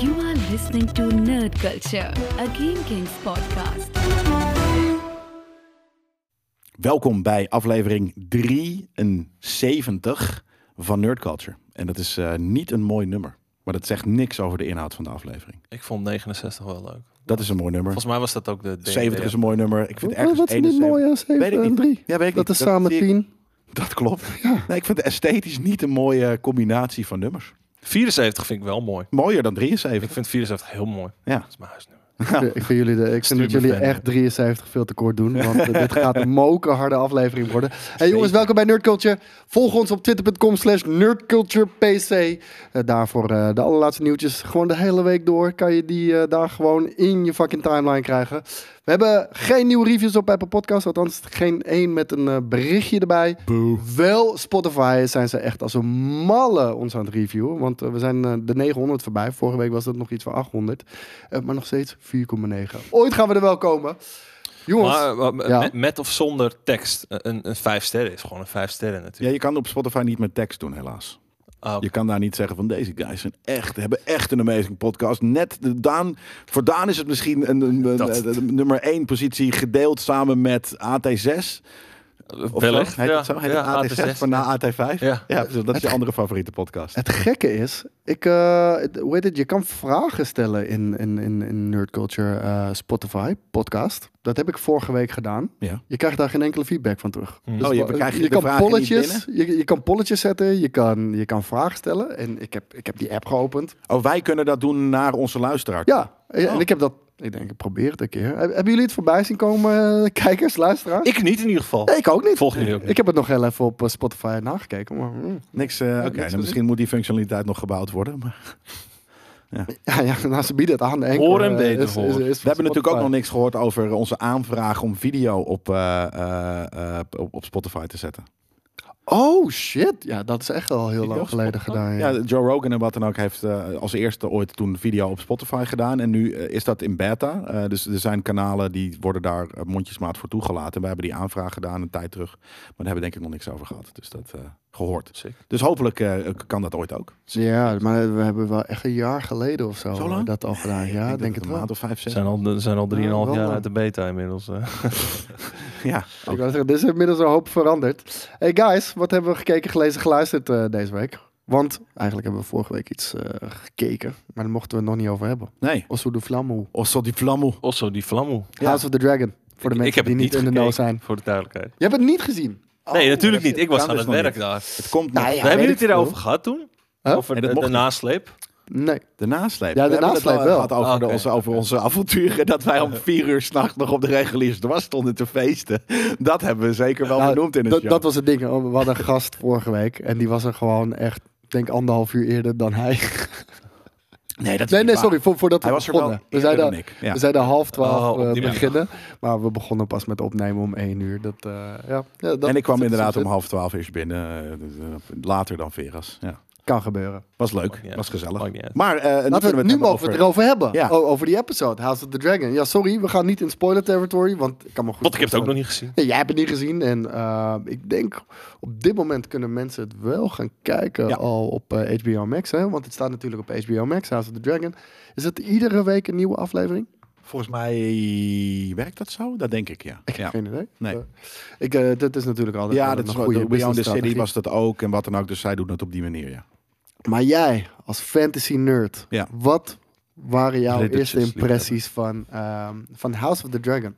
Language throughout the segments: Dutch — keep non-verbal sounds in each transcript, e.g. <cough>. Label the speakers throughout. Speaker 1: You are listening to Nerd Culture, a Game Kings podcast.
Speaker 2: Welkom bij aflevering 73 van Nerd Culture. En dat is eh, niet een mooi nummer, maar dat zegt niks over de inhoud van de aflevering.
Speaker 3: Ik vond 69 wel leuk.
Speaker 2: Dat is een mooi nummer.
Speaker 3: Volgens mij was dat ook de... de
Speaker 2: 70 is een mooi nummer. Ik vind
Speaker 4: Wat
Speaker 2: ergens
Speaker 4: wat is er niet
Speaker 2: 71
Speaker 4: mooi aan 7
Speaker 2: Weet ik
Speaker 4: en
Speaker 2: niet.
Speaker 4: 3?
Speaker 2: Ja, weet ik
Speaker 4: eh, Dat
Speaker 2: niet.
Speaker 4: is samen
Speaker 2: zie ik-
Speaker 4: 10.
Speaker 2: Dat klopt.
Speaker 4: Ja.
Speaker 2: Nee, ik vind esthetisch niet een mooie combinatie van nummers.
Speaker 3: 74 vind ik wel mooi.
Speaker 2: Mooier dan
Speaker 3: Ik
Speaker 2: 73.
Speaker 3: vind 74 heel mooi.
Speaker 2: Ja.
Speaker 3: Dat is mijn huisnummer.
Speaker 4: Ik vind jullie, de, ik vind dat
Speaker 3: Stuur me
Speaker 4: jullie
Speaker 3: verder.
Speaker 4: echt 73 veel te kort doen. Want eh, dit gaat een mokerharde aflevering worden. Hey jongens, welkom bij Nerd Culture. Volg ons op twitter.com slash nerdculturepc. Eh, daarvoor eh, de allerlaatste nieuwtjes. Gewoon de hele week door kan je die eh, daar gewoon in je fucking timeline krijgen. We hebben geen nieuwe reviews op Apple Podcasts. Althans, geen één met een eh, berichtje erbij. Wel Spotify zijn ze echt als een malle ons aan het reviewen. Want eh, we zijn eh, de 900 voorbij. Vorige week was dat nog iets van 800. Eh, maar nog steeds 4,9. Ooit gaan we er wel komen. Jongens,
Speaker 3: Maar, maar- maar
Speaker 4: Ja.
Speaker 3: met, met of zonder tekst. eh, Een, een vijf sterren is gewoon een vijf sterren
Speaker 2: Ja,
Speaker 3: natuurlijk.
Speaker 2: je kan op Spotify niet met tekst doen, helaas.
Speaker 3: Ah, oké.
Speaker 2: Je kan daar niet zeggen van deze guys zijn echt, hebben echt een amazing podcast. Net de Daan, voor Daan is het misschien een, een- een-
Speaker 3: Dat-
Speaker 2: een- een nummer 1 positie gedeeld samen met AT6. Of
Speaker 3: Wellicht.
Speaker 2: zo? Heet
Speaker 3: ja.
Speaker 2: het zo? Heet
Speaker 3: Ja,
Speaker 2: het AT6
Speaker 3: AT6,
Speaker 2: van na AT5?
Speaker 3: Ja.
Speaker 2: precies. dus dat is je andere favoriete podcast.
Speaker 4: het gekke is, ik, eh, het- hoe heet het, je kan vragen stellen in, in, in, in Nerd Culture eh, Spotify podcast. Dat heb ik vorige week gedaan.
Speaker 2: Ja.
Speaker 4: Je krijgt daar geen enkele feedback van terug. Dus
Speaker 3: Hmm.
Speaker 2: Oh, je
Speaker 4: wa-
Speaker 2: krijgt de
Speaker 4: kan
Speaker 2: vragen niet
Speaker 4: polletjes, je, je kan polletjes zetten, je kan, je kan vragen stellen. En ik heb, ik heb die app geopend.
Speaker 2: Oh, wij kunnen dat doen naar onze luisteraar.
Speaker 4: Ja, eh, en
Speaker 2: Oh.
Speaker 4: ik heb dat, ik denk, ik probeer het een keer. Heb- Hebben jullie het voorbij zien komen, eh, kijkers, luisteraars?
Speaker 3: Ik niet in ieder geval.
Speaker 4: Nee, ik ook niet.
Speaker 3: Volg jullie ook
Speaker 4: Ik heb het nog heel even op eh, Spotify nagekeken. Maar, mm. <laughs>
Speaker 2: Niks, eh, oké,
Speaker 4: niks
Speaker 2: nou,
Speaker 4: gezien.
Speaker 2: misschien moet die functionaliteit nog gebouwd worden. Maar
Speaker 4: Ja, ja nou, ze bieden het aan. Anchor,
Speaker 3: Hoor en
Speaker 4: eh,
Speaker 3: beter
Speaker 4: is- is-
Speaker 3: horen.
Speaker 4: is
Speaker 3: We
Speaker 4: van
Speaker 2: we hebben natuurlijk ook nog
Speaker 4: Spotify.
Speaker 2: niks gehoord over onze aanvraag om video op, eh, eh, eh, op, op Spotify te zetten.
Speaker 4: Oh shit, ja, dat is echt al heel
Speaker 2: Video op
Speaker 4: lang geleden
Speaker 2: Spotify?
Speaker 4: gedaan. Ja.
Speaker 2: Ja, Joe Rogan en wat dan ook heeft eh, als eerste ooit toen video op Spotify gedaan. En nu eh, is dat in beta. Eh, dus er zijn kanalen die worden daar eh, mondjesmaat voor toegelaten. En wij hebben die aanvraag gedaan een tijd terug. Maar daar hebben we denk ik nog niks over gehad. Dus dat eh, gehoord.
Speaker 3: Sick.
Speaker 2: Dus hopelijk eh, kan dat ooit ook.
Speaker 4: Ja, maar we hebben wel echt een jaar geleden of zo,
Speaker 2: Zo lang?
Speaker 4: dat al gedaan. Nou Ja, denk, het
Speaker 2: een
Speaker 4: wel.
Speaker 2: maand of vijf,
Speaker 3: We
Speaker 2: zes.
Speaker 3: zijn al, we zijn al drieënhalf
Speaker 4: wel
Speaker 3: jaar
Speaker 4: dan.
Speaker 3: uit de beta inmiddels. eh.
Speaker 2: Ja,
Speaker 4: Ik wou zeggen, er is inmiddels een hoop veranderd. Hey guys, wat hebben we gekeken, gelezen, geluisterd eh, deze week? Want eigenlijk hebben we vorige week iets eh, gekeken, maar daar mochten we het nog niet over hebben.
Speaker 2: nee. Oh,
Speaker 4: Osso de Flammo,
Speaker 2: Osso di Vlammo.
Speaker 3: Also, die flamoe.
Speaker 4: House of the Dragon, voor
Speaker 3: Ik-
Speaker 4: de
Speaker 3: ik
Speaker 4: mensen
Speaker 3: heb
Speaker 4: die
Speaker 3: het
Speaker 4: niet, in de
Speaker 3: gekeken,
Speaker 4: know zijn.
Speaker 3: Voor de duidelijkheid.
Speaker 4: Je hebt het niet gezien?
Speaker 3: nee,
Speaker 4: Oh,
Speaker 3: natuurlijk
Speaker 4: dat-
Speaker 3: niet. Ik was
Speaker 2: kan
Speaker 3: aan
Speaker 2: dus
Speaker 3: het
Speaker 2: nog
Speaker 3: werk
Speaker 2: niet.
Speaker 3: daar.
Speaker 2: Het komt nog.
Speaker 4: Nou ja,
Speaker 3: We hebben
Speaker 4: weet
Speaker 3: jullie het
Speaker 4: ik veel.
Speaker 3: hierover gehad toen?
Speaker 4: Huh?
Speaker 3: Over
Speaker 2: Nee, dat
Speaker 3: de, de
Speaker 2: mocht niet.
Speaker 3: nasleep?
Speaker 4: Nee.
Speaker 2: De nasleep.
Speaker 4: Ja, de
Speaker 2: We hebben het
Speaker 4: nasleep
Speaker 2: al
Speaker 4: wel.
Speaker 2: gehad over,
Speaker 3: Ah,
Speaker 2: de-
Speaker 3: oké.
Speaker 2: onze, over onze avonturen. Dat wij om vier uur s'nachts nog op de reguliere dwars stonden te feesten. Dat hebben we zeker wel
Speaker 4: Nou,
Speaker 2: genoemd in het
Speaker 4: dat,
Speaker 2: show.
Speaker 4: dat was het ding. We hadden een gast vorige week en die was er gewoon echt, ik denk anderhalf uur eerder dan
Speaker 3: <laughs>
Speaker 4: hij.
Speaker 2: Nee, dat is
Speaker 4: Nee,
Speaker 2: niet
Speaker 4: nee,
Speaker 2: waar.
Speaker 4: sorry, voor, voordat we
Speaker 2: Hij was er wel
Speaker 4: begonnen. we,
Speaker 2: eerder dan
Speaker 4: zeiden,
Speaker 2: ik. Ja.
Speaker 4: we zeiden half twaalf
Speaker 3: Oh, op die
Speaker 4: eh,
Speaker 3: manier.
Speaker 4: beginnen, maar we begonnen pas met opnemen om één uur. Dat, eh, ja, ja, dat
Speaker 2: en ik kwam
Speaker 4: dat-
Speaker 2: inderdaad
Speaker 4: dat-
Speaker 2: om half twaalf eerst binnen. eh, dus, eh, Later dan Veras. Ja.
Speaker 4: Kan gebeuren.
Speaker 2: Was leuk.
Speaker 3: niet uit.
Speaker 2: Was gezellig.
Speaker 3: Maakt niet uit.
Speaker 2: Maar eh, nu,
Speaker 4: Laten we,
Speaker 2: kunnen
Speaker 4: nu mogen we het erover hebben,
Speaker 2: Ja.
Speaker 4: O- over die episode, House of the Dragon. Ja, sorry, we gaan niet in spoiler territory, want ik kan me goed
Speaker 3: Want ik heb het ook
Speaker 4: voorstellen-
Speaker 3: nog niet gezien.
Speaker 4: Nee, jij hebt het niet gezien. En eh, ik denk op dit moment kunnen mensen het wel gaan kijken
Speaker 2: Ja.
Speaker 4: al op eh, HBO Max. Hè? Want het staat natuurlijk op HBO Max, House of the Dragon. Is het iedere week een nieuwe aflevering?
Speaker 2: Volgens mij werkt dat zo? Dat denk ik, ja.
Speaker 4: Ik heb
Speaker 2: ja.
Speaker 4: geen idee.
Speaker 2: Nee.
Speaker 4: Eh, ik, eh, dat is natuurlijk altijd
Speaker 2: Ja,
Speaker 4: altijd
Speaker 2: dat is
Speaker 4: een
Speaker 2: wel- de Beyond the City
Speaker 4: businessstrategie.
Speaker 2: was dat ook en wat dan ook. Dus zij doen het op die manier, ja.
Speaker 4: Maar jij, als fantasy nerd,
Speaker 2: Ja.
Speaker 4: wat waren jouw
Speaker 3: Riddertjes
Speaker 4: eerste impressies van, ehm, van House of the Dragon?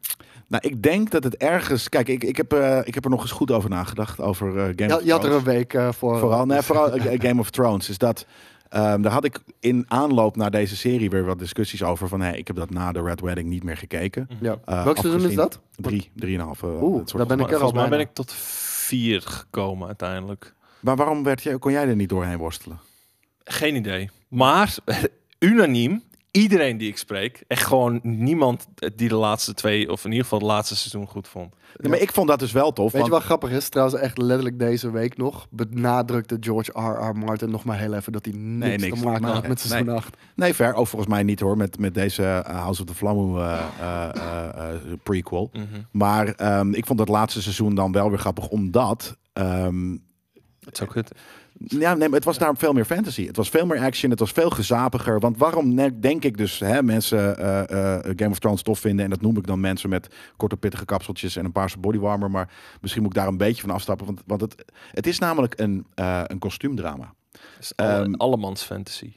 Speaker 2: Nou, ik denk dat het ergens... Kijk, ik, ik, heb, eh, ik heb er nog eens goed over nagedacht, over eh, Game
Speaker 4: Je,
Speaker 2: of
Speaker 4: je had er
Speaker 2: Thrones.
Speaker 4: een week eh, voor.
Speaker 2: Vooral, nee, vooral
Speaker 4: <laughs>
Speaker 2: eh, Game of Thrones. Is dat, ehm, daar had ik in aanloop naar deze serie weer wat discussies over. Van, hey, ik heb dat na de Red Wedding niet meer gekeken.
Speaker 4: Ja.
Speaker 2: Eh,
Speaker 4: Welk seizoen
Speaker 2: afgezien-
Speaker 4: is dat?
Speaker 2: Drie, drieënhalf. eh,
Speaker 4: Oeh,
Speaker 2: het soort
Speaker 4: daar
Speaker 2: van-
Speaker 4: ben ik er al
Speaker 3: Volgens mij
Speaker 4: bijna.
Speaker 3: ben ik tot vier gekomen uiteindelijk.
Speaker 2: Maar waarom werd jij, kon jij er niet doorheen worstelen?
Speaker 3: Geen idee. Maar <laughs> unaniem, iedereen die ik spreek, echt gewoon niemand die de laatste twee, of in ieder geval het laatste seizoen goed vond.
Speaker 2: Nee, maar ik vond dat dus wel tof.
Speaker 4: Weet je
Speaker 2: want-
Speaker 4: wat grappig is? Trouwens, echt letterlijk deze week nog benadrukte George R.R. Martin nog maar heel even dat hij niks,
Speaker 2: niks
Speaker 4: te
Speaker 2: te
Speaker 4: maken
Speaker 2: maken
Speaker 4: had met
Speaker 2: heeft.
Speaker 4: seizoen
Speaker 2: Nee.
Speaker 4: 8.
Speaker 2: Nee, ver. Ook volgens mij niet hoor. Met, met deze eh, House of the Flamme eh, Mhm. prequel. Maar ehm, ik vond dat laatste seizoen dan wel weer grappig. Omdat ehm,
Speaker 3: Dat is ook het.
Speaker 2: Ja, nee, maar het was daar veel meer fantasy. Het was veel meer action. Het was veel gezapiger. Want waarom ne- denk ik dus hè, mensen eh, eh, Game of Thrones tof vinden? En dat noem ik dan mensen met korte pittige kapseltjes en een paarse bodywarmer. Maar misschien moet ik daar een beetje van afstappen. Want, want het, het is namelijk een, eh, een kostuumdrama.
Speaker 3: Het is alle-
Speaker 2: Ehm,
Speaker 3: allemans fantasy.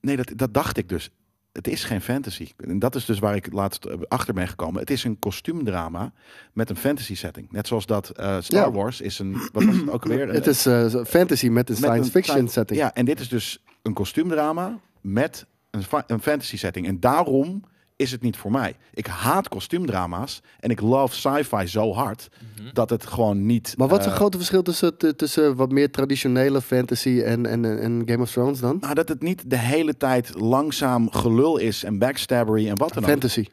Speaker 2: Nee, dat, dat dacht ik dus. Het is geen fantasy. En dat is dus waar ik laatst eh, achter ben gekomen. Het is een kostuumdrama met een fantasy setting. Net zoals dat eh, Star
Speaker 4: Ja.
Speaker 2: Wars is een... Wat was het ook
Speaker 4: <clears throat>
Speaker 2: alweer?
Speaker 4: Het is eh, fantasy met een
Speaker 2: Met
Speaker 4: science
Speaker 2: een
Speaker 4: fiction
Speaker 2: science-
Speaker 4: setting.
Speaker 2: Ja, en dit is dus een kostuumdrama met een, fa- een fantasy setting. En daarom is het niet voor mij. Ik haat kostuumdrama's en ik love sci-fi zo hard dat het gewoon niet.
Speaker 4: Maar wat is
Speaker 2: eh,
Speaker 4: het grote verschil tussen, t- tussen wat meer traditionele fantasy en, en, en Game of Thrones dan?
Speaker 2: nou, dat het niet de hele tijd langzaam gelul is en backstabbery en wat dan ook.
Speaker 4: Fantasy.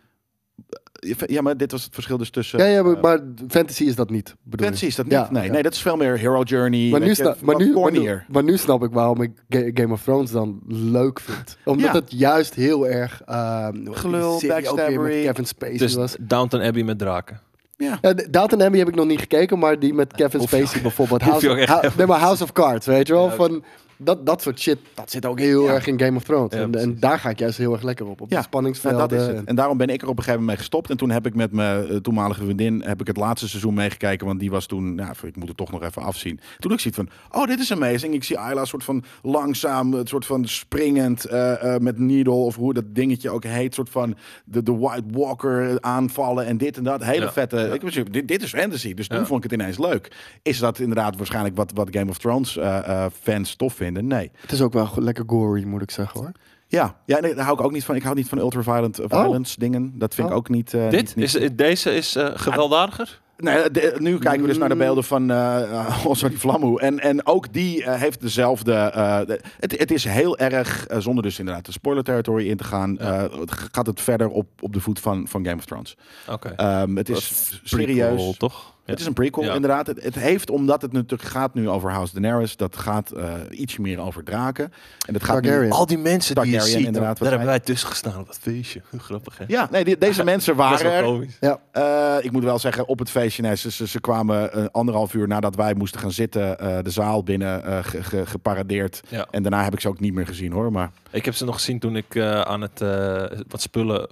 Speaker 2: Ja, maar dit was het verschil dus tussen.
Speaker 4: Ja, ja maar,
Speaker 2: eh,
Speaker 4: maar fantasy is dat niet. Bedoel ik.
Speaker 2: fantasy is dat niet.
Speaker 4: Ja,
Speaker 2: nee,
Speaker 4: ja.
Speaker 2: nee, dat is veel meer hero journey.
Speaker 4: Maar nu,
Speaker 2: weet je,
Speaker 4: sta- maar,
Speaker 2: wat
Speaker 4: nu, maar, nu,
Speaker 2: cornier.
Speaker 4: maar nu snap ik waarom ik Ga- Game of Thrones dan leuk vind. Omdat
Speaker 2: Ja.
Speaker 4: het juist heel erg... eh, die
Speaker 2: Gelul,
Speaker 4: serie ook weer met
Speaker 2: backstabbery.
Speaker 4: Kevin Spacey
Speaker 3: Dus
Speaker 4: was.
Speaker 3: Downton Abbey met draken.
Speaker 2: Ja.
Speaker 4: Ja, de- Downton Abbey heb ik nog niet gekeken, maar die met Kevin
Speaker 3: Hoef je
Speaker 4: Spacey bijvoorbeeld.
Speaker 3: hoef je
Speaker 4: House,
Speaker 3: ook echt
Speaker 4: Hou-
Speaker 3: helemaal
Speaker 4: nee, maar House of Cards, weet je wel.
Speaker 3: Ja,
Speaker 4: van, dat, dat soort shit, dat zit ook heel
Speaker 2: Ja.
Speaker 4: erg in Game of Thrones.
Speaker 3: Ja,
Speaker 4: en, en
Speaker 3: precies.
Speaker 4: daar ga ik juist heel erg lekker op. Op de
Speaker 2: nou,
Speaker 4: spanningsvelden.
Speaker 2: dat is het.
Speaker 4: en-
Speaker 2: En daarom ben ik er op een gegeven moment mee gestopt. En toen heb ik met mijn eh, toenmalige vriendin heb ik het laatste seizoen meegekeken. Want die was toen, nou, ik moet het toch nog even afzien. Toen ik zie van, oh, dit is amazing. Ik zie Ayla soort van langzaam, het soort van springend eh, eh, met Needle of hoe dat dingetje ook heet. soort van de, de White Walker aanvallen en dit en dat. Hele
Speaker 3: Ja.
Speaker 2: vette. Ik was, dit, dit is fantasy, dus toen
Speaker 3: Ja.
Speaker 2: vond ik het ineens leuk. Is dat inderdaad waarschijnlijk wat, wat Game of Thrones eh, eh, fans tof vinden? Nee.
Speaker 4: Het is ook wel go- lekker gory, moet ik zeggen hoor.
Speaker 2: Ja, ja nee, daar hou ik ook niet van. Ik hou niet van ultraviolent eh,
Speaker 4: Oh.
Speaker 2: violence dingen. Dat vind ik
Speaker 4: Oh.
Speaker 2: ook niet. eh,
Speaker 3: Dit?
Speaker 2: niet- niet-
Speaker 3: Is, deze is eh, gewelddadiger?
Speaker 2: Nee, de- nu kijken we dus naar
Speaker 4: Mm.
Speaker 2: de beelden van eh <laughs> Osso die Vlammoe. En, en ook die eh, heeft dezelfde. eh, de- het, het is heel erg, eh, zonder dus inderdaad de spoiler territory in te gaan, eh, het g- gaat het verder op, op de voet van, van Game of Thrones.
Speaker 3: Oké.
Speaker 2: Ehm, het
Speaker 3: Dat
Speaker 2: is serieus.
Speaker 3: toch? Ja.
Speaker 2: Het is een prequel,
Speaker 3: Ja.
Speaker 2: inderdaad. Het, het heeft, omdat het natuurlijk gaat nu over House Daenerys, dat gaat eh, iets meer over draken. En dat gaat nu-
Speaker 4: Targaryen.
Speaker 3: Al die mensen die je
Speaker 2: Targaryen,
Speaker 3: ziet,
Speaker 2: inderdaad,
Speaker 3: daar
Speaker 2: wat
Speaker 3: hebben wij tussen gestaan op dat feestje. Hoe <laughs> grappig, hè?
Speaker 2: Ja, nee, die-
Speaker 3: <laughs>
Speaker 2: deze mensen waren er.
Speaker 3: komisch.
Speaker 4: Ja,
Speaker 2: Eh, ik moet wel zeggen, op het feestje, nee, ze, ze, ze kwamen eh, anderhalf uur nadat wij moesten gaan zitten, eh, de zaal binnen, eh, ge- ge- geparadeerd.
Speaker 3: Ja.
Speaker 2: En daarna heb ik ze ook niet meer gezien hoor. Maar
Speaker 3: Ik heb ze nog gezien toen ik eh, aan het eh, wat spullen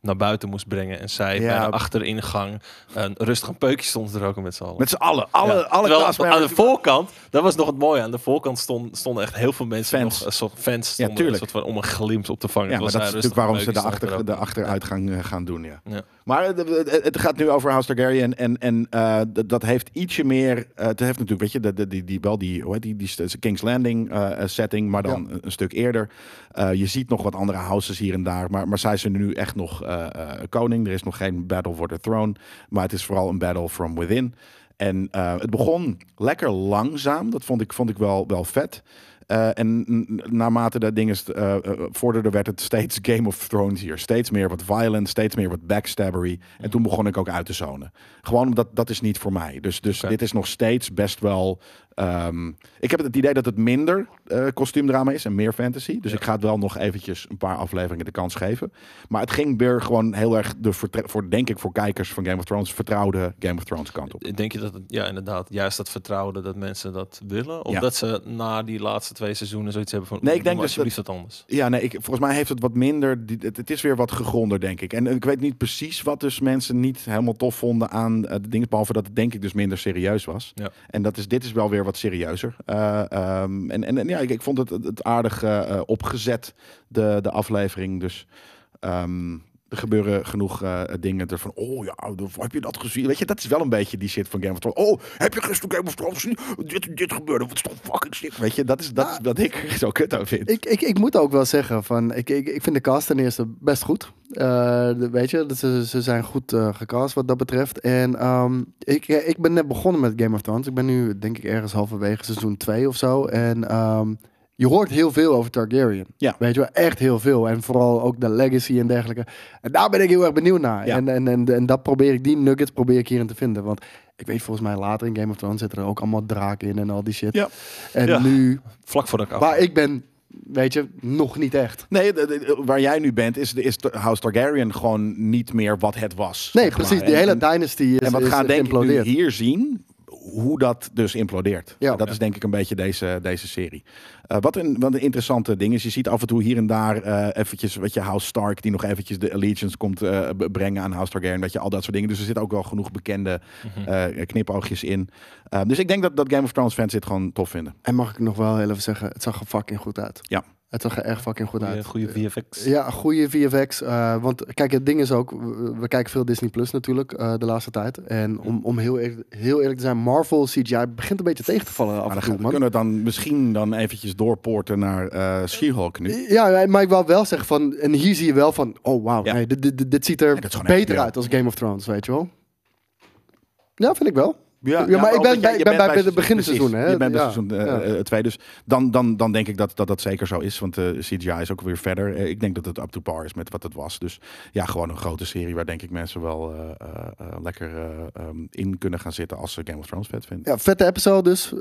Speaker 3: naar buiten moest brengen. En zij
Speaker 2: Ja.
Speaker 3: bij de achteringang een rustig een peukje stond te roken met z'n allen.
Speaker 2: met z'n allen, alle,
Speaker 3: Ja.
Speaker 2: alle
Speaker 3: Terwijl
Speaker 2: castmembers-
Speaker 3: aan de voorkant, dat was nog het mooie. Aan de voorkant stonden, stonden echt heel veel mensen,
Speaker 2: Fans.
Speaker 3: Nog, een soort fans, stonden,
Speaker 2: tuurlijk.
Speaker 3: een soort van, om een glimp op te vangen.
Speaker 2: Ja, maar
Speaker 3: Terwijl
Speaker 2: dat is natuurlijk
Speaker 3: zij rustig
Speaker 2: waarom ze de,
Speaker 3: een peukje
Speaker 2: achter,
Speaker 3: stonden
Speaker 2: de
Speaker 3: te roken.
Speaker 2: achteruitgang eh, gaan doen. Ja.
Speaker 3: Ja.
Speaker 2: Maar het, het- het gaat nu over House Targaryen. En, en eh, dat- dat heeft ietsje meer. eh, het heeft natuurlijk, weet je, de, de- die, die, wel die, hoe heet die, die st- King's Landing eh, eh, setting, maar dan een, een stuk eerder. Eh, je ziet nog wat andere houses hier en daar. Maar, maar zij zijn nu echt nog eh, eh, koning. Er is nog geen Battle for the Throne. Maar het is vooral een battle from within. En eh, het begon lekker langzaam. Dat vond ik, vond ik wel, wel vet. Eh, en n- naarmate dat ding is, eh, eh, vorderde, werd het steeds <laughs> Game of Thrones hier. Steeds meer wat violent, steeds meer wat backstabbery. En toen begon ik ook uit te zonen. Gewoon omdat dat is niet voor mij. Dus, dus
Speaker 3: Oké.
Speaker 2: dit is nog steeds best wel. ehm, ik heb het idee dat het minder eh, kostuumdrama is en meer fantasy. Dus
Speaker 3: Ja.
Speaker 2: ik ga het wel nog eventjes een paar afleveringen de kans geven. Maar het ging weer gewoon heel erg, de vertre- voor, denk ik, voor kijkers van Game of Thrones, vertrouwde Game of Thrones kant op.
Speaker 3: Denk je dat, het- ja inderdaad, juist dat vertrouwen dat mensen dat willen? Of
Speaker 2: Ja.
Speaker 3: dat ze na die laatste twee seizoenen zoiets hebben van,
Speaker 2: Nee, ik
Speaker 3: "Oeh,
Speaker 2: denk
Speaker 3: doe
Speaker 2: dus
Speaker 3: maar alsjeblieft dat anders.
Speaker 2: Ja, nee, ik, volgens mij heeft het wat minder. die- Het, het is weer wat gegronder, denk ik. En eh, ik weet niet precies wat dus mensen niet helemaal tof vonden aan eh, de dingen. Behalve dat het denk ik dus minder serieus was.
Speaker 3: Ja.
Speaker 2: En dat is, dit is wel weer wat serieuzer. Eh, ehm, en, en, en ja, ik, ik vond het, het het aardig eh, eh, opgezet, de, de aflevering. Dus ehm, er gebeuren genoeg eh, dingen. Er van, oh ja, de- heb je dat gezien? Weet je, dat is wel een beetje die shit van Game of Thrones. Oh, heb je gisteren Game of Thrones gezien? Dit, dit gebeurde, wat is toch fucking shit? Weet je, dat is, dat is wat ik <laughs> er zo kut aan vind.
Speaker 4: ik, ik, ik moet ook wel zeggen, van, ik, ik, ik vind de cast ten eerste best goed. Eh, de- weet je, dat ze, ze zijn goed eh, gecast wat dat betreft. En ehm, ik, ik ben net begonnen met Game of Thrones. Ik ben nu denk ik ergens halverwege seizoen 2 of zo. En ehm, je hoort heel veel over Targaryen.
Speaker 2: Ja.
Speaker 4: Weet je wel, echt heel veel. En vooral ook de legacy en dergelijke. En daar ben ik heel erg benieuwd naar.
Speaker 2: Ja.
Speaker 4: En, en, en, en dat probeer ik, die nuggets probeer ik hierin te vinden. Want ik weet volgens mij later in Game of Thrones zitten er ook allemaal draken in en al die shit.
Speaker 2: Ja.
Speaker 4: En
Speaker 3: Ja.
Speaker 4: nu,
Speaker 3: Vlak voor de
Speaker 2: Oh.
Speaker 3: af.
Speaker 4: waar ik ben, weet je, nog niet echt.
Speaker 2: Nee, de- de- waar jij nu bent, is, is House Targaryen gewoon niet meer wat het was.
Speaker 4: Nee,
Speaker 2: zeg maar.
Speaker 4: precies. Die
Speaker 2: En-
Speaker 4: hele
Speaker 2: en-
Speaker 4: dynasty is,
Speaker 2: En wat
Speaker 4: is
Speaker 2: gaan denk ik nu
Speaker 4: geïmplodeerd.
Speaker 2: hier zien? hoe dat dus implodeert.
Speaker 4: Ja.
Speaker 2: Dat is denk ik een beetje deze, deze serie. Eh, wat, een, wat een interessante ding is, je ziet af en toe hier en daar eh, eventjes wat je House Stark, die nog eventjes de Allegiance komt eh, b- brengen aan House Targaryen, dat je al dat soort dingen. Dus er zitten ook wel genoeg bekende
Speaker 3: Mhm.
Speaker 2: eh, knipoogjes in. Eh, dus ik denk dat, dat Game of Thrones fans dit gewoon tof vinden.
Speaker 4: En mag ik nog wel heel even zeggen, het zag er fucking goed uit.
Speaker 2: Ja.
Speaker 4: Het zag er echt fucking goed uit.
Speaker 3: goede
Speaker 2: eh,
Speaker 3: VFX.
Speaker 4: Ja, goede VFX. eh, want kijk, het ding is ook, we, we kijken veel Disney Plus natuurlijk eh, de laatste tijd. En om, om heel, eer- heel eerlijk te zijn, Marvel CGI begint een beetje tegen te vallen af
Speaker 2: Maar
Speaker 4: en
Speaker 2: dan
Speaker 4: toe,
Speaker 2: gaan-
Speaker 4: man.
Speaker 2: kunnen we het dan misschien dan eventjes doorpoorten naar eh She-Hulk nu.
Speaker 4: Ja, maar ik wou wel zeggen van, en hier zie je wel van, oh wauw,
Speaker 2: Ja.
Speaker 4: nee, dit, dit, dit- dit ziet er
Speaker 2: dat is gewoon echt
Speaker 4: beter
Speaker 2: real.
Speaker 4: uit als Game of Thrones, weet je wel. Ja, vind ik wel.
Speaker 2: Ja,
Speaker 4: maar ik
Speaker 2: ook dat
Speaker 4: ben bij-
Speaker 2: je-
Speaker 4: ik
Speaker 2: je
Speaker 4: ben
Speaker 2: bent
Speaker 4: bij het begin
Speaker 2: precies,
Speaker 4: seizoen, hè?
Speaker 2: Je bent bij
Speaker 4: Ja,
Speaker 2: seizoen eh,
Speaker 4: ja.
Speaker 2: eh, twee, dus dan, dan, dan denk ik dat, dat dat zeker zo is. Want eh, de CGI is ook weer verder. Eh, ik denk dat het up to par is met wat het was. Dus ja, gewoon een grote serie waar denk ik mensen wel eh, eh, eh, lekker eh, ehm, in kunnen gaan zitten als ze Game of Thrones vet vinden.
Speaker 4: Ja, vette episode dus. Eh,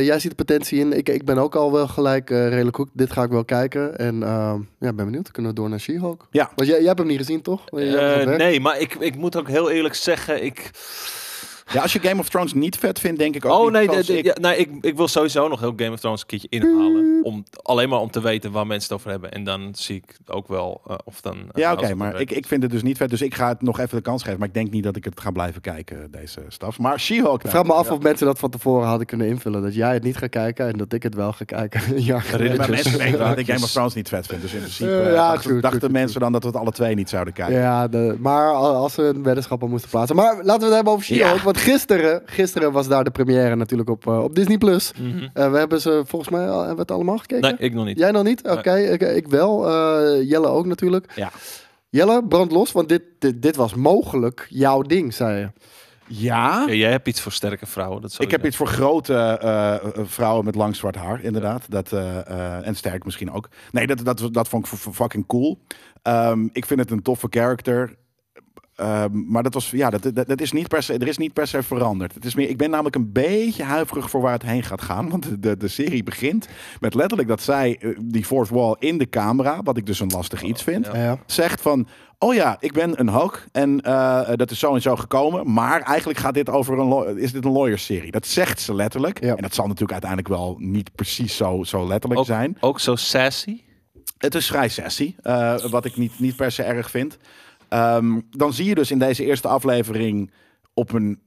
Speaker 4: jij ziet de potentie in. Ik, ik ben ook al wel gelijk eh, redelijk hoek. Dit ga ik wel kijken. En eh, ja, ben benieuwd. Kunnen we door naar She-Hulk?
Speaker 2: Ja.
Speaker 4: Want jij, jij hebt hem niet gezien, toch? Jij hebt hem gewerkt.
Speaker 3: Eh, nee, maar ik, ik moet ook heel eerlijk zeggen, ik...
Speaker 2: Ja. als je Game of Thrones niet vet vindt, denk ik ook
Speaker 3: Oh
Speaker 2: niet,
Speaker 3: nee,
Speaker 2: zoals
Speaker 3: d- d-
Speaker 2: ik.
Speaker 3: ja, nee ik, ik wil sowieso nog heel Game of Thrones een keertje inhalen. Om, alleen maar om te weten waar mensen het over hebben. En dan zie ik ook wel eh, of dan... eh,
Speaker 2: Ja,
Speaker 3: als
Speaker 2: oké,
Speaker 3: het
Speaker 2: maar ik,
Speaker 3: werkt.
Speaker 2: ik vind het dus niet vet. Dus ik ga het nog even de kans geven. Maar ik denk niet dat ik het ga blijven kijken, deze staf. Maar She-Hulk.
Speaker 4: Ik
Speaker 2: nou.
Speaker 4: vraag me af
Speaker 2: Ja.
Speaker 4: of mensen dat van tevoren hadden kunnen invullen. Dat jij het niet gaat kijken en dat ik het wel ga kijken. <laughs> ja,
Speaker 2: Nee, maar
Speaker 3: Riddertjes.
Speaker 2: mensen denken dat ik
Speaker 3: Draakjes.
Speaker 2: Game of Thrones niet vet vind. Dus in principe
Speaker 4: Eh,
Speaker 2: eh,
Speaker 4: ja,
Speaker 2: dachten,
Speaker 4: true,
Speaker 2: dachten
Speaker 4: true,
Speaker 2: mensen dan dat we het alle twee niet zouden kijken.
Speaker 4: ja de- maar al- als ze een weddenschap al moesten plaatsen. Maar laten we het hebben over She-Hulk.
Speaker 2: Ja.
Speaker 4: Want gisteren, gisteren was daar de première natuurlijk op, eh, op Disney+. Plus. Eh,
Speaker 3: Mhm.
Speaker 4: we hebben ze volgens mij al, hebben we het allemaal gekeken.
Speaker 3: Nee, ik nog niet.
Speaker 4: Jij nog niet? Oké,
Speaker 3: Nee.
Speaker 4: ik, ik wel. Eh, Jelle ook natuurlijk.
Speaker 2: Ja.
Speaker 4: Jelle, brand los, want dit, dit, dit was mogelijk jouw ding, zei je.
Speaker 2: Ja,
Speaker 3: Ja, jij hebt iets voor sterke vrouwen. Dat
Speaker 2: ik heb iets voor grote eh, eh, vrouwen met lang zwart haar, inderdaad. Dat, eh, eh, en sterk misschien ook. Nee, dat, dat, dat vond ik f- f- fucking cool. Ehm, ik vind het een toffe character. Ehm, maar dat was, ja, dat, dat, dat is niet per se, er is niet per se veranderd. Het is meer, ik ben namelijk een beetje huiverig voor waar het heen gaat gaan. Want de- de, de serie begint met letterlijk dat zij eh, die fourth wall in de camera, wat ik dus een lastig iets vind.
Speaker 3: ja.
Speaker 4: Ja. zegt van...
Speaker 2: Oh ja, ik ben een Hulk en eh, dat is zo en zo gekomen. Maar eigenlijk gaat dit over een law- is dit een lawyer-serie. Dat zegt ze letterlijk.
Speaker 4: Ja.
Speaker 2: En dat zal natuurlijk uiteindelijk wel niet precies zo, zo letterlijk
Speaker 3: ook,
Speaker 2: zijn.
Speaker 3: Ook zo sassy.
Speaker 2: Het is vrij sessie, eh, wat ik niet, niet per se erg vind. Ehm, dan zie je dus in deze eerste aflevering op een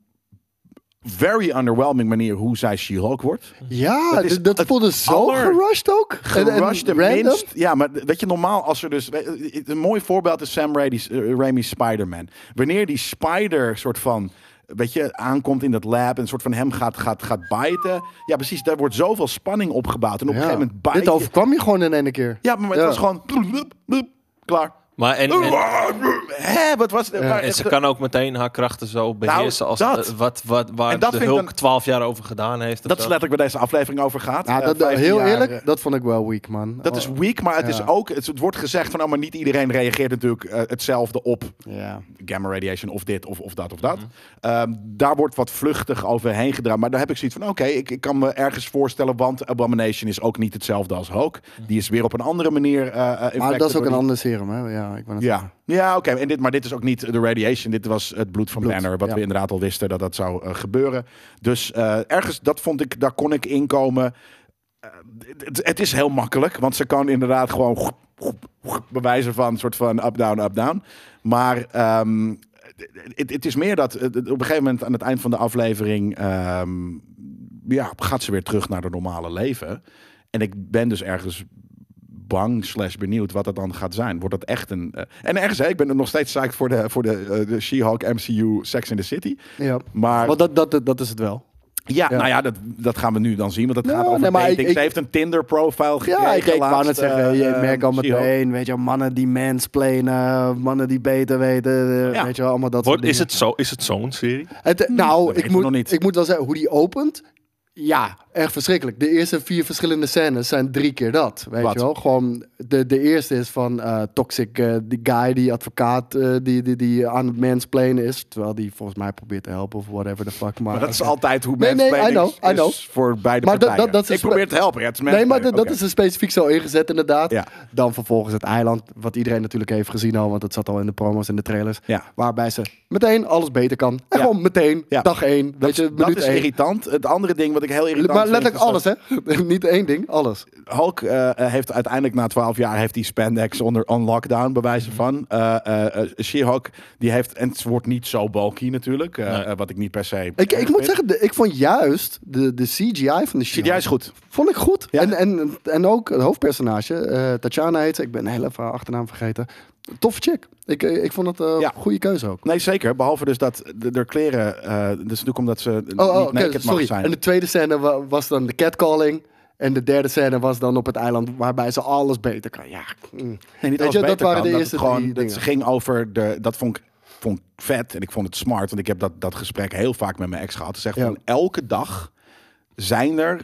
Speaker 2: very underwhelming manier hoe zij She-Hulk wordt.
Speaker 4: Ja,
Speaker 2: Hm. Dat
Speaker 4: dat,
Speaker 2: is
Speaker 4: dat
Speaker 2: het
Speaker 4: voelde zo
Speaker 2: aller-
Speaker 4: gerushed ook. En- en
Speaker 2: Gerushed en
Speaker 4: random.
Speaker 2: minst. Ja, maar weet je, normaal als er dus... Een mooi voorbeeld is Sam Raimi's, eh, Raimi's Spider-Man. Wanneer die spider soort van... Weet je, aankomt in dat lab en soort van hem gaat, gaat, gaat bijten. Ja, precies. Daar wordt zoveel spanning opgebouwd. En op
Speaker 4: Ja.
Speaker 2: een gegeven moment bijt
Speaker 4: Dit
Speaker 2: je-
Speaker 4: overkwam je gewoon in ene keer.
Speaker 2: Ja, maar het
Speaker 4: Ja.
Speaker 2: was gewoon... Klaar.
Speaker 3: Maar en, en,
Speaker 2: Hè, wat was het? Maar
Speaker 3: en ze
Speaker 2: echt-
Speaker 3: kan ook meteen haar krachten zo beheersen als
Speaker 2: Nou, dat.
Speaker 3: eh, wat, wat, waar
Speaker 2: En dat
Speaker 3: de
Speaker 2: vind ik
Speaker 3: Hulk
Speaker 2: dan-
Speaker 3: twaalf jaar over gedaan heeft. of
Speaker 2: Dat is
Speaker 3: zo.
Speaker 2: letterlijk waar deze aflevering over gaat.
Speaker 4: Ja,
Speaker 2: Eh,
Speaker 4: Ah, dat,
Speaker 2: 15
Speaker 4: heel
Speaker 2: jaar,
Speaker 4: eerlijk,
Speaker 2: eh,
Speaker 4: dat vond ik wel weak, man.
Speaker 2: Dat is
Speaker 4: Oh,
Speaker 2: weak, maar het
Speaker 4: Ja.
Speaker 2: is ook... Het, het wordt gezegd van, nou, maar niet iedereen reageert natuurlijk eh, hetzelfde op
Speaker 4: Ja.
Speaker 2: gamma radiation of dit of, of dat of dat. Ehm, daar wordt wat vluchtig overheen gedraaid. Maar daar heb ik zoiets van, oké, ik, ik kan me ergens voorstellen, want Abomination is ook niet hetzelfde als Hulk. Die is weer op een andere manier... eh, eh,
Speaker 4: Maar
Speaker 2: infected
Speaker 4: dat is
Speaker 2: door
Speaker 4: ook een
Speaker 2: die-
Speaker 4: ander serum, hè? Ja, ik ben het
Speaker 2: Ja, ja oké. En dit, maar dit is ook niet de radiation. Dit was het bloed van
Speaker 4: Bloed,
Speaker 2: Banner. Wat
Speaker 4: ja.
Speaker 2: we inderdaad al wisten dat dat zou eh, gebeuren. Dus eh, ergens, dat vond ik, daar kon ik inkomen. Eh, het, het is heel makkelijk. Want ze kan inderdaad gewoon goep, goep, goep, bewijzen van soort van up-down, up-down. Maar ehm, het het is meer dat eh, op een gegeven moment aan het eind van de aflevering... ehm, ja, gaat ze weer terug naar haar normale leven. En ik ben dus ergens bang slash benieuwd wat dat dan gaat zijn. Wordt dat echt een... eh, en ergens, hè, ik ben er nog steeds psyched voor de, voor de, eh, de She-Hulk MCU Sex in the City.
Speaker 4: Ja.
Speaker 2: Maar
Speaker 4: Want dat, dat, dat, dat is het wel.
Speaker 2: ja,
Speaker 4: ja.
Speaker 2: nou ja, dat, dat gaan we nu dan zien. Want het
Speaker 4: Nou,
Speaker 2: gaat over
Speaker 4: nee, maar
Speaker 2: dating.
Speaker 4: ik- ik-
Speaker 2: Ze heeft een Tinder profile gekregen.
Speaker 4: Ja, ik, ik wou net
Speaker 2: laatst,
Speaker 4: zeggen, je
Speaker 2: eh,
Speaker 4: merkt al
Speaker 2: She-Hulk.
Speaker 4: meteen, weet je, mannen die mansplainen, mannen die beter weten, eh,
Speaker 2: Ja.
Speaker 4: weet je wel, allemaal dat
Speaker 3: Wordt,
Speaker 4: soort
Speaker 3: is het
Speaker 4: dingen.
Speaker 3: zo- is het zo'n serie?
Speaker 4: Het, eh, nou, ik
Speaker 2: weten we
Speaker 4: moet,
Speaker 2: nog niet.
Speaker 4: ik moet wel zeggen, hoe die opent. Ja, echt verschrikkelijk. De eerste vier verschillende scènes zijn drie keer dat. Weet
Speaker 2: Wat?
Speaker 4: je wel? Gewoon de, de eerste is van eh, Toxic, eh, die guy, die advocaat, eh, die, die, die aan het mansplainen is. Terwijl die volgens mij probeert te helpen of whatever the fuck. Maar,
Speaker 2: Maar dat is
Speaker 4: oké.
Speaker 2: altijd hoe
Speaker 4: Nee,
Speaker 2: mensen
Speaker 4: nee, I know, I know.
Speaker 2: is voor beide
Speaker 4: Maar dat-
Speaker 2: partijen.
Speaker 4: dat- dat is een
Speaker 2: ik probeer te helpen. Ja, het is
Speaker 4: Nee, maar dat,
Speaker 2: mansplaining.
Speaker 4: dat is er specifiek zo ingezet inderdaad.
Speaker 2: Ja.
Speaker 4: Dan vervolgens het eiland, wat iedereen natuurlijk heeft gezien al, want dat zat al in de promos en de trailers.
Speaker 2: Ja.
Speaker 4: Waarbij ze meteen alles beter kan. En
Speaker 2: Ja.
Speaker 4: gewoon meteen,
Speaker 2: Ja.
Speaker 4: dag één, weet je,
Speaker 2: Dat
Speaker 4: minuut
Speaker 2: is
Speaker 4: één.
Speaker 2: irritant. Het andere ding wat ik heel irritant
Speaker 4: Maar
Speaker 2: vind,
Speaker 4: letterlijk
Speaker 2: is dat-
Speaker 4: alles, hè? <laughs> Niet één ding, alles.
Speaker 2: Hulk eh, heeft uiteindelijk na 12 jaar heeft die spandex onder on lockdown, bewijzen
Speaker 4: Mhm.
Speaker 2: van. Eh eh, eh, She-Hulk, die heeft, en het wordt niet zo bulky natuurlijk, eh,
Speaker 3: Nee.
Speaker 2: eh, wat ik niet per se.
Speaker 4: Ik, ik moet zeggen, de- ik vond juist de, de CGI van de
Speaker 2: Shit, jij
Speaker 4: She-Hulk
Speaker 2: is goed.
Speaker 4: vond ik goed.
Speaker 2: Ja.
Speaker 4: En, en, en ook het hoofdpersonage, eh Tatjana heet ze. Ik ben heel even haar achternaam vergeten. Toffe chick. Ik, ik vond dat eh, een
Speaker 2: Ja.
Speaker 4: goede keuze ook.
Speaker 2: Nee, zeker. Behalve dus dat de, de kleren, eh dus natuurlijk omdat ze
Speaker 4: Oh, oh
Speaker 2: niet
Speaker 4: oké,
Speaker 2: naked mag
Speaker 4: sorry.
Speaker 2: zijn.
Speaker 4: En de tweede scène wa- was dan de catcalling. En de derde scène was dan op het eiland waarbij ze alles beter kan. Ja, mm.
Speaker 2: Nee, niet
Speaker 4: Weet
Speaker 2: alles
Speaker 4: je, dat
Speaker 2: beter
Speaker 4: waren
Speaker 2: kan,
Speaker 4: de
Speaker 2: het
Speaker 4: eerste
Speaker 2: gewoon,
Speaker 4: drie
Speaker 2: dat
Speaker 4: dingen.
Speaker 2: Ze ging over de. Dat vond ik, vond ik vet en ik vond het smart. Want ik heb dat, dat gesprek heel vaak met mijn ex gehad. Ze zegt
Speaker 4: Ja.
Speaker 2: van elke dag zijn er.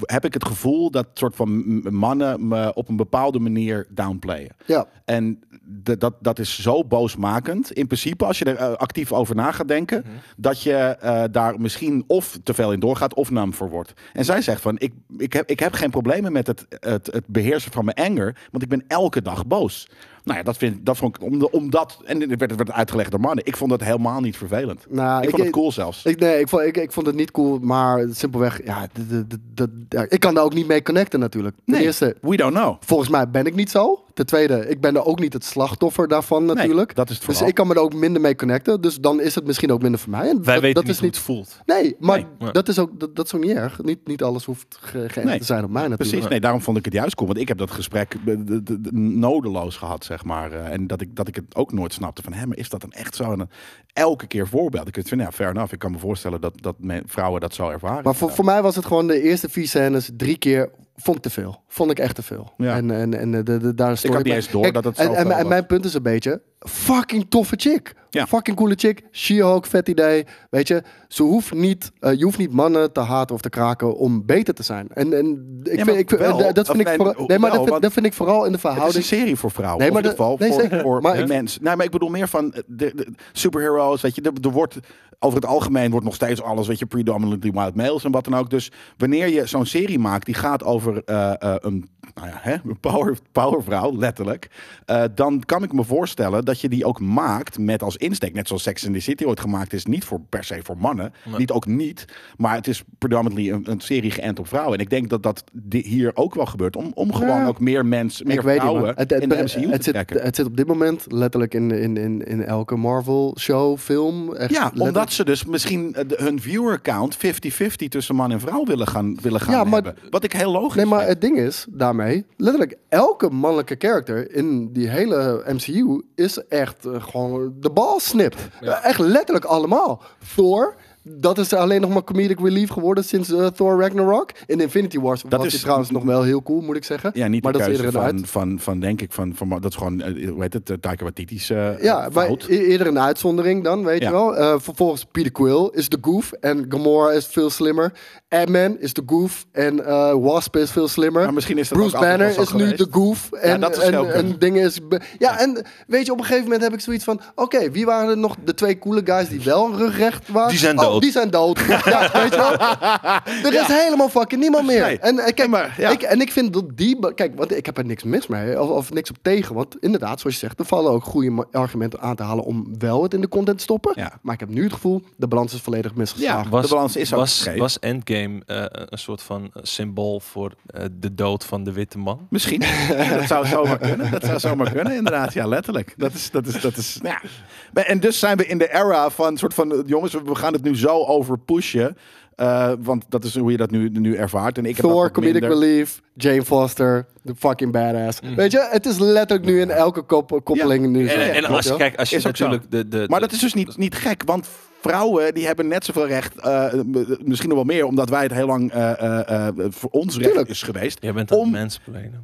Speaker 2: Heb ik het gevoel dat soort van m- mannen me op een bepaalde manier downplayen.
Speaker 4: ja.
Speaker 2: En de- dat, dat is zo boosmakend. In principe, als je er eh, actief over na gaat denken, dat je eh, daar misschien of te veel in doorgaat of nam voor wordt. En zij zegt van, ik, ik, heb, ik heb geen problemen met het, het, het beheersen van mijn anger, want ik ben elke dag boos. Nou ja, dat, vind, dat vond ik, om de- omdat, en dit werd, werd uitgelegd door mannen, ik vond dat helemaal niet vervelend.
Speaker 4: Nou,
Speaker 2: ik,
Speaker 4: ik-
Speaker 2: vond het cool zelfs.
Speaker 4: Ik, nee, ik vond, ik, ik vond het niet cool, maar simpelweg, ja, d- d- d- d- ja, ik kan daar ook niet mee connecten natuurlijk. Ten
Speaker 2: nee,
Speaker 4: eerste,
Speaker 2: we don't know.
Speaker 4: volgens mij ben ik niet zo. Ten tweede, ik ben er ook niet het slachtoffer daarvan natuurlijk.
Speaker 2: dat is het
Speaker 4: dus
Speaker 2: vooral.
Speaker 4: ik kan me er ook minder mee connecten. Dus dan is het misschien ook minder voor mij. En
Speaker 3: Wij
Speaker 4: dat,
Speaker 3: weten
Speaker 4: dat
Speaker 3: niet
Speaker 4: is
Speaker 3: hoe het voelt.
Speaker 4: Nee, maar
Speaker 3: Nee, maar-
Speaker 4: dat is ook dat, dat is ook niet erg. Niet, niet alles hoeft ge, geënt
Speaker 2: Nee,
Speaker 4: te zijn op mij natuurlijk.
Speaker 2: Precies, nee, daarom vond ik het juist cool. Want ik heb dat gesprek eh, d- d- d- nodeloos gehad, zeg maar. Eh, En dat ik, dat ik het ook nooit snapte van, hè, maar is dat dan echt zo? En dan elke keer voorbeeld. Ik vind, nou, fair enough. Ik kan me voorstellen dat, dat men- vrouwen dat zo ervaren.
Speaker 4: Maar voor, voor mij was het gewoon de eerste vier scènes drie keer vond ik te veel. Vond ik echt te veel.
Speaker 2: Ja.
Speaker 4: En, en, en de, de, de- daar stoor
Speaker 2: had
Speaker 4: me-
Speaker 2: niet eens door
Speaker 4: Kijk,
Speaker 2: dat het
Speaker 4: en,
Speaker 2: zo
Speaker 4: en,
Speaker 2: fel
Speaker 4: en
Speaker 2: was.
Speaker 4: mijn punt is een beetje fucking toffe chick.
Speaker 2: Ja.
Speaker 4: Fucking coole chick. She-Hulk, vet idee. Weet je, ze hoeft niet, eh, je hoeft niet mannen te haten of te kraken om beter te zijn. En, en ik
Speaker 2: Ja,
Speaker 4: vind,
Speaker 2: maar
Speaker 4: ik, vind-
Speaker 2: wel,
Speaker 4: eh, dat
Speaker 2: of
Speaker 4: vind ik
Speaker 2: nee,
Speaker 4: vooral, nee, maar
Speaker 2: wel,
Speaker 4: dat vind,
Speaker 2: want-
Speaker 4: dat vind ik vooral in
Speaker 2: Het
Speaker 4: de
Speaker 2: is een
Speaker 4: verhouding.
Speaker 2: serie voor vrouwen.
Speaker 4: Nee,
Speaker 2: Nee, maar in
Speaker 4: maar
Speaker 2: ieder geval
Speaker 4: dat- nee,
Speaker 2: voor,
Speaker 4: zeker.
Speaker 2: voor
Speaker 4: Maar ik-
Speaker 2: mensen. Nou, maar ik bedoel meer van eh, de, de superheroes. Weet je, er, er wordt over het algemeen wordt nog steeds alles, weet je, predominantly white males en wat dan ook. Dus wanneer je zo'n serie maakt die gaat over eh, eh, een, nou ja, hè, <laughs> een power, powervrouw, letterlijk, eh, dan kan ik me voorstellen dat je die ook maakt met als insteek, net zoals Sex in the City ooit gemaakt is, niet voor per se voor mannen, niet ook niet, maar het is predominantly een, een serie geënt op vrouwen. En ik denk dat dat di- hier ook wel gebeurt, om, om gewoon
Speaker 4: Ja.
Speaker 2: ook meer mensen,
Speaker 4: Ik weet niet, man.
Speaker 2: vrouwen
Speaker 4: Het, het,
Speaker 2: in de
Speaker 4: het-
Speaker 2: MCU
Speaker 4: het
Speaker 2: te
Speaker 4: zit, eh,
Speaker 2: trekken.
Speaker 4: het zit op dit moment letterlijk in, in, in, in elke Marvel-show, film. Echt
Speaker 2: ja,
Speaker 4: letterlijk.
Speaker 2: omdat ze dus misschien eh, de- hun viewer count 50-50 tussen man en vrouw willen gaan, willen gaan
Speaker 4: Ja, maar-
Speaker 2: hebben. Wat ik heel logisch
Speaker 4: Nee, maar
Speaker 2: vind.
Speaker 4: het ding is daarmee, letterlijk elke mannelijke character in die hele MCU is echt eh, gewoon de bal snipt. Eh, Echt letterlijk allemaal. Thor, dat is alleen nog maar comedic relief geworden sinds eh, Thor Ragnarok. In Infinity Wars dat was
Speaker 2: is-
Speaker 4: is trouwens nog wel heel cool, moet ik zeggen.
Speaker 2: Ja, niet
Speaker 4: maar
Speaker 2: de
Speaker 4: dat is
Speaker 2: keuze
Speaker 4: eerder een
Speaker 2: van,
Speaker 4: uit.
Speaker 2: van, van, denk ik, van, van, dat is gewoon, eh, hoe heet het, uh, Taika Waititi's eh,
Speaker 4: Ja, maar
Speaker 2: fout.
Speaker 4: e- eerder een uitzondering dan, weet
Speaker 2: Ja.
Speaker 4: je wel. Eh, vervolgens Peter Quill is de goof en Gamora is veel slimmer. Ant-Man is de goof en eh, Wasp is veel slimmer.
Speaker 2: Maar misschien is dat
Speaker 4: Bruce
Speaker 2: ook altijd
Speaker 4: Banner
Speaker 2: wel
Speaker 4: is
Speaker 2: zo
Speaker 4: nu
Speaker 2: geweest.
Speaker 4: de goof en,
Speaker 2: dat is heel
Speaker 4: en,
Speaker 2: goed.
Speaker 4: en dingen is... be- Ja, en weet je, op een gegeven moment heb ik zoiets van... Oké, wie waren er nog de twee coole guys die wel een rugrecht waren?
Speaker 3: Die zijn
Speaker 4: Oh,
Speaker 3: dood.
Speaker 4: die zijn dood. ja,
Speaker 2: <laughs>
Speaker 4: weet je wel. Er is helemaal fucking niemand meer.
Speaker 2: Nee.
Speaker 4: En, eh, kijk,
Speaker 2: Nee, maar, ja.
Speaker 4: ik, en ik vind dat die... be- Kijk, want ik heb er niks mis mee. Of, of niks op tegen. Want inderdaad, zoals je zegt, er vallen ook goede ma- argumenten aan te halen om wel het in de content te stoppen.
Speaker 2: Ja.
Speaker 4: Maar ik heb nu het gevoel, de balans is volledig misgeslagen.
Speaker 2: Ja, de balans is ook
Speaker 3: was,
Speaker 2: scheef.
Speaker 3: was Endgame eh, een soort van symbool voor eh, de dood van de witte man?
Speaker 2: Misschien. Ja, dat zou zomaar kunnen. Dat zou zomaar kunnen, inderdaad. Ja, letterlijk. Dat is, dat is, dat is, nou ja. Maar- En dus zijn we in de era van soort van, eh, jongens, we gaan het nu zo over pushen. eh, want dat is hoe je dat nu, nu ervaart. En ik heb dat
Speaker 4: Thor,
Speaker 2: wat
Speaker 4: Comedic
Speaker 2: minder.
Speaker 4: Relief, Jane Foster, de fucking badass. Weet je, het is letterlijk nu in elke kop- eh, koppeling.
Speaker 2: Ja.
Speaker 4: Nu zo.
Speaker 3: En, en als je
Speaker 4: Mm. Ja.
Speaker 3: kijkt, als je
Speaker 2: Is ook zo.
Speaker 3: natuurlijk de, de,
Speaker 2: Maar dat is dus niet, niet gek, want vrouwen die hebben net zoveel recht, eh, m- misschien nog wel meer, omdat wij het heel lang eh, eh, eh, voor ons recht
Speaker 4: Tuurlijk.
Speaker 2: is geweest.
Speaker 3: Jij bent aan
Speaker 2: om
Speaker 3: het mansplainen.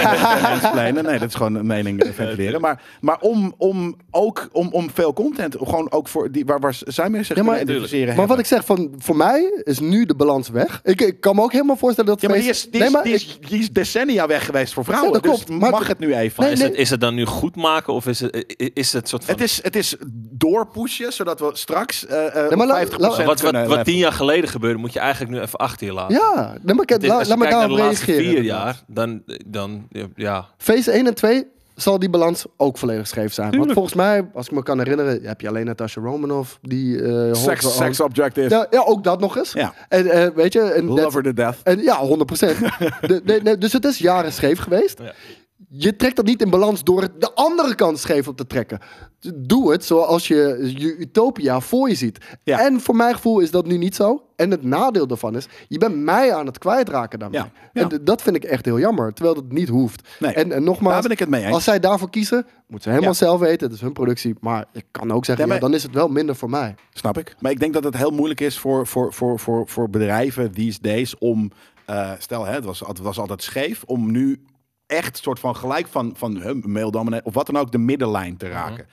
Speaker 2: <laughs> Mansplainen. Nee, dat is gewoon een
Speaker 4: <laughs>
Speaker 2: mening eh, ventileren. Maar, maar om, om ook om, om veel content, gewoon ook voor die, waar, waar zij mee zich
Speaker 4: Ja, maar-
Speaker 2: kunnen identificeren.
Speaker 4: Maar wat
Speaker 2: hebben.
Speaker 4: ik zeg, van, voor mij is nu de balans weg. Ik, ik kan me ook helemaal voorstellen dat...
Speaker 2: ja, maar die
Speaker 4: feest-
Speaker 2: is, die,
Speaker 4: Nee,
Speaker 2: is,
Speaker 4: maar
Speaker 2: die,
Speaker 4: ik-
Speaker 2: is, die is decennia weg geweest voor vrouwen.
Speaker 4: Ja, dat
Speaker 2: dus
Speaker 4: klopt, maar-
Speaker 2: mag het nu even.
Speaker 4: Nee,
Speaker 3: Is,
Speaker 4: nee.
Speaker 3: het, is het dan nu goed maken of is het, i- is het soort van...
Speaker 2: Het is, het is doorpushen, zodat we straks eh eh
Speaker 4: maar laat-
Speaker 2: 50%
Speaker 4: laat-
Speaker 3: wat, wat,
Speaker 2: kunnen eh,
Speaker 3: wat
Speaker 2: laten-
Speaker 3: tien jaar geleden gebeurde, moet je eigenlijk nu even achter je laten.
Speaker 4: Ja, nee, maar kijk,
Speaker 3: Het is-
Speaker 4: la-
Speaker 3: als je
Speaker 4: laat me
Speaker 3: kijkt naar
Speaker 4: daarop
Speaker 3: de laatste
Speaker 4: reageren.
Speaker 3: vier jaar, dan, dan ja.
Speaker 4: Phase 1 en 2 zal die balans ook volledig scheef zijn. Want volgens mij, als ik me kan herinneren, heb je alleen Natasha Romanoff die... eh hoort wel
Speaker 2: Sex, sex
Speaker 4: aan-
Speaker 2: object is.
Speaker 4: ja, ja, ook dat nog eens.
Speaker 2: Ja.
Speaker 4: En eh, weet je... En
Speaker 2: Love
Speaker 4: dat-
Speaker 2: her to death.
Speaker 4: en, ja, 100
Speaker 2: <laughs>
Speaker 4: procent. dus het is jaren scheef geweest.
Speaker 3: Ja.
Speaker 4: Je trekt dat niet in balans door het de andere kant scheef op te trekken. Doe het zoals je je utopia voor je ziet.
Speaker 2: Ja.
Speaker 4: En voor mijn gevoel is dat nu niet zo. En het nadeel daarvan is, je bent mij aan het kwijtraken daarmee.
Speaker 2: Ja. Ja.
Speaker 4: En d- dat vind ik echt heel jammer, terwijl dat niet hoeft.
Speaker 2: Nee.
Speaker 4: En, en nogmaals,
Speaker 2: Daar ben ik het mee eens.
Speaker 4: als zij daarvoor kiezen, moeten ze helemaal
Speaker 2: Ja.
Speaker 4: zelf weten. Het is hun productie. Maar ik kan ook zeggen,
Speaker 2: Ja,
Speaker 4: ja,
Speaker 2: maar-
Speaker 4: dan is het wel minder voor mij.
Speaker 2: Snap ik. Maar ik denk dat het heel moeilijk is voor, voor, voor, voor, voor bedrijven these days om. eh, stel, hè, het, was, het was altijd scheef. Om nu echt soort van gelijk van, van huh, male dominant of wat dan ook de middenlijn
Speaker 4: Mhm.
Speaker 2: te raken.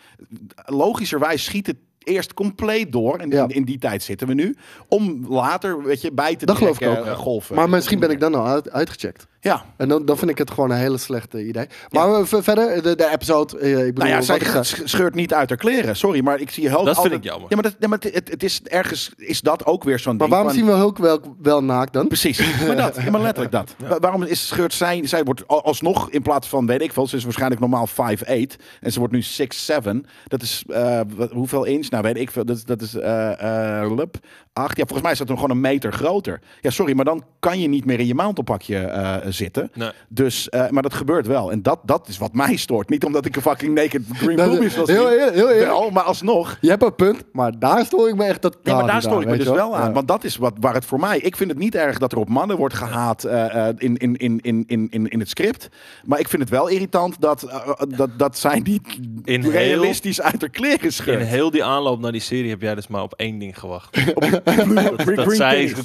Speaker 2: Logischerwijs schiet het eerst compleet door. En
Speaker 4: Ja.
Speaker 2: in, in die tijd zitten we nu. Om later weet je, bij te
Speaker 4: Dat geloof ik
Speaker 2: trekken,
Speaker 4: ook.
Speaker 2: eh, golven.
Speaker 4: Maar misschien ben ik dan al uit- uitgecheckt.
Speaker 2: Ja.
Speaker 4: En dan, dan vind ik het gewoon een hele slechte idee. Maar we- ver- verder, de, de episode, eh, ik bedoel,
Speaker 2: Nou ja, zij
Speaker 4: wat ik ga-
Speaker 2: sch- scheurt niet uit haar kleren. Sorry, maar ik zie heel
Speaker 3: Dat vind
Speaker 2: altijd-
Speaker 3: ik jammer.
Speaker 2: Ja, maar, dat, ja, maar het, het, het is ergens is dat ook weer zo'n
Speaker 4: Maar
Speaker 2: ding.
Speaker 4: waarom
Speaker 2: van-
Speaker 4: zien we Hulk wel, wel naakt dan? <laughs>
Speaker 2: Precies, maar dat, ja, maar letterlijk dat. Wa- Waarom is scheurt zij, zij wordt a- alsnog in plaats van, weet ik veel, ze is waarschijnlijk normaal 5'8 en ze wordt nu 6'7. Dat is, eh, wat- hoeveel inch? Nou weet ik veel, dat, is- dat is eh eh, lup, 8. Ja, volgens mij is dat dan gewoon een meter groter. Ja, sorry, maar dan kan je niet meer in je mantelpakje eh, zitten.
Speaker 3: Nee.
Speaker 2: Dus, eh, maar dat gebeurt wel. En dat, dat is wat mij stoort. Niet omdat ik een fucking naked green
Speaker 4: Dat-
Speaker 2: boobies was.
Speaker 4: heel eerlijk, heel eerlijk.
Speaker 2: Wel, maar alsnog.
Speaker 4: Je hebt een punt, maar daar stoor ik me echt dat
Speaker 2: Ja, maar daar stoor ik me
Speaker 4: weet
Speaker 2: dus
Speaker 4: je
Speaker 2: wel aan.
Speaker 4: Ja.
Speaker 2: Want dat is wat, waar het voor mij... Ik vind het niet erg dat er op mannen wordt gehaat eh, eh, in, in, in, in, in, in, in het script. Maar ik vind het wel irritant dat, eh, dat, dat zij niet
Speaker 3: In heel-
Speaker 2: realistisch uit haar kleren
Speaker 3: In
Speaker 2: scheurt.
Speaker 3: heel die aanloop naar die serie heb jij dus maar op één
Speaker 2: <laughs>
Speaker 3: ding gewacht.
Speaker 2: Green
Speaker 3: dat zij,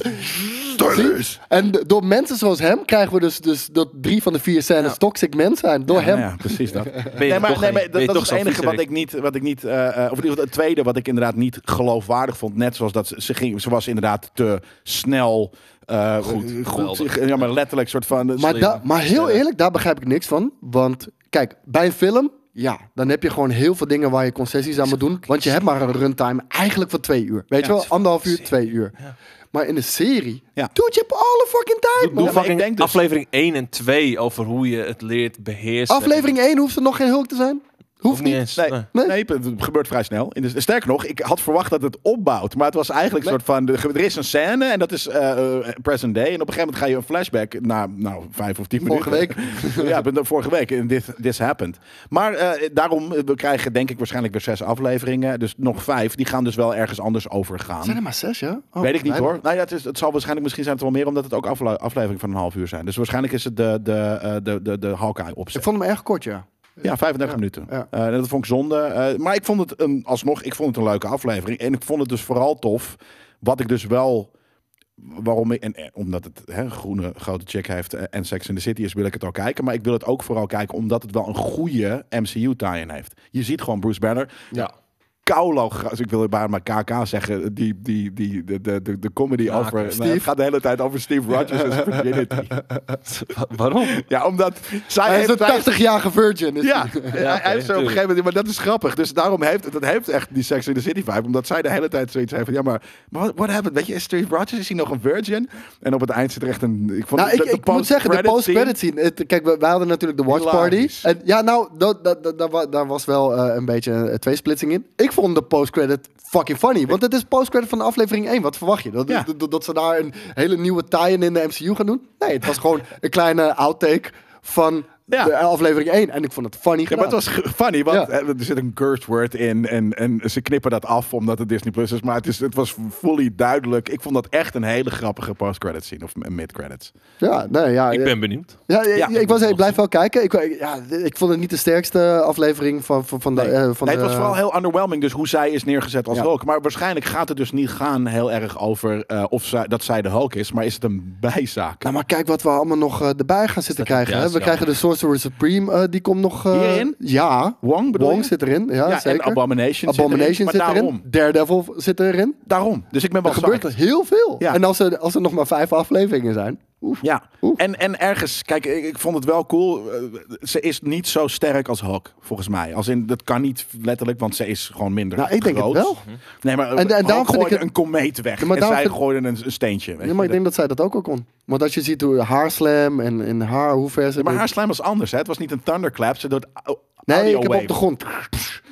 Speaker 2: Tillers!
Speaker 4: En d- door mensen zoals hem krijgen we dus, dus dat drie van de vier scènes toxic mens zijn. Door hem.
Speaker 2: Nou ja, precies dat.
Speaker 3: ben
Speaker 2: <laughs>
Speaker 3: je
Speaker 2: Nee, maar,
Speaker 3: toch
Speaker 2: nee,
Speaker 3: een-
Speaker 2: maar
Speaker 3: ben
Speaker 2: dat,
Speaker 3: je
Speaker 2: dat
Speaker 3: toch
Speaker 2: is
Speaker 3: zo'n
Speaker 2: het enige wat
Speaker 3: viezerik.
Speaker 2: ik niet, wat ik niet eh, eh, of in ieder geval het tweede wat ik inderdaad niet geloofwaardig vond. Net zoals dat ze, ze ging, ze was inderdaad te snel, eh, goed,
Speaker 3: geweldig.
Speaker 2: ja, maar letterlijk soort van.
Speaker 4: Maar,
Speaker 3: Slim.
Speaker 4: da- maar heel
Speaker 3: Ja.
Speaker 4: eerlijk, daar begrijp ik niks van. Want kijk, bij een film, ja, dan heb je gewoon heel veel dingen waar je concessies aan moet doen. Want je hebt maar een runtime eigenlijk van twee uur. Weet je wel, anderhalf uur, twee uur. Maar in een serie,
Speaker 2: Ja.
Speaker 4: dude, je hebt alle fucking tijd,
Speaker 3: Doe
Speaker 4: man.
Speaker 2: maar ik
Speaker 3: fucking
Speaker 2: denk dus-
Speaker 3: aflevering 1 en 2 over hoe je het leert beheersen.
Speaker 4: Aflevering 1 hoeft er nog geen hulk te zijn. Hoeft niet.
Speaker 3: eens.
Speaker 2: Nee,
Speaker 3: Nee.
Speaker 2: nee.
Speaker 4: Nee.
Speaker 2: het gebeurt vrij snel. In de- Sterker nog, ik had verwacht dat het opbouwt. Maar het was eigenlijk een soort van... de- Er is een scène en dat is eh, eh, present day. En op een gegeven moment ga je een flashback na nou, vijf of tien
Speaker 4: <laughs> Vorige
Speaker 2: minuten. Vorige week. <laughs> ja, ben- vorige week. En This, this happened. Maar eh, daarom, eh, we krijgen denk ik waarschijnlijk weer zes afleveringen. Dus nog vijf. Die gaan dus wel ergens anders overgaan.
Speaker 4: Zijn er maar zes, ja? Oh,
Speaker 2: Weet ik niet
Speaker 4: nee,
Speaker 2: hoor. Nou ja, het, is, het zal waarschijnlijk misschien zijn het wel meer, omdat het ook afle- afleveringen van een half uur zijn. Dus waarschijnlijk is het de, de, eh, de, de, de Hawkeye opzet.
Speaker 4: Ik vond hem erg kort, ja.
Speaker 2: Ja, 35 minuten.
Speaker 4: ja.
Speaker 2: Eh, dat vond ik zonde. Eh, maar ik vond het een, alsnog ik vond het een leuke aflevering. En ik vond het dus vooral tof. Wat ik dus wel. Waarom ik, en, eh, omdat het hè, groene grote chick heeft eh, en Sex in the City is, wil ik het al kijken. Maar ik wil het ook vooral kijken omdat het wel een goede MCU-tie-in heeft. Je ziet gewoon Bruce Banner.
Speaker 4: Ja.
Speaker 2: Kaulo, gra- dus ik wil bijna maar KK zeggen, die, die, die, de, de, de, de comedy over... nou, het gaat de hele tijd over Steve Rogers en zijn
Speaker 4: <laughs>
Speaker 2: virginity.
Speaker 3: Wa- <laughs> Waarom?
Speaker 2: Ja, omdat zij
Speaker 4: Hij is
Speaker 2: heeft-
Speaker 4: een
Speaker 2: zij is-
Speaker 4: 80-jarige <laughs> virgin. is
Speaker 2: ja,
Speaker 4: hij.
Speaker 2: hij- hij heeft zo op een gegeven moment... Maar dat is grappig. Dus daarom heeft het, dat heeft echt die Sex in the City vibe. Omdat zij de hele tijd zoiets heeft van... Ja, maar wat what happened? Weet je, is Steve Rogers, is hij nog een virgin? En op het eind zit er echt een... Ik vond
Speaker 4: Nou,
Speaker 2: de-
Speaker 4: ik,
Speaker 2: de
Speaker 4: ik moet zeggen, de
Speaker 2: post-credit
Speaker 4: post-credit scene. het- kijk, we, we hadden natuurlijk de watch party.
Speaker 2: Hilarisch.
Speaker 4: En, ja, nou, dat, dat, dat, daar wa- daar was wel eh, een beetje een tweesplitsing in. Ik vond de post-credit fucking funny. Want het is post-credit van de aflevering 1. Wat verwacht je? Dat,
Speaker 2: Ja.
Speaker 4: dat, dat ze daar een hele nieuwe tie-in in de MCU gaan doen? Nee, het was gewoon een kleine outtake van...
Speaker 2: Ja.
Speaker 4: de aflevering 1. En ik vond het funny
Speaker 2: Ja, maar
Speaker 4: gedaan.
Speaker 2: het was ge- funny, want
Speaker 4: Ja.
Speaker 2: eh, er zit een curse word in en, en ze knippen dat af omdat het Disney Plus is. Maar het, is, het was fully duidelijk. Ik vond dat echt een hele grappige post-credits scene of mid-credits.
Speaker 4: Ja, nee, ja,
Speaker 3: Ik
Speaker 4: ja.
Speaker 3: ben benieuwd.
Speaker 4: Ja, ja,
Speaker 2: Ja.
Speaker 4: ik, was, ik blijf wel kijken. Ik, ik- ja, ik vond het niet de sterkste aflevering van, van, van de...
Speaker 2: Nee.
Speaker 4: eh, van
Speaker 2: Nee, het
Speaker 4: de-
Speaker 2: was vooral heel underwhelming, dus hoe zij is neergezet als
Speaker 4: Ja.
Speaker 2: Hulk. Maar waarschijnlijk gaat het dus niet gaan heel erg over eh, of zij, dat zij de Hulk is, maar is het een bijzaak?
Speaker 4: Nou, maar kijk wat we allemaal nog eh, erbij gaan zitten
Speaker 3: dat-
Speaker 4: krijgen.
Speaker 3: ja,
Speaker 4: hè.
Speaker 3: dat
Speaker 4: We
Speaker 3: is
Speaker 4: krijgen de Sorcerer Supreme, eh, die komt nog... eh,
Speaker 2: Hierin?
Speaker 4: Ja.
Speaker 2: Wong bedoel
Speaker 4: Wong
Speaker 2: je?
Speaker 4: zit erin, ja,
Speaker 2: ja, en
Speaker 4: zeker.
Speaker 2: Abomination,
Speaker 4: Abomination
Speaker 2: zit
Speaker 4: zit
Speaker 2: erin. maar
Speaker 4: erin.
Speaker 2: daarom,
Speaker 4: Daredevil zit erin.
Speaker 2: daarom. Dus ik ben wel
Speaker 4: Er gebeurt
Speaker 2: psyched.
Speaker 4: heel veel.
Speaker 2: Ja.
Speaker 4: En als er, als er nog maar vijf afleveringen zijn... Oef.
Speaker 2: Ja,
Speaker 4: Oef.
Speaker 2: en, en ergens, kijk, ik, ik vond het wel cool. eh, Ze is niet zo sterk als Hulk, volgens mij. Als in, dat kan niet letterlijk, want ze is gewoon minder
Speaker 4: Nou, ik denk het
Speaker 2: groot.
Speaker 4: wel.
Speaker 2: Nee, maar
Speaker 4: en
Speaker 2: en,
Speaker 4: daarom vind ik
Speaker 2: gooide
Speaker 4: het-
Speaker 2: een komeet weg
Speaker 4: Ja, maar
Speaker 2: en
Speaker 4: daarom
Speaker 2: zij
Speaker 4: vind-
Speaker 2: gooide een, een steentje. Weet
Speaker 4: Ja, maar ik denk dat zij dat ook al kon. Want als je ziet hoe haar slam en, en haar, hoe ver ze...
Speaker 2: maar haar slam was anders, hè? Het was niet een thunderclap, ze doet au-
Speaker 4: Eh, nee,
Speaker 2: audio
Speaker 4: ik heb
Speaker 2: wave.
Speaker 4: op de grond.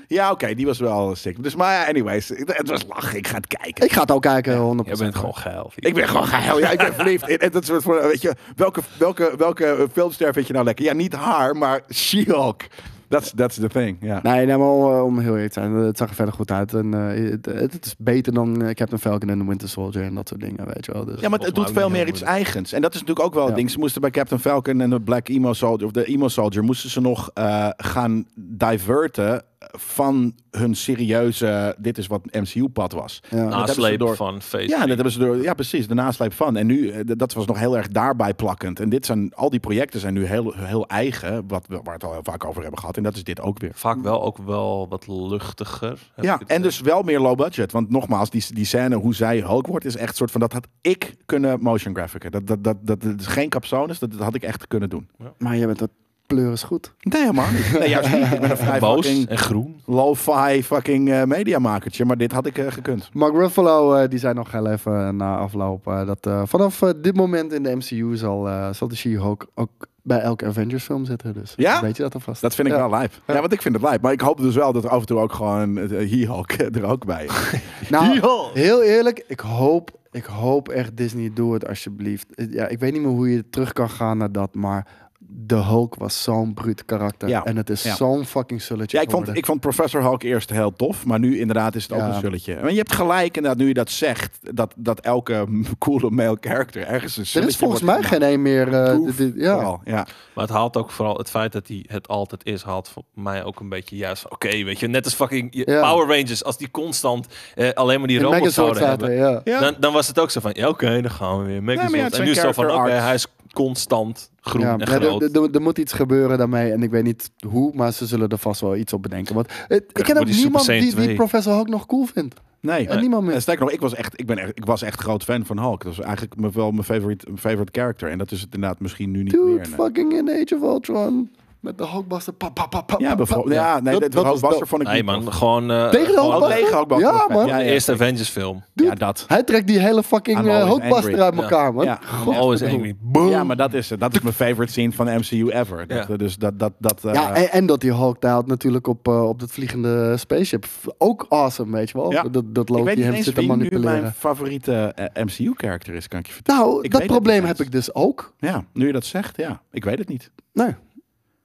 Speaker 2: Ja, oké, die was wel sick. Dus, maar ja, anyways, het het was lachen. Ik ga het kijken.
Speaker 4: Ik ga het ook kijken, 100%.
Speaker 3: Jij bent gewoon geil.
Speaker 2: Ik ben gewoon geil. Ja, ik ben
Speaker 4: <laughs>
Speaker 2: verliefd. En- en dat soort van, weet je, welke, welke, welke filmster vind je nou lekker? Ja, niet haar, maar She-Hulk. That's, that's the thing, ja.
Speaker 4: Nee, nee maar om, eh, om heel eerlijk te zijn, het zag er verder goed uit. En, eh, het, het is beter dan eh, Captain Falcon en The Winter Soldier en dat soort dingen, weet je wel. Dus,
Speaker 2: Ja, maar het
Speaker 3: Volgens
Speaker 2: doet veel
Speaker 3: mij ook niet
Speaker 2: meer
Speaker 3: heel
Speaker 2: iets eigens. En dat is natuurlijk ook wel
Speaker 4: Ja.
Speaker 2: het ding. Ze moesten bij Captain Falcon en de Black Emo Soldier, of de Emo Soldier, moesten ze nog eh, gaan diverten van hun serieuze, dit is wat MCU-pad was.
Speaker 4: Ja.
Speaker 2: Dat hebben ze
Speaker 3: Nasleep
Speaker 2: door-
Speaker 3: van Phase
Speaker 2: Ja, dat
Speaker 3: 3.
Speaker 2: hebben ze door, ja, precies, de nasleep van. En nu, eh, d- dat was nog heel erg daarbij plakkend. En dit zijn, al die projecten zijn nu heel, heel eigen, wat, we- waar we het al heel vaak over hebben gehad. En dat is dit ook weer.
Speaker 3: Vaak wel ook wel wat luchtiger. heb
Speaker 2: Ja,
Speaker 3: ik het
Speaker 2: en
Speaker 3: idee.
Speaker 2: dus wel meer low budget. Want nogmaals, die, die scène hoe zij Hulk wordt, is echt soort van... dat had ik kunnen motion graphiken. Dat, dat, dat, dat, dat is geen capsones, dat, dat had ik echt kunnen doen.
Speaker 4: Maar je bent dat pleuris goed.
Speaker 2: Nee, man. Nee, juist niet. Ik ben een vrij
Speaker 3: <laughs> boos
Speaker 2: fucking
Speaker 3: en groen.
Speaker 2: lo-fi fucking eh, mediamakertje. Maar dit had ik eh, gekund.
Speaker 4: Mark Ruffalo, eh, die zei nog heel even na afloop eh, dat eh, vanaf eh, dit moment in de MCU zal, eh, zal de She-Hulk ook bij elke Avengers film zitten. Dus
Speaker 2: Ja?
Speaker 4: weet je dat alvast.
Speaker 2: Dat vind ik
Speaker 4: Ja.
Speaker 2: wel lijp. Ja, want ik vind het lijp. Maar ik hoop dus wel dat er af en toe ook gewoon eh, He-Hulk er ook bij is.
Speaker 4: Nou, heel eerlijk, ik hoop, ik hoop echt Disney, doe het alsjeblieft. Eh, Ja, ik weet niet meer hoe je terug kan gaan naar dat, maar de Hulk was zo'n bruut karakter.
Speaker 2: Ja.
Speaker 4: En het is
Speaker 2: Ja.
Speaker 4: zo'n fucking sulletje
Speaker 2: Dus Ja, ik vond, ik vond Professor Hulk eerst heel tof. Maar nu inderdaad is het
Speaker 4: Ja.
Speaker 2: ook een zulletje. En je hebt gelijk inderdaad, nu je dat zegt... dat, dat elke <laughs> coole male character ergens een
Speaker 4: er
Speaker 2: zulletje
Speaker 4: is volgens
Speaker 2: wordt nou
Speaker 4: mij geen één meer... eh,
Speaker 2: Goof,
Speaker 4: dit- dit- ja.
Speaker 2: Vooral, ja.
Speaker 3: Maar het haalt ook vooral het feit dat hij het altijd is, haalt voor mij ook een beetje juist. van, Oké, weet je, net als fucking je-
Speaker 4: Ja.
Speaker 3: Power Rangers, als die constant eh, alleen maar die
Speaker 4: In
Speaker 3: robots
Speaker 4: Megazord
Speaker 3: zouden
Speaker 4: zaten,
Speaker 3: hebben.
Speaker 4: ja.
Speaker 2: Ja.
Speaker 3: Dan, dan was het ook zo van, ja, oké, dan gaan we weer. Megazord.
Speaker 2: maar ja, het
Speaker 3: en
Speaker 2: zijn
Speaker 3: nu is het zo van, oké,
Speaker 2: character arcs.
Speaker 3: hij is constant groen
Speaker 4: Ja,
Speaker 3: en
Speaker 4: maar
Speaker 3: groot.
Speaker 4: er, er- er moet iets gebeuren daarmee en ik weet niet hoe, maar ze zullen er vast wel iets op bedenken. Want eh, ik ken
Speaker 3: voor
Speaker 4: ook
Speaker 3: die Super
Speaker 4: niemand
Speaker 3: Saiyan
Speaker 4: die, die
Speaker 3: 2.
Speaker 4: Professor Hulk nog cool vindt.
Speaker 2: Nee.
Speaker 4: En niemand
Speaker 2: En
Speaker 4: meer.
Speaker 2: sterker nog, ik was echt, ik ben echt, ik was echt groot fan van Hulk. Dat was eigenlijk me- wel mijn favorite, favorite character. En dat is het inderdaad misschien nu niet meer.
Speaker 4: Dude,
Speaker 2: nee.
Speaker 4: fucking in Age of Ultron. Met de Hulkbuster. Pa, pa, pa, pa,
Speaker 2: Ja,
Speaker 4: pa,
Speaker 2: bijvoorbeeld.
Speaker 4: pa.
Speaker 2: Ja, nee, dat,
Speaker 4: dat
Speaker 2: was
Speaker 4: was dope.
Speaker 2: vond ik
Speaker 3: nee
Speaker 2: niet
Speaker 3: man,
Speaker 2: tof.
Speaker 3: gewoon... eh,
Speaker 4: Tegen de
Speaker 3: gewoon
Speaker 2: Ook
Speaker 4: Hulkbuster?
Speaker 2: tegen Hulkbuster.
Speaker 4: Ja, man.
Speaker 3: de
Speaker 2: ja,
Speaker 3: eerste Avengers film.
Speaker 2: ja, dat.
Speaker 4: Hij trekt die hele fucking
Speaker 2: I'm
Speaker 4: eh,
Speaker 2: always
Speaker 4: Hulkbuster
Speaker 2: angry.
Speaker 4: uit elkaar, man.
Speaker 2: Ja.
Speaker 3: I'm always angry. Boom.
Speaker 2: Ja, maar dat is het. Dat is mijn favorite scene van de MCU ever. Dat,
Speaker 3: Ja.
Speaker 2: Dus dat, dat, dat. eh,
Speaker 4: Ja, en, en dat die Hulk daalt natuurlijk op, eh, op dat vliegende spaceship. Ook awesome, weet je wel.
Speaker 2: Ja.
Speaker 4: Dat, dat
Speaker 2: ik weet
Speaker 4: Loki
Speaker 2: niet
Speaker 4: hem
Speaker 2: eens
Speaker 4: zit te
Speaker 2: wie nu
Speaker 4: manipuleren.
Speaker 2: mijn favoriete eh, MCU character is, kan ik je vertellen.
Speaker 4: Nou,
Speaker 2: Ik
Speaker 4: dat
Speaker 2: weet het
Speaker 4: probleem
Speaker 2: niet
Speaker 4: heb
Speaker 2: eens.
Speaker 4: ik dus ook.
Speaker 2: Ja, nu je dat zegt, ja, ik weet het niet.
Speaker 4: Nee,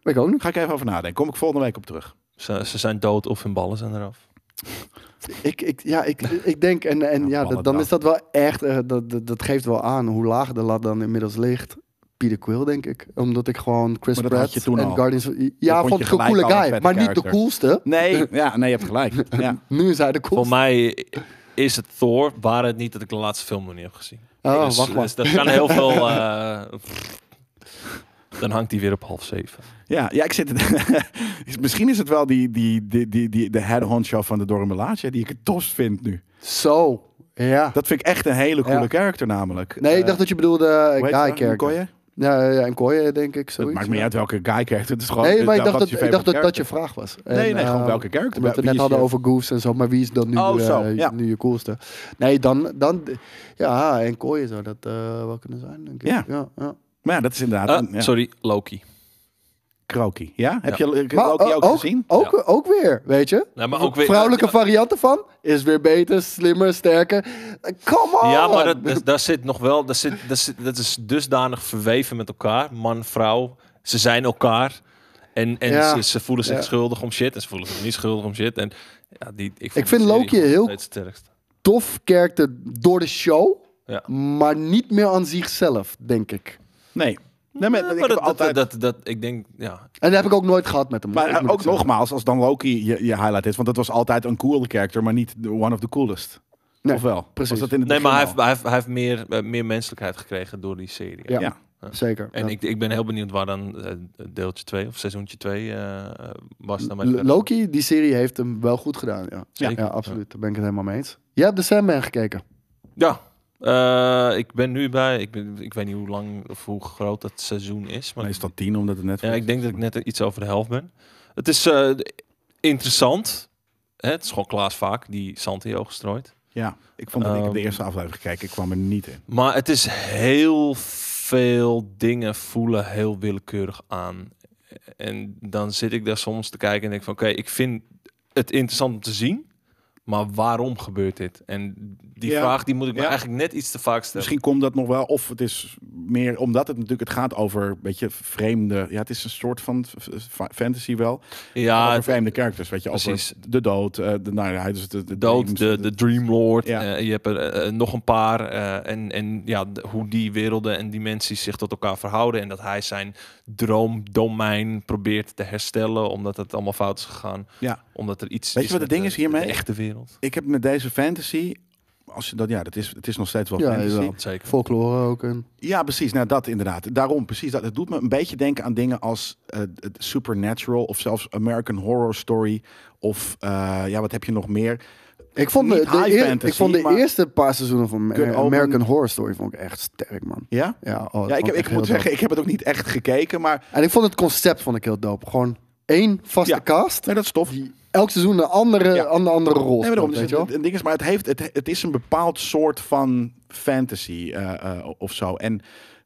Speaker 4: weet ik ook niet.
Speaker 2: Ga ik even over nadenken. Kom ik volgende week op terug.
Speaker 3: Ze, ze zijn dood of hun ballen zijn eraf.
Speaker 4: Ik, ik, ja, ik, ik denk, en, en
Speaker 2: Ja,
Speaker 4: ja, dat,
Speaker 2: ballen
Speaker 4: dan
Speaker 2: dan.
Speaker 4: is dat wel echt, eh, dat, dat, dat geeft wel aan hoe laag de lat dan inmiddels ligt. Peter Quill, denk ik. Omdat ik gewoon Chris
Speaker 2: Maar dat
Speaker 4: Pratt
Speaker 2: had je toen
Speaker 4: en
Speaker 2: al.
Speaker 4: Guardians...
Speaker 2: vond
Speaker 4: Ja,
Speaker 2: je
Speaker 4: vond ik een
Speaker 2: gelijk
Speaker 4: coole
Speaker 2: al een
Speaker 4: guy,
Speaker 2: vette
Speaker 4: maar niet de
Speaker 2: character.
Speaker 4: coolste.
Speaker 2: Nee,
Speaker 4: <laughs>
Speaker 2: ja, nee, je hebt gelijk. Ja.
Speaker 4: Nu is hij de
Speaker 3: Voor
Speaker 4: coolste.
Speaker 3: mij is het Thor, waar het niet dat ik de laatste film nog niet heb gezien.
Speaker 4: Oh,
Speaker 3: Dus-
Speaker 4: wacht maar.
Speaker 3: dus dat kan heel veel... eh, pff. dan hangt hij weer op half zeven.
Speaker 2: Ja, ja, ik zit. Is- Misschien is het <laughs> wel die, die, die, die, die, de head honcho van de Dormelaatje die ik het tofst vind nu.
Speaker 4: Zo, ja.
Speaker 2: Dat vind ik echt een hele coole
Speaker 4: Ja.
Speaker 2: character, namelijk. Eh,
Speaker 4: Nee, ik dacht dat je bedoelde eh,
Speaker 2: ik
Speaker 4: guy character. Ja, ja, ja, en Koye, denk ik,
Speaker 2: Het
Speaker 4: zoiets.
Speaker 2: maakt me niet uit welke guy character. Het is gewoon.
Speaker 4: Nee, maar ik
Speaker 2: eh,
Speaker 4: dacht,
Speaker 2: wat
Speaker 4: dat,
Speaker 2: is je
Speaker 4: ik dacht dat
Speaker 2: favorite
Speaker 4: dat je vraag was. En,
Speaker 2: character? Nee, nee, gewoon
Speaker 4: eh,
Speaker 2: welke character.
Speaker 4: Omdat we
Speaker 2: Wie
Speaker 4: net
Speaker 2: is
Speaker 4: hadden
Speaker 2: je-
Speaker 4: over goofs en zo, maar wie is dan nu,
Speaker 2: Oh,
Speaker 4: eh,
Speaker 2: zo, ja.
Speaker 4: nu je coolste? Nee, dan, dan ja, en Koye zou dat eh, wel kunnen zijn, denk ik.
Speaker 2: Ja.
Speaker 4: ja, ja.
Speaker 2: Maar ja, dat is inderdaad.
Speaker 3: Ah,
Speaker 4: Eh,
Speaker 2: een- ja.
Speaker 3: Sorry, Loki.
Speaker 2: Kroki. Ja? Heb
Speaker 3: Ja.
Speaker 2: je eh,
Speaker 4: Maar
Speaker 2: Loki
Speaker 4: eh,
Speaker 2: ook,
Speaker 4: ook,
Speaker 2: gezien?
Speaker 4: Ook, ook weer, weet je?
Speaker 3: Ja, maar ook weer-
Speaker 4: Vrouwelijke varianten van is weer beter, slimmer, sterker. Eh, Come on!
Speaker 3: Ja, maar
Speaker 4: <laughs>
Speaker 3: dat, dat- daar zit nog wel, daar zit, daar zit, dat is dusdanig verweven met elkaar. Man, vrouw, Ze zijn elkaar. En, en
Speaker 4: Ja.
Speaker 3: ze, ze voelen zich
Speaker 4: Ja.
Speaker 3: schuldig om shit. En ze voelen zich niet schuldig om shit. En ja, die, ik, vond
Speaker 4: Ik vind
Speaker 3: de serie
Speaker 4: Loki
Speaker 3: gewoon
Speaker 4: heel-
Speaker 3: nog steeds Het sterkst.
Speaker 4: Tof kerkte door de show,
Speaker 3: Ja.
Speaker 4: maar niet meer aan zichzelf, denk ik.
Speaker 2: Nee. Nee, maar,
Speaker 3: Ja,
Speaker 2: ik
Speaker 3: maar
Speaker 2: heb
Speaker 3: dat,
Speaker 2: altijd...
Speaker 3: dat, dat, dat- ik denk, ja.
Speaker 4: En dat heb ik ook nooit gehad met hem.
Speaker 2: maar
Speaker 4: hoor,
Speaker 2: eh,
Speaker 4: ik moet
Speaker 2: ook
Speaker 4: zeggen.
Speaker 2: nogmaals, als dan Loki je, je highlight is, want dat was altijd een coole character, maar niet de one of the coolest.
Speaker 4: Nee,
Speaker 2: of wel?
Speaker 4: precies.
Speaker 2: Was dat in het
Speaker 3: Nee, maar hij
Speaker 2: begin
Speaker 3: heeft, hij heeft, hij heeft meer, eh, meer menselijkheid gekregen door die serie.
Speaker 4: Ja,
Speaker 2: Ja.
Speaker 4: zeker.
Speaker 3: En
Speaker 4: Ja.
Speaker 3: ik, ik ben heel benieuwd waar dan eh, deeltje 2 of seizoentje 2 was. Dan met
Speaker 4: L- Loki, die serie heeft hem wel goed gedaan. Ja, ja.
Speaker 3: Zeker.
Speaker 4: absoluut. Daar ben ik het helemaal mee eens. Jij hebt de Sandman gekeken.
Speaker 3: Ja, eh, ik ben nu bij. Ik, ben, ik weet niet hoe lang of hoe groot dat seizoen is.
Speaker 2: al?
Speaker 3: Maar
Speaker 2: Meestal tien, omdat het net...
Speaker 3: ja, ik denk dat ik net iets over de helft ben. Het is eh, interessant. Hè, het is gewoon Klaas Vaak die zand in je ogen strooit.
Speaker 2: Ja, ik vond dat ik de
Speaker 3: Ehm,
Speaker 2: eerste aflevering gekeken, ik kwam er niet in.
Speaker 3: Maar het is heel veel dingen voelen heel willekeurig aan. En dan zit ik daar soms te kijken en denk van oké, ik vind het interessant om te zien. Maar waarom gebeurt dit? En die
Speaker 2: Ja.
Speaker 3: vraag die moet ik me
Speaker 2: Ja.
Speaker 3: eigenlijk net iets te vaak stellen.
Speaker 2: Misschien komt dat nog wel, of het is meer omdat het natuurlijk het gaat over een beetje vreemde. Ja, het is een soort van f- f- fantasy wel.
Speaker 3: ja,
Speaker 2: over vreemde characters, weet je,
Speaker 3: Ah, precies.
Speaker 2: over de dood, eh, de, nou, ja, dus de, de
Speaker 3: dood,
Speaker 2: dreams,
Speaker 3: de, de Dreamlord.
Speaker 2: Ja.
Speaker 3: eh, je hebt er eh, eh, nog een paar. eh, en, en ja, d- hoe die werelden en dimensies zich tot elkaar verhouden. En dat hij zijn droomdomein probeert te herstellen. Omdat het allemaal fout is gegaan.
Speaker 2: Ja.
Speaker 3: Omdat er iets
Speaker 2: Weet je
Speaker 3: is
Speaker 2: wat het
Speaker 3: met
Speaker 2: ding
Speaker 3: de-
Speaker 2: is hiermee?
Speaker 3: De echte wereld.
Speaker 2: Ik heb met deze fantasy, als je dat, ja, dat is, het is nog steeds wel
Speaker 4: Ja,
Speaker 2: fantasy.
Speaker 4: jawel.
Speaker 3: Zeker.
Speaker 4: Folklore ook. En...
Speaker 2: Ja, precies. Nou, dat inderdaad. Daarom, precies. Dat, het doet me een beetje denken aan dingen als eh, het Supernatural of zelfs American Horror Story. Of eh, ja, wat heb je nog meer?
Speaker 4: Ik vond de,
Speaker 2: Niet
Speaker 4: de,
Speaker 2: high
Speaker 4: eer-
Speaker 2: fantasy,
Speaker 4: ik vond de
Speaker 2: maar-
Speaker 4: eerste paar seizoenen van
Speaker 2: Good Omen.
Speaker 4: American Horror Story vond ik echt sterk, man.
Speaker 2: Ja?
Speaker 4: Ja, oh, dat
Speaker 2: Ja, ik, heb,
Speaker 4: vond
Speaker 2: ik
Speaker 4: echt
Speaker 2: moet
Speaker 4: heel
Speaker 2: zeggen, ik heb het ook niet echt gekeken, maar
Speaker 4: dope. En ik vond het concept vond ik heel dope. Gewoon één vaste
Speaker 2: Ja.
Speaker 4: cast.
Speaker 2: nee, dat is tof.
Speaker 4: Elk seizoen een andere,
Speaker 2: Ja.
Speaker 4: een andere rol.
Speaker 2: Nee, maar daarom,
Speaker 4: speelt,
Speaker 2: dus
Speaker 4: weet
Speaker 2: het,
Speaker 4: je wel?
Speaker 2: het- het ding is, maar het, heeft, het, het is een bepaald soort van fantasy eh, eh, of zo. En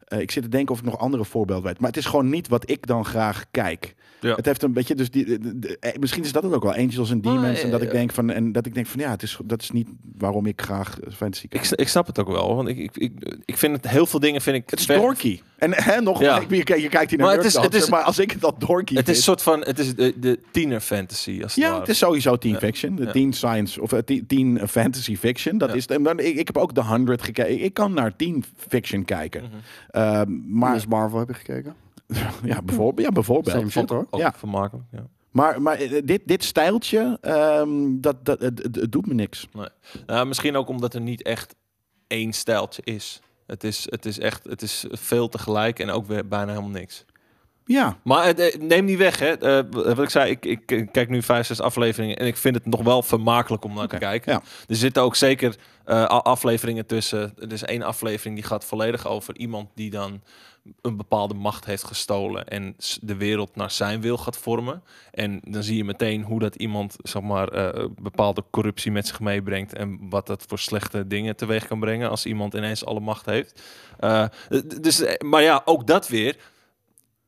Speaker 2: eh, ik zit te denken of ik nog andere voorbeelden weet. Maar het is gewoon niet wat ik dan graag kijk.
Speaker 3: Ja.
Speaker 2: Het heeft een beetje, dus die, de- de- de- eh, misschien is dat het ook wel. Angels en
Speaker 3: Maar,
Speaker 2: Demons. en, dat
Speaker 3: eh,
Speaker 2: ik denk van, en dat ik denk van, ja, het is, dat is niet waarom ik graag eh, fantasy kijk.
Speaker 3: Ik, s- ik snap het ook wel. Want ik, ik, ik, ik vind het heel veel dingen vind ik.
Speaker 2: Het is
Speaker 3: ver-
Speaker 2: dorky. En hè, nog,
Speaker 3: Ja.
Speaker 2: ik- je, kijkt- je kijkt hier naar
Speaker 3: Maar
Speaker 2: maar,
Speaker 3: het is- het is-
Speaker 2: maar als ik het al dorky
Speaker 3: Het is een
Speaker 2: vind-
Speaker 3: soort van. Het is de, de tiener fantasy. Als het
Speaker 2: Ja,
Speaker 3: ware.
Speaker 2: het is sowieso teen
Speaker 3: Ja.
Speaker 2: fiction. De
Speaker 3: Ja.
Speaker 2: teen science of eh, teen, teen, eh, fantasy fiction. Dat
Speaker 3: Ja.
Speaker 2: is het. En dan, ik, ik heb ook The 100 gekeken. Ik kan naar teen fiction kijken.
Speaker 3: Mhm.
Speaker 2: Ehm, maar
Speaker 4: Miss Marvel heb je gekeken.
Speaker 2: <laughs> ja, bijvoorbeeld. Ja, bijvoorbeeld.
Speaker 4: Same shit hoor.
Speaker 3: ook
Speaker 2: Ja.
Speaker 3: vermakelijk. Ja.
Speaker 2: Maar, maar eh, dit, dit stijltje, ehm, dat, dat, het, het- het doet me niks.
Speaker 3: Nou, misschien ook omdat er niet echt één stijltje is. Het is, het is echt, het is veel tegelijk en ook weer bijna helemaal niks.
Speaker 2: Ja,
Speaker 3: Maar het, eh, neem niet weg, hè. Eh, wat ik zei, ik, ik eh, kijk nu vijf, zes afleveringen en ik vind het nog wel vermakelijk om naar
Speaker 2: Oké,
Speaker 3: te kijken.
Speaker 2: ja.
Speaker 3: Er zitten ook zeker eh, a- afleveringen tussen. Er is één aflevering die gaat volledig over iemand die dan een bepaalde macht heeft gestolen en s- de wereld naar zijn wil gaat vormen. En dan zie je meteen hoe dat iemand, zeg maar, eh, bepaalde corruptie met zich meebrengt en wat dat voor slechte dingen teweeg kan brengen als iemand ineens alle macht heeft. Eh, d- dus, eh, maar ja, ook dat weer.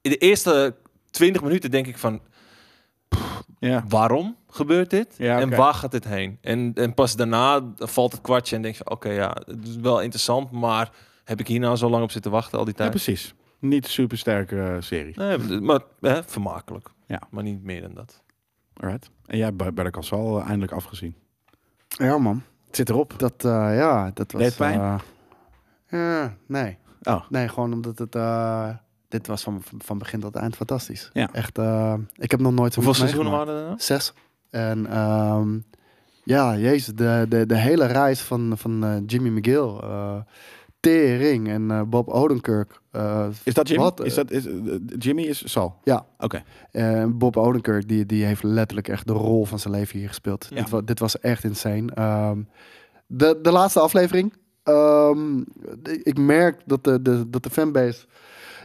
Speaker 3: In de eerste 20 minuten denk ik van,
Speaker 2: ja.
Speaker 3: waarom gebeurt dit?
Speaker 2: Ja,
Speaker 3: En
Speaker 2: oké.
Speaker 3: waar gaat dit heen? En, en pas daarna valt het kwartje en denk je, oké, ja, het is wel interessant, maar heb ik hier nou zo lang op zitten wachten al die
Speaker 2: ja,
Speaker 3: tijd?
Speaker 2: precies. Niet een supersterke eh, serie.
Speaker 3: nee, maar hè, vermakelijk.
Speaker 2: Ja.
Speaker 3: Maar niet meer dan dat.
Speaker 2: Alright. En jij hebt Better Call Saul eh, eindelijk afgezien.
Speaker 4: Ja, man.
Speaker 2: Het zit erop.
Speaker 4: Dat, eh, ja, dat was...
Speaker 2: Deed pijn?
Speaker 4: eh, ja, nee.
Speaker 2: Oh.
Speaker 4: Nee, gewoon omdat het... eh, dit was van, van begin tot eind fantastisch.
Speaker 2: Ja.
Speaker 4: Echt, eh, ik heb nog nooit...
Speaker 3: Hoeveel
Speaker 4: zoiets
Speaker 3: seizoenen
Speaker 4: meegemaakt.
Speaker 3: waren er nou?
Speaker 4: Zes. En ehm, ja, jezus, de, de, de hele reis van, van eh, Jimmy McGill, eh Tering en eh, Bob Odenkirk. eh,
Speaker 2: Is dat Jimmy?
Speaker 4: Wat, eh?
Speaker 2: Is dat, is, eh, Jimmy is Saul?
Speaker 4: Ja.
Speaker 2: Oké.
Speaker 4: eh, Bob Odenkirk, die, die heeft letterlijk echt de rol van zijn leven hier gespeeld.
Speaker 3: Ja.
Speaker 4: Dit, was, dit was echt insane. Ehm, de, de laatste aflevering. ehm, de- ik merk dat de, de, dat de fanbase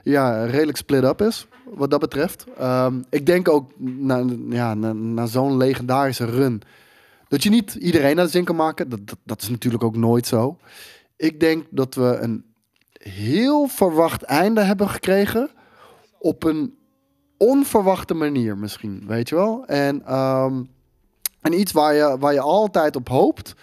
Speaker 4: ja, redelijk split-up is, wat dat betreft. Ehm, ik denk ook na, ja, na, na zo'n legendarische run... dat je niet iedereen naar de zin kan maken. Dat, dat, dat is natuurlijk ook nooit zo. Ik denk dat we een heel verwacht einde hebben gekregen... op een onverwachte manier misschien, weet je wel? En, ehm, en iets waar je, waar je altijd op hoopt.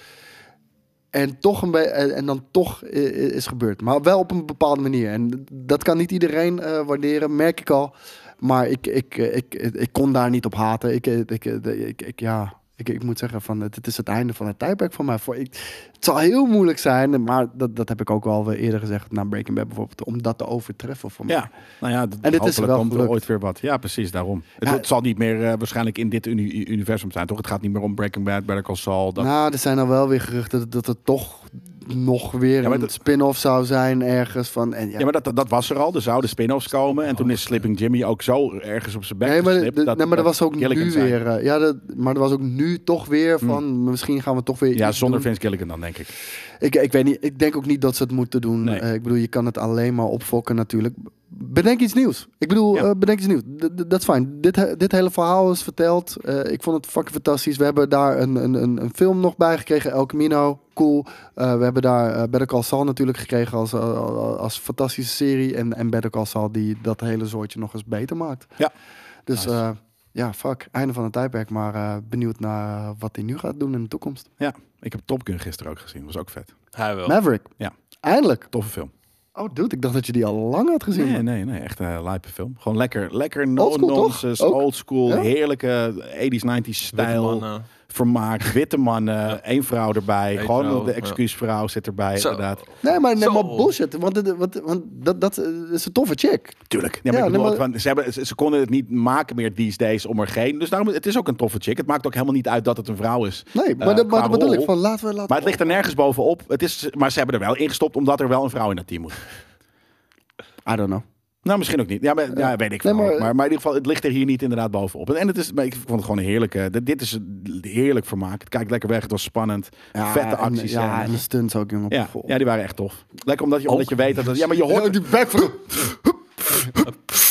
Speaker 4: En, toch een be- en en dan toch i- i- is gebeurd. Maar wel op een bepaalde manier. En dat kan niet iedereen eh, waarderen, merk ik al. Maar ik, ik, eh, ik, ik, ik kon daar niet op haten. Ik, eh, ik, eh, de- ik, ik, ja, ik, ik moet zeggen, van, het, het is het einde van het tijdperk voor mij. Voor, ik, het zal heel moeilijk zijn, maar dat, dat heb ik ook al eerder gezegd... na Breaking Bad bijvoorbeeld, om dat te overtreffen voor mij.
Speaker 2: Ja, nou ja, d-
Speaker 4: En dit is
Speaker 2: hopelijk
Speaker 4: wel
Speaker 2: komt er
Speaker 4: gelukt. Nou,
Speaker 2: ooit weer wat. Ja, precies, daarom. Het,
Speaker 4: Ja.
Speaker 2: het zal niet meer eh, waarschijnlijk in dit uni- universum zijn, toch? Het gaat niet meer om Breaking Bad, Better Call Saul. Dat...
Speaker 4: Nou, er zijn al wel weer geruchten dat, dat er toch nog weer
Speaker 2: maar
Speaker 4: een
Speaker 2: dat-
Speaker 4: spin-off zou zijn ergens van... En ja,
Speaker 2: ja, maar dat- dat, dat was er al. Er zouden spin-offs komen. En toen is Slipping Jimmy ook zo ergens op zijn bek
Speaker 4: nee, maar,
Speaker 2: geslipt
Speaker 4: de- nee, maar er was ook
Speaker 2: Gilligan
Speaker 4: nu
Speaker 2: zei- Hmm.
Speaker 4: weer... eh, ja, dat, maar er was ook nu toch weer van... Misschien gaan we toch weer
Speaker 2: Ja,
Speaker 4: iets
Speaker 2: zonder
Speaker 4: doen.
Speaker 2: Vince Gilligan dan, denk ik.
Speaker 4: Ik, ik weet niet. Ik denk ook niet dat ze het moeten doen.
Speaker 2: Nee.
Speaker 4: Eh, ik bedoel, je kan het alleen maar opfokken natuurlijk. Bedenk iets nieuws. Ik bedoel,
Speaker 2: Ja.
Speaker 4: eh, bedenk iets nieuws. D- d- Dat is fijn. Dit, he- dit hele verhaal is verteld. Eh, ik vond het fucking fantastisch. We hebben daar een, een, een, een film nog bij gekregen. El Camino. Cool. Eh, we hebben daar eh, Better Call Saul natuurlijk gekregen als, eh, als fantastische serie. En, en Better Call Saul die dat hele soortje nog eens beter maakt.
Speaker 2: Ja.
Speaker 4: Dus
Speaker 2: Nice.
Speaker 4: eh, ja, fuck. Einde van het tijdperk. Maar eh, benieuwd naar wat hij nu gaat doen in de toekomst.
Speaker 2: Ja, ik heb Top Gun gisteren ook gezien. was ook vet.
Speaker 3: Hij wel.
Speaker 4: Maverick.
Speaker 2: Ja.
Speaker 4: Eindelijk.
Speaker 2: Toffe film.
Speaker 4: Oh, dude, ik dacht dat je die al lang had gezien.
Speaker 2: Nee,
Speaker 4: man.
Speaker 2: nee, nee. Echt een lijpe film. Gewoon lekker, lekker no
Speaker 4: Oldschool, toch?
Speaker 2: nonsense,
Speaker 4: Ook?
Speaker 2: oldschool,
Speaker 4: Ja.
Speaker 2: heerlijke 80s, 90s
Speaker 3: Witte
Speaker 2: stijl.
Speaker 3: man, eh, <laughs>
Speaker 2: Vermaak, witte mannen, één vrouw erbij.
Speaker 3: Eén
Speaker 2: gewoon
Speaker 3: vrouw,
Speaker 2: de
Speaker 3: ja.
Speaker 2: excuusvrouw zit erbij,
Speaker 3: Zo.
Speaker 2: inderdaad.
Speaker 4: Nee, maar, nee,
Speaker 3: Zo.
Speaker 4: maar bullshit. Want, dit- wat, want dat, dat eh, is een toffe chick.
Speaker 2: Tuurlijk. Ja, maar
Speaker 4: Ja,
Speaker 2: ik bedoel,
Speaker 4: nee, maar-
Speaker 2: want ze, hebben, ze, ze konden het niet maken meer these days om er geen. Dus daarom, het is ook een toffe chick. Het maakt ook helemaal niet uit dat het een vrouw is.
Speaker 4: Nee, maar
Speaker 2: Eh,
Speaker 4: dat, maar
Speaker 2: qua
Speaker 4: dat bedoel
Speaker 2: rol.
Speaker 4: ik. Van, laten we, laten
Speaker 2: Maar het
Speaker 4: we-
Speaker 2: ligt er nergens bovenop. Het is, maar ze hebben er wel ingestopt omdat er wel een vrouw in dat team moet.
Speaker 4: I don't know.
Speaker 2: Nou, misschien ook niet. Ja, maar, ja,
Speaker 4: Ja.
Speaker 2: weet ik
Speaker 4: Eh, Nee,
Speaker 2: veel. maar,
Speaker 4: maar-
Speaker 2: maar, in ieder geval, het ligt er hier niet inderdaad bovenop. En, en het is, maar ik vond het gewoon een heerlijke... Dit, dit is een heerlijk vermaak. Het kijkt lekker weg. Het was spannend. Vette
Speaker 4: en-
Speaker 2: acties. eh.
Speaker 4: ja, en de stunts ook, jongen.
Speaker 2: ja,
Speaker 4: Vol.
Speaker 2: ja, die waren echt tof. Lekker omdat je, omdat je weet dat... Het, ja, maar je
Speaker 4: <laughs> Ja,
Speaker 2: hoort...
Speaker 4: die
Speaker 2: <laughs>
Speaker 4: backflip.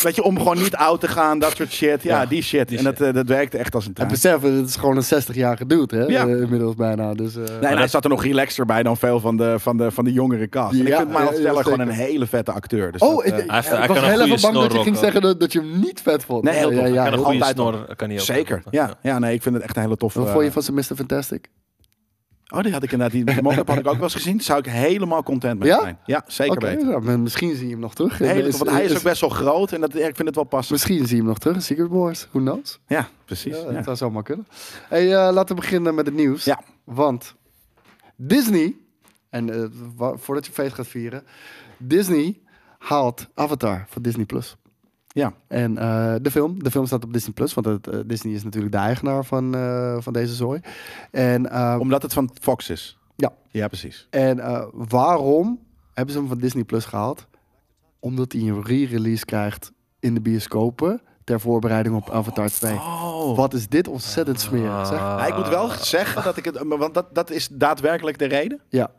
Speaker 2: Weet je, om gewoon niet oud te gaan. Dat soort shit. Ja,
Speaker 3: Ja,
Speaker 2: die shit.
Speaker 3: die
Speaker 2: en dat, eh, dat werkte echt als een
Speaker 4: En
Speaker 2: trein.
Speaker 4: besef, het is gewoon een 60-jarige dude, hè?
Speaker 2: Ja.
Speaker 4: eh, inmiddels bijna. Dus, eh,
Speaker 2: Nee, en hij zat er nog relaxeder bij dan veel van de, van de, van de jongere cast. En ik
Speaker 4: Ja,
Speaker 2: vind Miles
Speaker 4: ja, ja,
Speaker 2: Teller gewoon een
Speaker 4: zeker.
Speaker 2: hele vette acteur. Dus
Speaker 4: Oh,
Speaker 2: dat,
Speaker 4: ik,
Speaker 2: eh,
Speaker 4: ik-
Speaker 3: heeft- hij
Speaker 4: ik
Speaker 3: kan
Speaker 4: was
Speaker 3: een
Speaker 4: heel
Speaker 3: goede
Speaker 4: even bang dat je
Speaker 3: snor
Speaker 4: ging
Speaker 3: ook,
Speaker 4: zeggen dat, dat je hem niet vet vond.
Speaker 2: Nee, heel
Speaker 4: ja,
Speaker 2: tof.
Speaker 4: ja,
Speaker 2: Hij
Speaker 4: ja.
Speaker 3: kan een goede
Speaker 2: altijd
Speaker 3: snor eh, kan hij ook.
Speaker 2: zeker.
Speaker 3: hebben.
Speaker 2: Ja, ja, nee, ik vind het echt een hele toffe...
Speaker 4: Wat vond
Speaker 2: eh,
Speaker 4: je van zijn Mr. Fantastic?
Speaker 2: Oh, die had ik inderdaad. Die die mop-up had ik ook wel eens gezien. Zou ik helemaal content mee
Speaker 4: Ja?
Speaker 2: zijn. Ja, zeker
Speaker 4: Oké,
Speaker 2: weten.
Speaker 4: nou, maar misschien zie je hem nog terug.
Speaker 2: Nee,
Speaker 4: Is-
Speaker 2: want hij is
Speaker 4: is-
Speaker 2: ook best wel groot en dat, ja, ik vind het wel passend.
Speaker 4: Misschien zie je hem nog terug in Secret Wars. Who knows?
Speaker 2: Ja, precies.
Speaker 4: Ja,
Speaker 2: ja.
Speaker 4: dat zou zomaar kunnen. Hey, eh, laten we beginnen met het nieuws.
Speaker 2: Ja.
Speaker 4: Want Disney, en eh, wa- voordat je feest gaat vieren, Disney haalt Avatar van Disney Plus.
Speaker 2: Ja.
Speaker 4: En eh, de film, de film staat op Disney Plus, want het, eh, Disney is natuurlijk de eigenaar van, eh, van deze zooi. En, eh,
Speaker 2: Omdat het van Fox is.
Speaker 4: Ja.
Speaker 2: Ja, precies.
Speaker 4: en eh, waarom hebben ze hem van Disney Plus gehaald? Omdat hij een re-release krijgt in de bioscopen ter voorbereiding op Avatar 2.
Speaker 2: Oh.
Speaker 4: Wat is dit ontzettend smerig, zeg.
Speaker 3: Ah.
Speaker 2: ik moet wel zeggen dat ik het... maar Want dat, dat is daadwerkelijk de reden.
Speaker 4: Ja.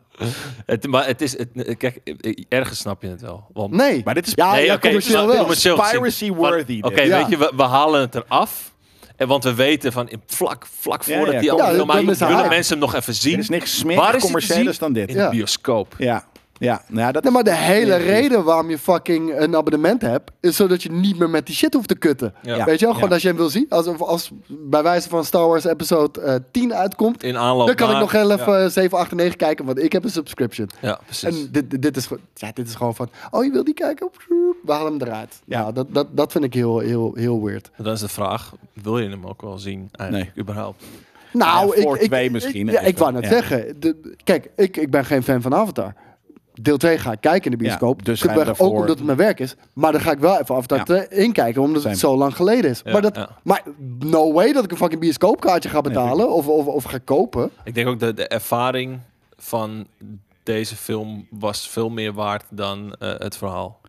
Speaker 3: Het, maar het is, het, kijk, eh, ergens snap je het wel. Want
Speaker 4: Nee.
Speaker 2: Maar dit is
Speaker 4: Ja, ja,
Speaker 3: oké,
Speaker 4: commercieel
Speaker 3: maar-
Speaker 4: wel.
Speaker 3: commercieel gezien.
Speaker 2: Piracy
Speaker 3: Maar-
Speaker 2: worthy,
Speaker 3: Oké,
Speaker 2: dit.
Speaker 4: Ja.
Speaker 3: weet je, we, we halen het eraf. En want we weten van in- vlak, vlak
Speaker 2: Ja,
Speaker 3: voordat
Speaker 2: ja,
Speaker 3: die
Speaker 2: kom.
Speaker 3: andere
Speaker 4: Ja,
Speaker 3: film
Speaker 4: dan
Speaker 3: uit-
Speaker 4: is hij
Speaker 3: willen
Speaker 4: hype.
Speaker 3: mensen hem nog even zien.
Speaker 2: Er is niks
Speaker 3: Waar is
Speaker 2: meer
Speaker 3: hij te
Speaker 2: commercieels
Speaker 3: zien?
Speaker 2: dan dit.
Speaker 3: in
Speaker 2: Ja.
Speaker 4: Ja.
Speaker 3: de bioscoop.
Speaker 2: Ja. ja. Nou ja, dat
Speaker 4: Nee, maar de
Speaker 2: is-
Speaker 4: hele reden waarom je fucking een abonnement hebt, is zodat je niet meer met die shit hoeft te kutten.
Speaker 3: Ja.
Speaker 4: Weet je wel, gewoon
Speaker 2: Ja.
Speaker 4: als je hem wil zien, als, of als bij wijze van Star Wars episode eh, 10 uitkomt,
Speaker 3: In aanloop
Speaker 4: dan kan ik
Speaker 3: naar-
Speaker 4: nog heel even eh, 7, 8 en 9 kijken, want ik heb een subscription.
Speaker 3: Ja, precies.
Speaker 4: En dit, dit- dit, is, gewoon- ja, dit is gewoon van, oh je wil die kijken? We halen hem eruit.
Speaker 2: Ja.
Speaker 4: Ja, dat, dat, dat vind ik heel, heel, heel weird.
Speaker 3: dan is de vraag, wil je hem ook wel zien eigenlijk, überhaupt?
Speaker 4: Nou,
Speaker 2: Ja, voor
Speaker 4: ik, ik-
Speaker 2: twee
Speaker 4: ik-
Speaker 2: misschien
Speaker 4: ja, ik
Speaker 2: even.
Speaker 4: wou net
Speaker 2: Ja.
Speaker 4: zeggen. de- kijk, ik, ik ben geen fan van Avatar. Deel 2 ga ik kijken in de bioscoop.
Speaker 2: Ja, dus
Speaker 4: Ik
Speaker 2: ga je
Speaker 4: ben-
Speaker 2: daarvoor-
Speaker 4: Ook omdat het mijn werk is. Maar dan ga ik wel even Avatar
Speaker 2: Ja.
Speaker 4: 2 inkijken, omdat
Speaker 2: Same.
Speaker 4: het zo lang geleden is.
Speaker 3: Ja,
Speaker 4: maar, dat,
Speaker 3: ja.
Speaker 4: maar no way dat ik een fucking bioscoopkaartje ga betalen of, of, of ga kopen.
Speaker 3: Ik denk ook dat de ervaring van deze film was veel meer waard dan eh, het verhaal.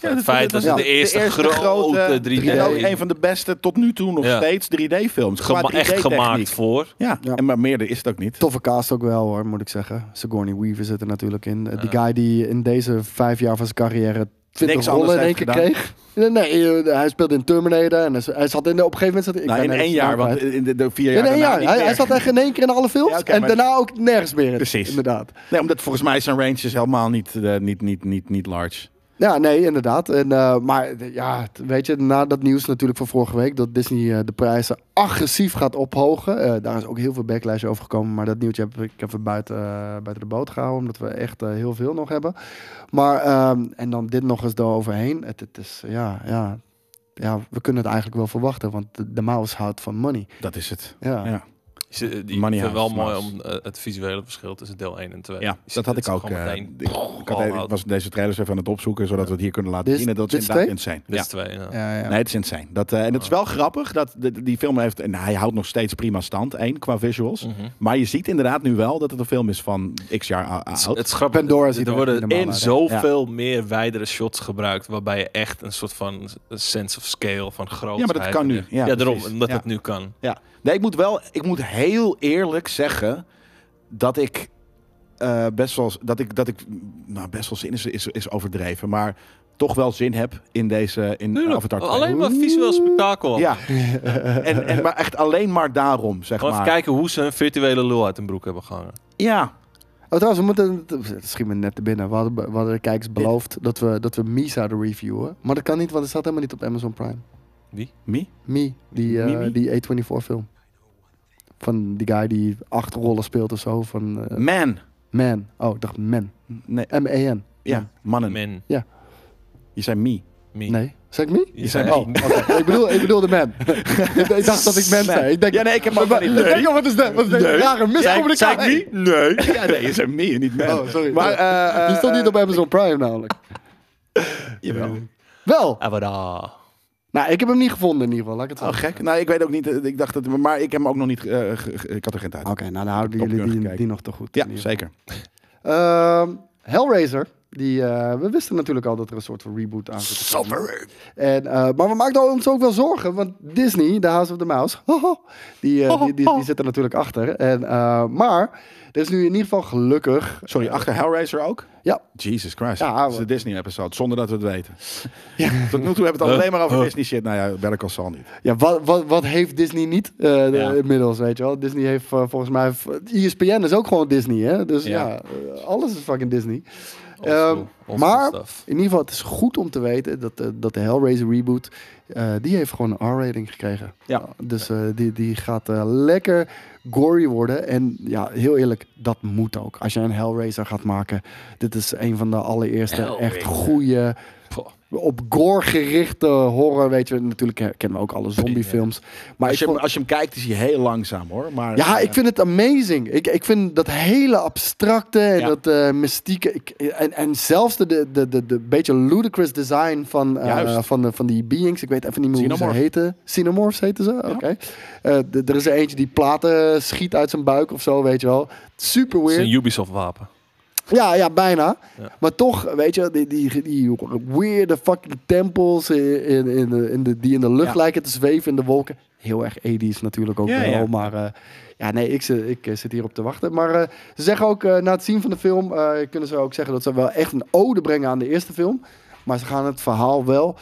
Speaker 3: het feit dat
Speaker 4: ja.
Speaker 3: het de eerste, grote, 3D...
Speaker 2: En ook een van de beste tot nu toe nog
Speaker 3: Ja.
Speaker 2: steeds 3D-films.
Speaker 3: gema- echt gemaakt voor.
Speaker 2: Ja,
Speaker 4: Ja.
Speaker 2: En maar meerder is het ook niet.
Speaker 4: Toffe cast ook wel hoor, moet ik zeggen. Sigourney Weaver zit er natuurlijk in. Eh, Die guy die in deze vijf jaar van zijn carrière 20
Speaker 2: Niks anders
Speaker 4: rollen in één
Speaker 2: heeft
Speaker 4: keer
Speaker 2: gedaan.
Speaker 4: kreeg. Nee, eh, hij speelde in Terminator en hij- hij zat in, op een gegeven moment... Zat, ik
Speaker 2: Nou,
Speaker 4: ben
Speaker 2: in
Speaker 4: net
Speaker 2: één
Speaker 4: zijn
Speaker 2: jaar,
Speaker 4: naam
Speaker 2: want
Speaker 4: kwijt.
Speaker 2: in de, de vier jaar
Speaker 4: In één
Speaker 2: daarna
Speaker 4: jaar.
Speaker 2: niet
Speaker 4: Hij,
Speaker 2: meer.
Speaker 4: hij zat echt in één keer in alle films.
Speaker 2: Ja, oké,
Speaker 4: en
Speaker 2: maar-
Speaker 4: daarna ook nergens meer. in.
Speaker 2: Precies.
Speaker 4: Inderdaad.
Speaker 2: Nee, omdat volgens mij zijn range is helemaal niet, eh, niet, niet, niet, niet large.
Speaker 4: Ja, nee, inderdaad. En, eh, maar de- ja, t- weet je, na dat nieuws natuurlijk van vorige week... dat Disney eh, de prijzen agressief gaat ophogen. eh, daar is ook heel veel backlash over gekomen. Maar dat nieuwtje heb ik even buiten, eh, buiten de boot gehouden... omdat we echt eh, heel veel nog hebben. Maar, ehm, en dan dit nog eens eroverheen. Het, het is, ja, ja, ja, we kunnen het eigenlijk wel verwachten... want de, de mouse houdt van money.
Speaker 2: Dat is het.
Speaker 4: Ja.
Speaker 2: Ja.
Speaker 3: Is, eh, die-
Speaker 2: Money
Speaker 3: ik vind het wel
Speaker 2: House,
Speaker 3: mooi
Speaker 2: Mouse.
Speaker 3: om eh, het visuele verschil tussen deel 1 en 2.
Speaker 2: Ja,
Speaker 3: Je
Speaker 2: dat
Speaker 3: ziet
Speaker 2: had
Speaker 3: het
Speaker 2: ik ook.
Speaker 3: gewoon
Speaker 2: eh,
Speaker 3: meteen.
Speaker 2: ik, ik had
Speaker 3: all
Speaker 2: even- ik
Speaker 3: out.
Speaker 2: was deze trailers even aan het opzoeken, zodat we het hier kunnen laten
Speaker 4: Dit-
Speaker 2: zien. En dat
Speaker 4: dit
Speaker 2: is
Speaker 4: is
Speaker 2: inderdaad
Speaker 4: twee?
Speaker 2: insane.
Speaker 3: Dit
Speaker 2: Ja.
Speaker 3: is 2, ja.
Speaker 4: Ja, ja.
Speaker 2: Nee, het is insane. Dat, eh, en dat is wel grappig. Dat de- die film heeft, en hij houdt nog steeds prima stand, één, qua visuals.
Speaker 3: Mhm.
Speaker 2: Maar je ziet inderdaad nu wel dat het een film is van x jaar o-
Speaker 3: Het is-
Speaker 2: oud.
Speaker 3: Het is grappig.
Speaker 4: Pandora ziet
Speaker 3: er
Speaker 4: er
Speaker 3: worden
Speaker 4: echt niet
Speaker 3: in
Speaker 4: normaal uit,
Speaker 2: hè?
Speaker 3: zoveel meer wijdere shots gebruikt, waarbij je echt een soort van sense of scale van grootheid.
Speaker 2: Ja, maar dat kan nu.
Speaker 3: hebt.
Speaker 2: Ja,
Speaker 3: Ja, daarom,
Speaker 2: precies.
Speaker 3: omdat
Speaker 2: Ja.
Speaker 3: het nu kan.
Speaker 2: Ja. Nee, ik moet wel, ik moet heel eerlijk zeggen dat ik eh, best wel, dat ik, dat ik, nou best wel zin is, is, is overdreven, maar toch wel zin heb in deze, in Avatar 2.
Speaker 3: Alleen maar visueel spektakel.
Speaker 2: Ja, en, en, maar echt alleen maar daarom, zeg
Speaker 3: Gewoon
Speaker 2: maar.
Speaker 3: even kijken hoe ze een virtuele lul uit hun broek hebben gehangen.
Speaker 2: Ja,
Speaker 4: Oh, trouwens, we moeten. Het schiet me net te binnen. We hadden, we hadden de kijkers beloofd dat we, dat we Mii zouden reviewen. Maar dat kan niet, want het staat helemaal niet op Amazon Prime.
Speaker 2: me?
Speaker 4: Mii, die, eh,
Speaker 2: Mimi?
Speaker 4: die A24-film. Van die guy die acht rollen speelt of zo. Van eh,
Speaker 2: Man.
Speaker 4: Man. Oh, ik dacht Man. E
Speaker 2: Nee,
Speaker 4: M-E-N.
Speaker 2: ja, mannen.
Speaker 3: Men,
Speaker 2: Je zei me.
Speaker 3: me.
Speaker 4: Nee. Zeg ik Mii?
Speaker 3: Je zei
Speaker 4: Oh, oké. ik, bedoel, ik bedoel de
Speaker 2: <laughs>
Speaker 4: Man. ik dacht dat ik Man zei. Ik denk,
Speaker 2: ja, nee, ik heb
Speaker 4: maar,
Speaker 2: ook
Speaker 4: maar,
Speaker 2: niet.
Speaker 4: ik denk, oh, wat is dat? Wat is dat? Rare miscommunicatie.
Speaker 2: niet?
Speaker 4: <laughs>
Speaker 2: Nee. Ja, nee, je zei me, niet man.
Speaker 4: Oh, sorry.
Speaker 2: Maar, eh, eh,
Speaker 4: <laughs> Die stond niet op Amazon Prime namelijk.
Speaker 2: Jawel.
Speaker 4: Wel.
Speaker 3: Avada.
Speaker 4: Nou, ik heb hem niet gevonden in ieder geval. Laat ik het zo
Speaker 2: Oh, gek. Nou, ik weet ook niet. eh, Ik dacht dat, maar ik heb hem ook nog niet. eh, ge- ge- ik had er geen tijd.
Speaker 4: Oké, nou dan houden
Speaker 2: Top
Speaker 4: jullie
Speaker 2: Gun
Speaker 4: die,
Speaker 2: gekeken.
Speaker 4: die nog te goed.
Speaker 2: Ja,
Speaker 4: in ieder
Speaker 2: zeker.
Speaker 4: geval. Ehm, Hellraiser. Die, eh, we wisten natuurlijk al dat er een soort van reboot aan zit. te komen. En, eh, maar we maakten ons ook wel zorgen, want Disney, de House of the Mouse, <laughs> die, eh, die, die, die zit er natuurlijk achter. En, eh, maar er is nu in ieder geval gelukkig...
Speaker 2: Sorry, achter Hellraiser ook?
Speaker 4: Ja,
Speaker 2: Jesus Christ.
Speaker 4: Ja,
Speaker 2: dat is de
Speaker 4: maar-
Speaker 2: Disney-episode, zonder dat we het
Speaker 4: <laughs>
Speaker 2: weten. Tot nu toe hebben we het
Speaker 4: Eh,
Speaker 2: alleen maar over Disney-shit. Nou ja, welk al zal niet.
Speaker 4: ja wat, wat, wat heeft Disney niet eh, de-
Speaker 2: Ja.
Speaker 4: inmiddels, weet je wel? Disney heeft eh, volgens mij... ESPN is ook gewoon Disney, hè? Dus ja,
Speaker 2: Ja.
Speaker 4: eh, alles is fucking Disney.
Speaker 3: Old school.
Speaker 4: Ehm,
Speaker 3: Old school
Speaker 4: maar-
Speaker 3: stuff.
Speaker 4: In ieder geval, het is goed om te weten dat, eh, dat de Hellraiser reboot, eh, die heeft gewoon een R-rating gekregen.
Speaker 2: Ja.
Speaker 4: Dus eh, die, die gaat eh, lekker gory worden. En ja, heel eerlijk, dat moet ook. Als je een Hellraiser gaat maken, dit is een van de allereerste echt
Speaker 3: Hellraiser.
Speaker 4: goede,
Speaker 3: Poh.
Speaker 4: op gore gerichte horror. Weet je, natuurlijk eh, kennen we ook alle zombiefilms. Maar
Speaker 2: als,
Speaker 4: ik
Speaker 2: je, hem-
Speaker 4: vond-
Speaker 2: als je hem kijkt, is hij heel langzaam hoor. Maar,
Speaker 4: ja,
Speaker 2: eh,
Speaker 4: ik vind het amazing. Ik, ik vind dat hele abstracte en
Speaker 2: Ja.
Speaker 4: dat eh, mystieke. Ik, en, en zelfs de, de, de, de, de beetje ludicrous design van, eh,
Speaker 2: Juist.
Speaker 4: van, de, van die beings. Ik weet even niet meer hoe ze
Speaker 2: Xenomorph.
Speaker 4: heten. Xenomorphs heten ze? Oké. Eh, d- er is er eentje die platen schiet uit zijn buik of zo, weet je wel. Super
Speaker 3: Het is
Speaker 4: weird.
Speaker 3: een Ubisoft-wapen.
Speaker 4: Ja, ja, bijna.
Speaker 3: Ja.
Speaker 4: Maar toch, weet je, die, die, die weirde fucking tempels in, in, in de, in de, die in de lucht
Speaker 2: Ja.
Speaker 4: lijken te zweven in de wolken. Heel erg 80s natuurlijk ook
Speaker 2: Ja,
Speaker 4: wel,
Speaker 2: ja.
Speaker 4: maar eh, ja, nee, ik, zit- ik eh, zit hierop te wachten. Maar eh, ze zeggen ook, eh, na het zien van de film, eh, kunnen ze ook zeggen dat ze wel echt een ode brengen aan de eerste film. Maar ze gaan het verhaal wel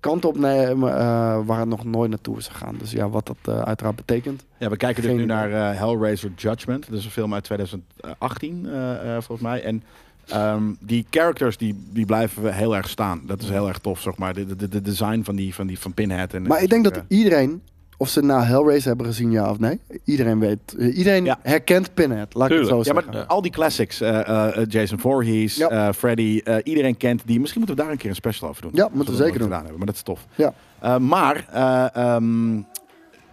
Speaker 4: kant op nemen eh, waar het nog nooit naartoe is gegaan. Dus ja, wat dat eh, uiteraard betekent.
Speaker 2: Ja, we kijken dus
Speaker 4: Geen
Speaker 2: nu
Speaker 4: idee.
Speaker 2: naar eh, Hellraiser Judgment. Dat is een film uit 2018, eh, eh, volgens mij. En ehm, die characters die, die blijven heel erg staan. Dat is heel erg tof, zeg maar. De, de, de design van, die, van, die, van Pinhead. En,
Speaker 4: Maar ik denk dat
Speaker 2: eh,
Speaker 4: iedereen, of ze na Hellraiser hebben gezien, ja of nee, iedereen weet. eh, Iedereen
Speaker 2: Ja.
Speaker 4: herkent Pinhead, laat ik het zo
Speaker 2: Ja,
Speaker 4: zeggen.
Speaker 2: maar al die classics. eh, eh, eh, Jason Voorhees,
Speaker 4: Ja.
Speaker 2: eh, Freddy. eh, iedereen kent die. Misschien moeten we daar een keer een special over doen.
Speaker 4: Ja, moeten we
Speaker 2: Zoals nog niet
Speaker 4: zeker doen.
Speaker 2: Gedaan hebben, maar dat is tof.
Speaker 4: Ja.
Speaker 2: Eh, maar eh, ehm,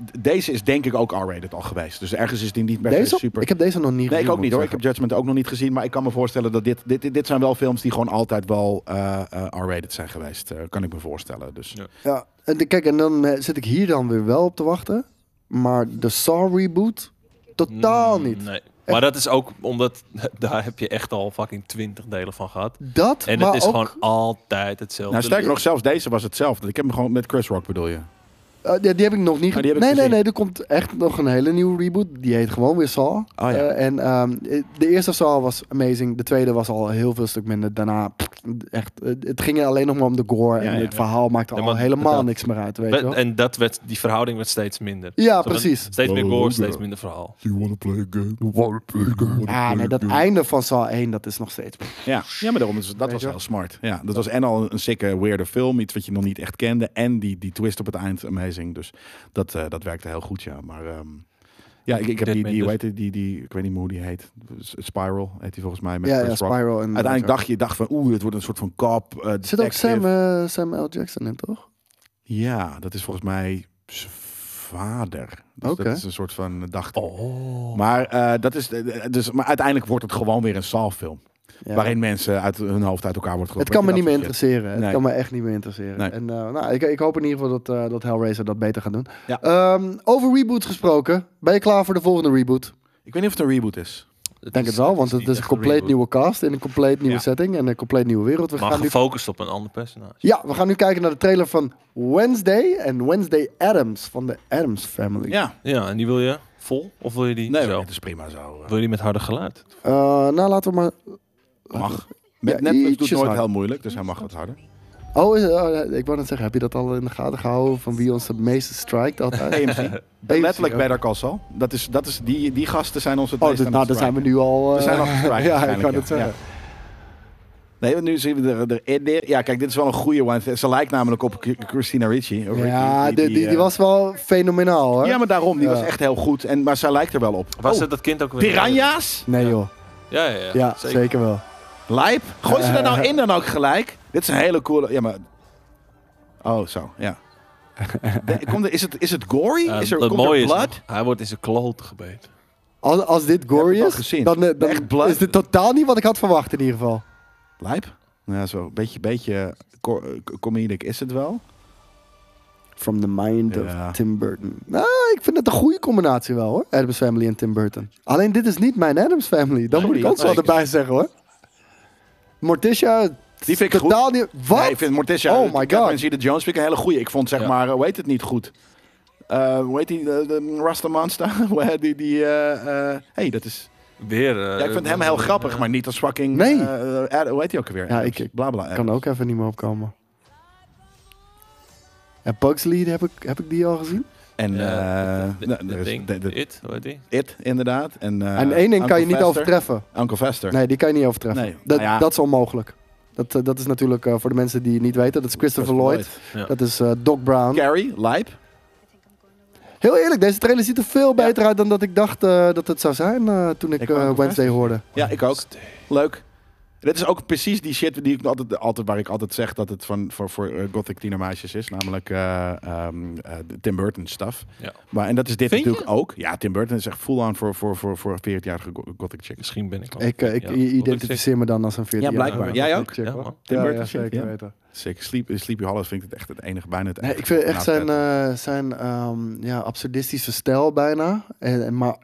Speaker 2: d- deze is denk ik ook R-rated al geweest. Dus ergens is die niet meer
Speaker 4: Deze?
Speaker 2: super...
Speaker 4: Ik heb deze nog niet
Speaker 2: Nee, ik
Speaker 4: gezien,
Speaker 2: ook niet
Speaker 4: moet
Speaker 2: hoor. Ik heb
Speaker 4: zeggen.
Speaker 2: Judgment ook nog niet gezien. Maar ik kan me voorstellen dat dit... Dit, dit, dit zijn wel films die gewoon altijd wel eh, eh, R-rated zijn geweest. eh, kan ik me voorstellen. Dus
Speaker 3: Ja.
Speaker 4: Ja, en de- kijk, en dan eh, zit ik hier dan weer wel op te wachten. Maar de Saw reboot, totaal
Speaker 3: Mm,
Speaker 4: niet.
Speaker 3: Nee. Maar dat is ook omdat <laughs> daar heb je echt al fucking 20 delen van gehad.
Speaker 4: Dat,
Speaker 3: En
Speaker 4: maar
Speaker 3: het is
Speaker 4: ook,
Speaker 3: gewoon altijd hetzelfde.
Speaker 2: nou, sterker nog, zelfs deze was hetzelfde. Ik heb hem gewoon met Chris Rock bedoel je.
Speaker 4: eh, die, die heb ik nog niet.
Speaker 2: Oh, die heb ik
Speaker 4: nee, nee,
Speaker 2: gezien.
Speaker 4: nee, er komt echt nog een hele nieuwe reboot. Die heet gewoon weer Saw.
Speaker 2: Oh, ja.
Speaker 4: Eh, en ehm, de eerste Saw was amazing. De tweede was al een heel veel stuk minder. Daarna pff, echt, eh, het ging er alleen nog maar om de gore.
Speaker 2: Ja,
Speaker 4: en
Speaker 2: ja,
Speaker 4: het
Speaker 2: ja.
Speaker 4: verhaal maakte
Speaker 3: Ja,
Speaker 4: al
Speaker 3: want
Speaker 4: helemaal
Speaker 3: dat-
Speaker 4: niks meer uit, weet je
Speaker 3: We-
Speaker 4: wel.
Speaker 3: en dat werd, die verhouding werd steeds minder.
Speaker 4: Ja,
Speaker 3: Zo dan
Speaker 4: precies.
Speaker 3: Steeds meer gore,
Speaker 2: Oh,
Speaker 3: steeds
Speaker 2: ja.
Speaker 3: minder verhaal.
Speaker 2: You wanna play a game?
Speaker 4: Ja, Ah, nee,
Speaker 2: Mm-hmm.
Speaker 4: dat einde van Saw 1, dat is nog steeds...
Speaker 2: Ja, ja maar daarom, is- dat
Speaker 4: je
Speaker 2: was
Speaker 4: wel?
Speaker 2: heel smart. Ja, dat was en al een- een sikke, weirde film. Iets wat je nog niet echt kende. En die, die twist op het eind, amazing. Dus dat, eh, dat werkte heel goed, ja. Maar ehm, ja, ik, ik heb
Speaker 3: Dead
Speaker 2: die,
Speaker 3: Man
Speaker 2: die,
Speaker 3: dus.
Speaker 2: hoe heet die, die, die, ik weet niet meer hoe die heet. S- Spiral heet die volgens mij met
Speaker 4: Ja, ja,
Speaker 2: Chris Rock.
Speaker 4: Spiral. En
Speaker 2: Uiteindelijk dacht je dacht van, oeh, het wordt een soort van kop. eh,
Speaker 4: Er zit ook
Speaker 2: detective.
Speaker 4: Sam, eh, Sam L. Jackson in, toch?
Speaker 2: Ja, dat is volgens mij zijn vader. Dus
Speaker 4: Oké.
Speaker 2: dat is een soort van dacht.
Speaker 3: Oh.
Speaker 2: Maar, eh, dat is, eh, dus, maar uiteindelijk wordt het gewoon weer een Saw-film.
Speaker 4: Ja.
Speaker 2: Waarin mensen uit hun hoofd uit elkaar wordt
Speaker 4: Het
Speaker 2: gelopen.
Speaker 4: kan me niet meer
Speaker 2: Dat soort shit.
Speaker 4: interesseren.
Speaker 2: Nee.
Speaker 4: Het kan me echt niet meer interesseren.
Speaker 2: Nee.
Speaker 4: En eh, nou, ik, ik hoop in ieder geval dat, eh, dat Hellraiser dat beter gaat doen.
Speaker 2: Ja.
Speaker 4: Ehm, over reboot gesproken. Ben je klaar voor de volgende reboot?
Speaker 2: Ik weet niet of het een reboot is.
Speaker 4: Ik denk het wel, want het is een compleet nieuwe cast in een compleet nieuwe
Speaker 2: Ja.
Speaker 4: setting en een compleet nieuwe wereld. We
Speaker 3: Maar
Speaker 4: gaan nu,
Speaker 3: gefocust op een ander personage.
Speaker 4: ja, we gaan nu kijken naar de trailer van Wednesday en Wednesday Adams van de Adams Family.
Speaker 2: Ja.
Speaker 3: Ja, en die wil je vol? Of wil je die
Speaker 2: Nee,
Speaker 3: zo?
Speaker 2: het is prima zo. eh.
Speaker 3: Wil je die met harder geluid?
Speaker 4: Eh, nou, laten we maar...
Speaker 2: Mag. Met
Speaker 4: Ja,
Speaker 2: Netflix doet
Speaker 4: ietsjes
Speaker 2: nooit
Speaker 4: harder.
Speaker 2: heel moeilijk, dus hij mag wat
Speaker 4: <laughs>
Speaker 2: harder.
Speaker 4: Oh, is- oh, ik wou net zeggen, heb je dat al in de gaten gehouden van wie ons het meeste strikt altijd?
Speaker 2: AMC.
Speaker 4: AMC,
Speaker 2: Letterlijk
Speaker 4: ja.
Speaker 2: Better Call Saul. Dat is, dat is, die, die gasten zijn ons het
Speaker 4: Oh,
Speaker 2: meest
Speaker 4: dit,
Speaker 2: aan het
Speaker 4: nou, dan zijn we
Speaker 2: strijken.
Speaker 4: nu al... eh,
Speaker 2: zijn al gestrikt
Speaker 4: <laughs> ja, ik kan
Speaker 2: waarschijnlijk,
Speaker 4: het
Speaker 2: ja.
Speaker 4: zeggen.
Speaker 2: Nee, want nu zien we er, er, er- Ja, kijk, dit is wel een goede one. Ze lijkt namelijk op K- Christina Ricci. Ricky,
Speaker 4: Ja, die, die, die,
Speaker 2: eh,
Speaker 4: was wel fenomenaal hoor.
Speaker 2: Ja, maar daarom. Die
Speaker 4: Ja.
Speaker 2: was echt heel goed. En, maar zij lijkt er wel op.
Speaker 3: Was
Speaker 2: Oh,
Speaker 3: het dat kind ook weer?
Speaker 2: Piranha's?
Speaker 4: Nee joh,
Speaker 3: Ja, ja, ja.
Speaker 4: ja, zeker. wel.
Speaker 2: Lijp? Gooi ze er
Speaker 4: Eh.
Speaker 2: nou in dan ook gelijk? Dit is een hele coole... Ja, maar... Oh, zo.
Speaker 4: <laughs>
Speaker 2: Ja. Nee, Komt er, is, het, is het gory?
Speaker 3: Eh,
Speaker 2: is er,
Speaker 3: het
Speaker 2: komt er
Speaker 3: mooie is,
Speaker 2: blood?
Speaker 3: nog, hij wordt in zijn kloot gebeten.
Speaker 4: Als, als dit
Speaker 2: Heb
Speaker 4: gory
Speaker 2: ik al
Speaker 4: is,
Speaker 2: gezien.
Speaker 4: dan, eh, dan
Speaker 2: Echt blood.
Speaker 4: is dit totaal niet wat ik had verwacht in ieder geval.
Speaker 2: Lijp? Ja, zo. Beetje, beetje co- eh, comedic is het wel.
Speaker 4: From the mind
Speaker 2: Ja.
Speaker 4: of Tim Burton. Nou, ik vind het een goede combinatie wel hoor. Adams Family en Tim Burton. Alleen dit is niet mijn Adams Family. Dat
Speaker 2: Nee,
Speaker 4: moet ik
Speaker 2: dat
Speaker 4: ook wel
Speaker 2: zeker.
Speaker 4: erbij zeggen hoor. Morticia,
Speaker 2: Die vind ik
Speaker 4: totaal niet... Wat?
Speaker 2: Nee, ik vind Morticia...
Speaker 4: Oh my god.
Speaker 2: Catherine Zeta-Jones vind ik een hele goeie. Ik vond zeg
Speaker 3: Ja.
Speaker 2: maar, eh, hoe heet het niet goed? Eh, hoe heet die? De, de Rasta Monster? <laughs> Hoe heet die... die eh, eh, hey, dat is...
Speaker 3: Weer. eh,
Speaker 2: Ja, ik vind hem heel grappig, maar niet als fucking...
Speaker 4: Nee.
Speaker 2: eh, eh, Ad- hoe heet hij ook alweer?
Speaker 4: Ja,
Speaker 2: Adams.
Speaker 4: ik- ik
Speaker 2: Bla, bla,
Speaker 4: Ik kan
Speaker 2: Adams.
Speaker 4: ook even niet meer opkomen. En Pugsley, heb ik, heb ik die al gezien?
Speaker 2: En
Speaker 3: Ja,
Speaker 2: eh,
Speaker 3: de-
Speaker 2: nou,
Speaker 3: de
Speaker 2: er is
Speaker 3: ding.
Speaker 2: de- de-
Speaker 3: It, hoe heet die?
Speaker 2: It, inderdaad. En, eh,
Speaker 4: en één ding kan je
Speaker 2: Uncle
Speaker 4: niet
Speaker 2: Fester.
Speaker 4: overtreffen.
Speaker 2: Uncle Fester.
Speaker 4: Nee, die kan je niet overtreffen.
Speaker 2: Nee,
Speaker 4: Dat,
Speaker 2: nou ja.
Speaker 4: dat is onmogelijk. Dat, eh, dat is natuurlijk eh, voor de mensen die het niet weten. Dat is Christopher Lloyd.
Speaker 3: Ja.
Speaker 4: Dat is eh, Doc Brown.
Speaker 2: Carrie, Lijp.
Speaker 4: Heel eerlijk, deze trailer ziet er veel beter uit dan dat ik dacht eh, dat het zou zijn eh, toen ik,
Speaker 2: Ik
Speaker 4: eh,
Speaker 2: wou ook
Speaker 4: Wednesday hoorde.
Speaker 2: Ja, ik ook. Leuk. Dit is ook precies die shit die ik altijd, altijd, waar ik altijd zeg dat het van, voor, voor eh, gothic tienermeisjes is. Namelijk eh, ehm, eh, de Tim Burton stuff.
Speaker 3: Ja.
Speaker 2: Maar, en dat is dit
Speaker 3: Vind je?
Speaker 2: natuurlijk ook. Ja, Tim Burton is echt full-on voor, voor, voor, voor 40-jarige go- gothic chicks.
Speaker 3: Misschien ben ik al.
Speaker 4: Ik, eh, ik
Speaker 3: Ja, wat
Speaker 4: identificeer me dan als een 14
Speaker 2: Ja, blijkbaar. Jij ook?
Speaker 3: Ja, man.
Speaker 2: Tim
Speaker 4: ja,
Speaker 2: Burton
Speaker 4: ja,
Speaker 2: shit,
Speaker 4: zeker
Speaker 2: ja.
Speaker 4: weten.
Speaker 2: Sick. Sleep, Sleepy Hollows vind ik het echt het enige bijna het
Speaker 4: Nee,
Speaker 2: enige
Speaker 4: ik vind echt zijn,
Speaker 2: naadvet.
Speaker 4: eh, zijn ehm, ja, absurdistische stijl bijna. eh, En, en maar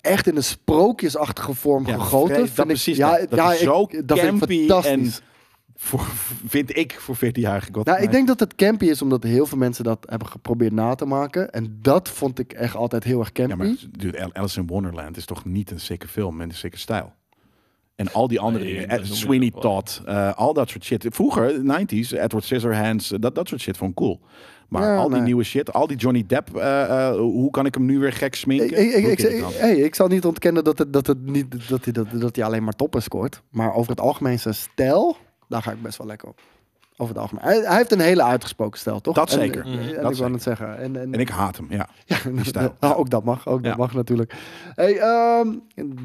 Speaker 4: echt in een sprookjesachtige vorm
Speaker 2: Ja,
Speaker 4: gegoten.
Speaker 2: vrees-
Speaker 4: vind
Speaker 2: dat
Speaker 4: ik,
Speaker 2: precies,
Speaker 4: Ja,
Speaker 2: dat- dat
Speaker 4: ja,
Speaker 2: is
Speaker 4: ik-
Speaker 2: zo
Speaker 4: dat vind
Speaker 2: campy en-
Speaker 4: ik fantastisch.
Speaker 2: voor, vind ik voor 14-jarige gothic
Speaker 4: Nou, ik denk dat het campy is omdat heel veel mensen dat hebben geprobeerd na te maken. En dat vond ik echt altijd heel erg
Speaker 2: Ja,
Speaker 4: campy.
Speaker 2: maar dude, Al- Alice in Wonderland is toch niet een sikke film en een sikke stijl. En al die andere
Speaker 3: Nee,
Speaker 2: dingen,
Speaker 3: dat
Speaker 2: eh,
Speaker 3: noem je
Speaker 2: Sweeney
Speaker 3: wel.
Speaker 2: Todd, eh, al dat soort shit. Vroeger, 90s, Edward Scissorhands, eh, dat, dat soort shit vond ik cool. Maar
Speaker 4: Ja,
Speaker 2: al die
Speaker 4: nee.
Speaker 2: nieuwe shit, al die Johnny Depp, eh, eh, hoe kan ik hem nu weer gek sminken?
Speaker 4: Ik, ik, ik,
Speaker 2: Doe
Speaker 4: ik,
Speaker 2: dit
Speaker 4: ik-
Speaker 2: dan.
Speaker 4: hey, ik zal niet ontkennen dat, het, dat, het niet, dat, hij, dat, dat hij alleen maar toppen scoort. Maar over het algemeen zijn stijl, daar ga ik best wel lekker op. Over het algemeen. Hij, hij heeft een hele uitgesproken stijl, toch?
Speaker 2: Dat
Speaker 4: En-
Speaker 2: zeker.
Speaker 4: En,
Speaker 2: Mhm.
Speaker 4: ik
Speaker 2: Dat
Speaker 4: wou
Speaker 2: zeker.
Speaker 4: net zeggen. En, en,
Speaker 2: En ik haat hem, ja.
Speaker 4: <laughs>
Speaker 2: die stijl.
Speaker 4: Ah, ook dat mag, ook dat
Speaker 2: Ja.
Speaker 4: mag natuurlijk. Hey, ehm,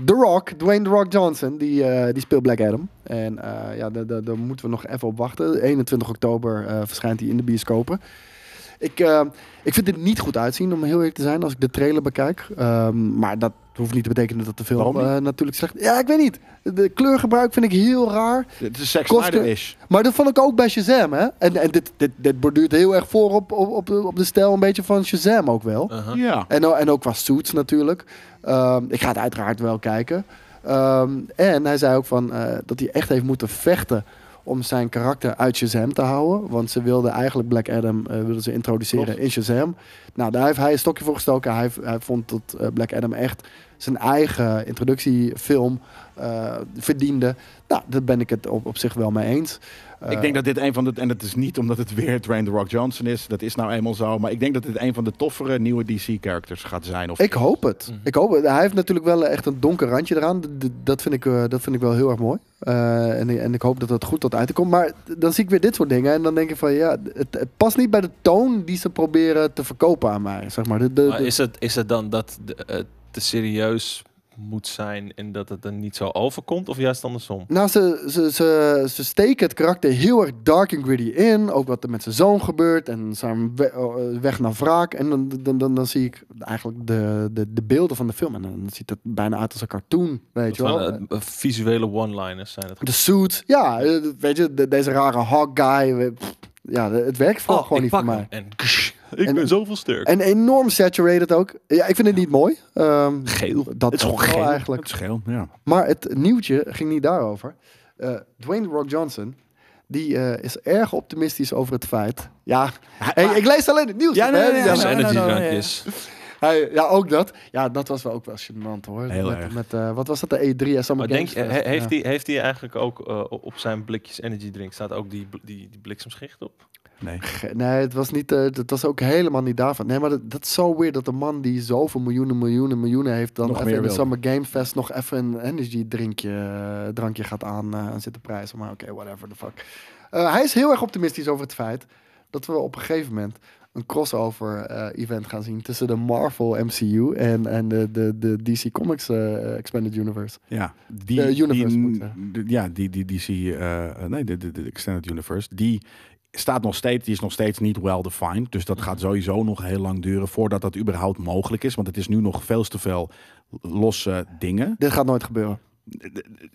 Speaker 4: The Rock, Dwayne The Rock Johnson, die, eh, die speelt Black Adam. En eh, ja, daar- daar daar moeten we nog even op wachten. 21 oktober eh, verschijnt hij in de bioscopen. Ik, eh, ik vind dit niet goed uitzien, om heel eerlijk te zijn, als ik de trailer bekijk. Ehm, maar dat hoeft niet te betekenen dat de film
Speaker 2: Waarom niet?
Speaker 4: eh, natuurlijk slecht... Ja, ik weet niet. De kleurgebruik vind ik heel raar.
Speaker 2: Het is Zack
Speaker 4: Kosten-
Speaker 2: Snyder-ish.
Speaker 4: Maar dat vond ik ook bij Shazam, hè? En, en dit, dit, dit borduurt heel erg voor op, op, op, de- op de stijl een beetje van Shazam ook wel.
Speaker 3: Uh-huh.
Speaker 2: Ja.
Speaker 4: En, o- en ook qua suits natuurlijk. Ehm, ik ga het uiteraard wel kijken. Ehm, en hij zei ook van, eh, dat hij echt heeft moeten vechten om zijn karakter uit Shazam te houden. Want ze wilden eigenlijk Black Adam eh, wilden ze introduceren
Speaker 2: Klopt.
Speaker 4: in Shazam. Nou, daar heeft hij een stokje voor gestoken. Hij, hij vond dat eh, Black Adam echt zijn eigen introductiefilm eh, verdiende. Nou, daar ben ik het op, op zich wel mee eens.
Speaker 2: ik denk dat dit een van de. En dat is niet omdat het weer Dwayne The Rock Johnson is. Dat is nou eenmaal zo. Maar ik denk dat dit een van de toffere nieuwe DC-characters gaat zijn. Of
Speaker 4: Ik hoop het.
Speaker 3: Mhm.
Speaker 4: Ik hoop het. Hij heeft natuurlijk wel eh, echt een donker randje eraan. D- d- Dat vind ik, eh, dat vind ik wel heel erg mooi. Eh, en, en ik hoop dat dat goed tot uitkomt. Maar dan zie ik weer dit soort dingen. En dan denk ik van ja, het, het past niet bij de toon die ze proberen te verkopen aan mij. Zeg maar. De, de-
Speaker 3: Maar
Speaker 4: de-
Speaker 3: is het, is het dan dat de- het te serieus moet zijn en dat het er niet zo overkomt? Of juist andersom?
Speaker 4: Nou, ze, ze, ze, ze steken het karakter heel erg dark en gritty in. Ook wat er met zijn zoon gebeurt en zijn we- eh, weg naar wraak. En dan, dan, dan, dan zie ik eigenlijk de, de, de beelden van de film. En dan ziet het bijna uit als een cartoon, weet je
Speaker 3: Dat
Speaker 4: wel.
Speaker 3: van, eh, eh, visuele one-liners zijn het.
Speaker 4: De suit. Ja, eh, weet je, de- deze rare hawk guy. we- pff, Ja, de- het werkt
Speaker 2: Oh,
Speaker 4: vooral gewoon niet voor mij.
Speaker 3: En ik
Speaker 4: En-
Speaker 3: ben zoveel sterk.
Speaker 4: En enorm saturated ook. Ja, ik vind het niet mooi. Ehm,
Speaker 3: geel.
Speaker 4: dat
Speaker 3: Het is gewoon
Speaker 4: wel
Speaker 3: geel.
Speaker 4: eigenlijk.
Speaker 2: Het scheel, ja.
Speaker 4: Maar het nieuwtje ging niet daarover. Eh, Dwayne The Rock Johnson, die eh, is erg optimistisch over het feit... Ja, hey, ik lees alleen het nieuws.
Speaker 2: Ja,
Speaker 4: hè,
Speaker 2: nee, nee,
Speaker 4: die
Speaker 2: nee,
Speaker 4: dagen.
Speaker 2: nee, nee.
Speaker 3: energiedrankjes.
Speaker 4: Hij- ja, ook dat. Ja, dat was wel ook wel gênant hoor.
Speaker 2: Heel
Speaker 4: met,
Speaker 2: erg.
Speaker 4: Met, eh, wat was dat, de E3 en Summer
Speaker 3: Maar denk, je,
Speaker 4: Games
Speaker 3: he-
Speaker 4: Fest?
Speaker 3: heeft
Speaker 4: Ja.
Speaker 3: hij heeft hij eigenlijk ook eh, op- op zijn blikjes energy drink staat ook die, bl- die, die bliksemschicht op?
Speaker 2: Nee.
Speaker 4: Ge- Nee, het was, niet, eh, dat was ook helemaal niet daarvan. Nee, maar dat, dat is zo weird dat een man die zoveel miljoenen, miljoenen, miljoenen heeft... dan
Speaker 2: Nog
Speaker 4: even in
Speaker 2: meer
Speaker 4: de
Speaker 2: wil.
Speaker 4: Summer Game Fest nog even een energy drinkje, eh, drankje gaat aan eh, aan zitten prijzen. Maar oké, whatever the fuck. Eh, hij is heel erg optimistisch over het feit dat we op een gegeven moment een crossover eh, event gaan zien... tussen de Marvel MCU en, en de, de, de DC Comics eh, Expanded Universe.
Speaker 2: Ja, die,
Speaker 4: Eh, universe
Speaker 2: die-
Speaker 4: moet ik zeggen.
Speaker 2: de- ja, die, die, die zie je, eh, nee, de, de, de Extended Universe, die staat nog steeds, die is nog steeds niet well defined. Dus dat gaat sowieso nog heel lang duren voordat dat überhaupt mogelijk is. Want het is nu nog veel te veel losse dingen.
Speaker 4: Dit gaat nooit gebeuren.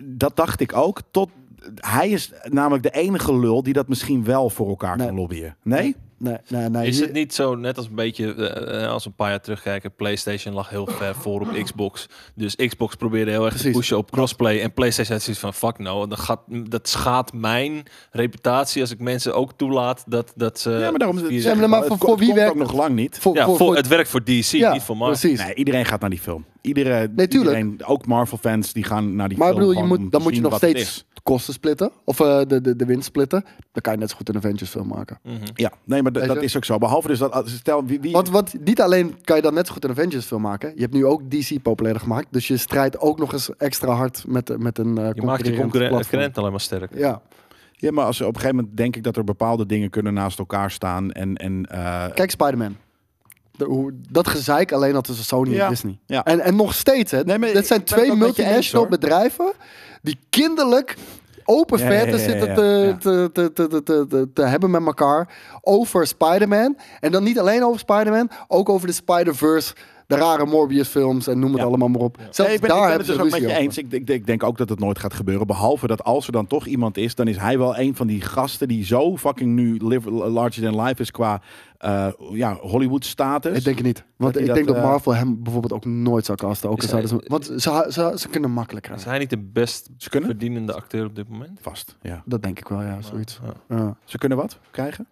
Speaker 2: Dat dacht ik ook, tot hij is namelijk de enige lul die dat misschien wel voor elkaar
Speaker 4: Nee.
Speaker 2: kan lobbyen. Nee?
Speaker 4: Nee, nee, nee.
Speaker 3: Is
Speaker 4: hier-
Speaker 3: het niet zo net als een beetje, eh, eh, als we een paar jaar terugkijken, PlayStation lag heel ver voor op Xbox. Dus Xbox probeerde heel erg
Speaker 4: Precies.
Speaker 3: te pushen op crossplay. En PlayStation had zoiets van, fuck no, dat, gaat, dat schaadt mijn reputatie als ik mensen ook toelaat dat, dat ze...
Speaker 2: ja, maar daarom
Speaker 3: die-
Speaker 2: zeg
Speaker 4: Ja, maar
Speaker 2: ik
Speaker 4: maar
Speaker 2: al,
Speaker 4: voor-
Speaker 2: het ko-
Speaker 4: voor
Speaker 2: het
Speaker 4: wie
Speaker 2: komt
Speaker 4: werkt
Speaker 2: ook nog lang niet.
Speaker 4: voor-
Speaker 3: ja,
Speaker 4: voor-
Speaker 3: voor,
Speaker 4: voor-
Speaker 3: het werk voor DC,
Speaker 4: ja,
Speaker 3: niet voor mij.
Speaker 4: precies.
Speaker 2: Nee, iedereen gaat naar die film. Iedereen,
Speaker 4: Nee, tuurlijk.
Speaker 2: iedereen ook Marvel-fans, die gaan naar die
Speaker 4: Maar ik
Speaker 2: film.
Speaker 4: bedoel, je
Speaker 2: gewoon om
Speaker 4: moet,
Speaker 2: te
Speaker 4: dan moet je
Speaker 2: zien wat
Speaker 4: nog
Speaker 2: het is.
Speaker 4: steeds de kosten splitten. Of eh, de, de, de winst splitten. Dan kan je net zo goed een Avengers film maken.
Speaker 3: Mhm.
Speaker 2: Hm. Ja, nee, maar d-
Speaker 4: Weet je?
Speaker 2: dat is ook zo. Behalve dus dat, als- stel, wie, wie,
Speaker 4: Want, want niet alleen kan je dan net zo goed een Avengers film maken. Je hebt nu ook DC populair gemaakt. Dus je strijdt ook nog eens extra hard met, met een eh
Speaker 3: Je maakt je
Speaker 4: concurrerend
Speaker 3: concurrent
Speaker 4: platform.
Speaker 3: concurrent alleen maar sterker.
Speaker 4: Ja.
Speaker 2: ja, maar als, op een gegeven moment denk ik dat er bepaalde dingen kunnen naast elkaar staan. En, en, eh,
Speaker 4: Kijk Spider-Man. De- hoe- Dat gezeik alleen al tussen Sony
Speaker 2: Ja,
Speaker 4: en Disney.
Speaker 2: ja.
Speaker 4: En, en nog steeds, hè.
Speaker 2: Nee, maar
Speaker 4: dat
Speaker 2: ik
Speaker 4: zijn
Speaker 2: ben het
Speaker 4: twee
Speaker 2: ook met je
Speaker 4: multinational
Speaker 2: eens, hoor.
Speaker 4: bedrijven die kinderlijk open
Speaker 2: Ja, ja,
Speaker 4: verte
Speaker 2: ja, ja,
Speaker 4: zitten
Speaker 2: ja.
Speaker 4: te,
Speaker 2: Ja.
Speaker 4: te, te, te, te, te, te- te hebben met elkaar over Spider-Man. En dan niet alleen over Spider-Man, ook over de Spider-Verse, de rare Morbius-films en noem het
Speaker 2: Ja.
Speaker 4: allemaal maar op. Zelfs
Speaker 2: nee, ik ben,
Speaker 4: daar
Speaker 2: ik ben
Speaker 4: hebben
Speaker 2: het dus
Speaker 4: ze
Speaker 2: ook met
Speaker 4: ruzie
Speaker 2: je
Speaker 4: over.
Speaker 2: eens. Ik, denk- ik denk ook dat het nooit gaat gebeuren. Behalve dat als er dan toch iemand is, dan is hij wel een van die gasten die zo fucking nu live, larger than life is qua eh, ja, Hollywood-status.
Speaker 4: Ik denk het niet. Want
Speaker 2: Dat
Speaker 4: ik
Speaker 2: hij
Speaker 4: denk
Speaker 2: dat,
Speaker 4: dat
Speaker 2: eh,
Speaker 4: Marvel hem bijvoorbeeld ook nooit zou casten.
Speaker 3: Is
Speaker 4: Ook al zouden
Speaker 3: hij-
Speaker 4: ze, want ze, ze, ze kunnen makkelijk
Speaker 3: Is
Speaker 4: krijgen.
Speaker 3: hij niet de best
Speaker 2: Ze kunnen?
Speaker 3: verdienende acteur op dit moment?
Speaker 2: Vast, ja.
Speaker 4: Dat denk ik wel, ja, zoiets.
Speaker 3: Ja.
Speaker 4: Ja.
Speaker 2: Ze kunnen wat krijgen?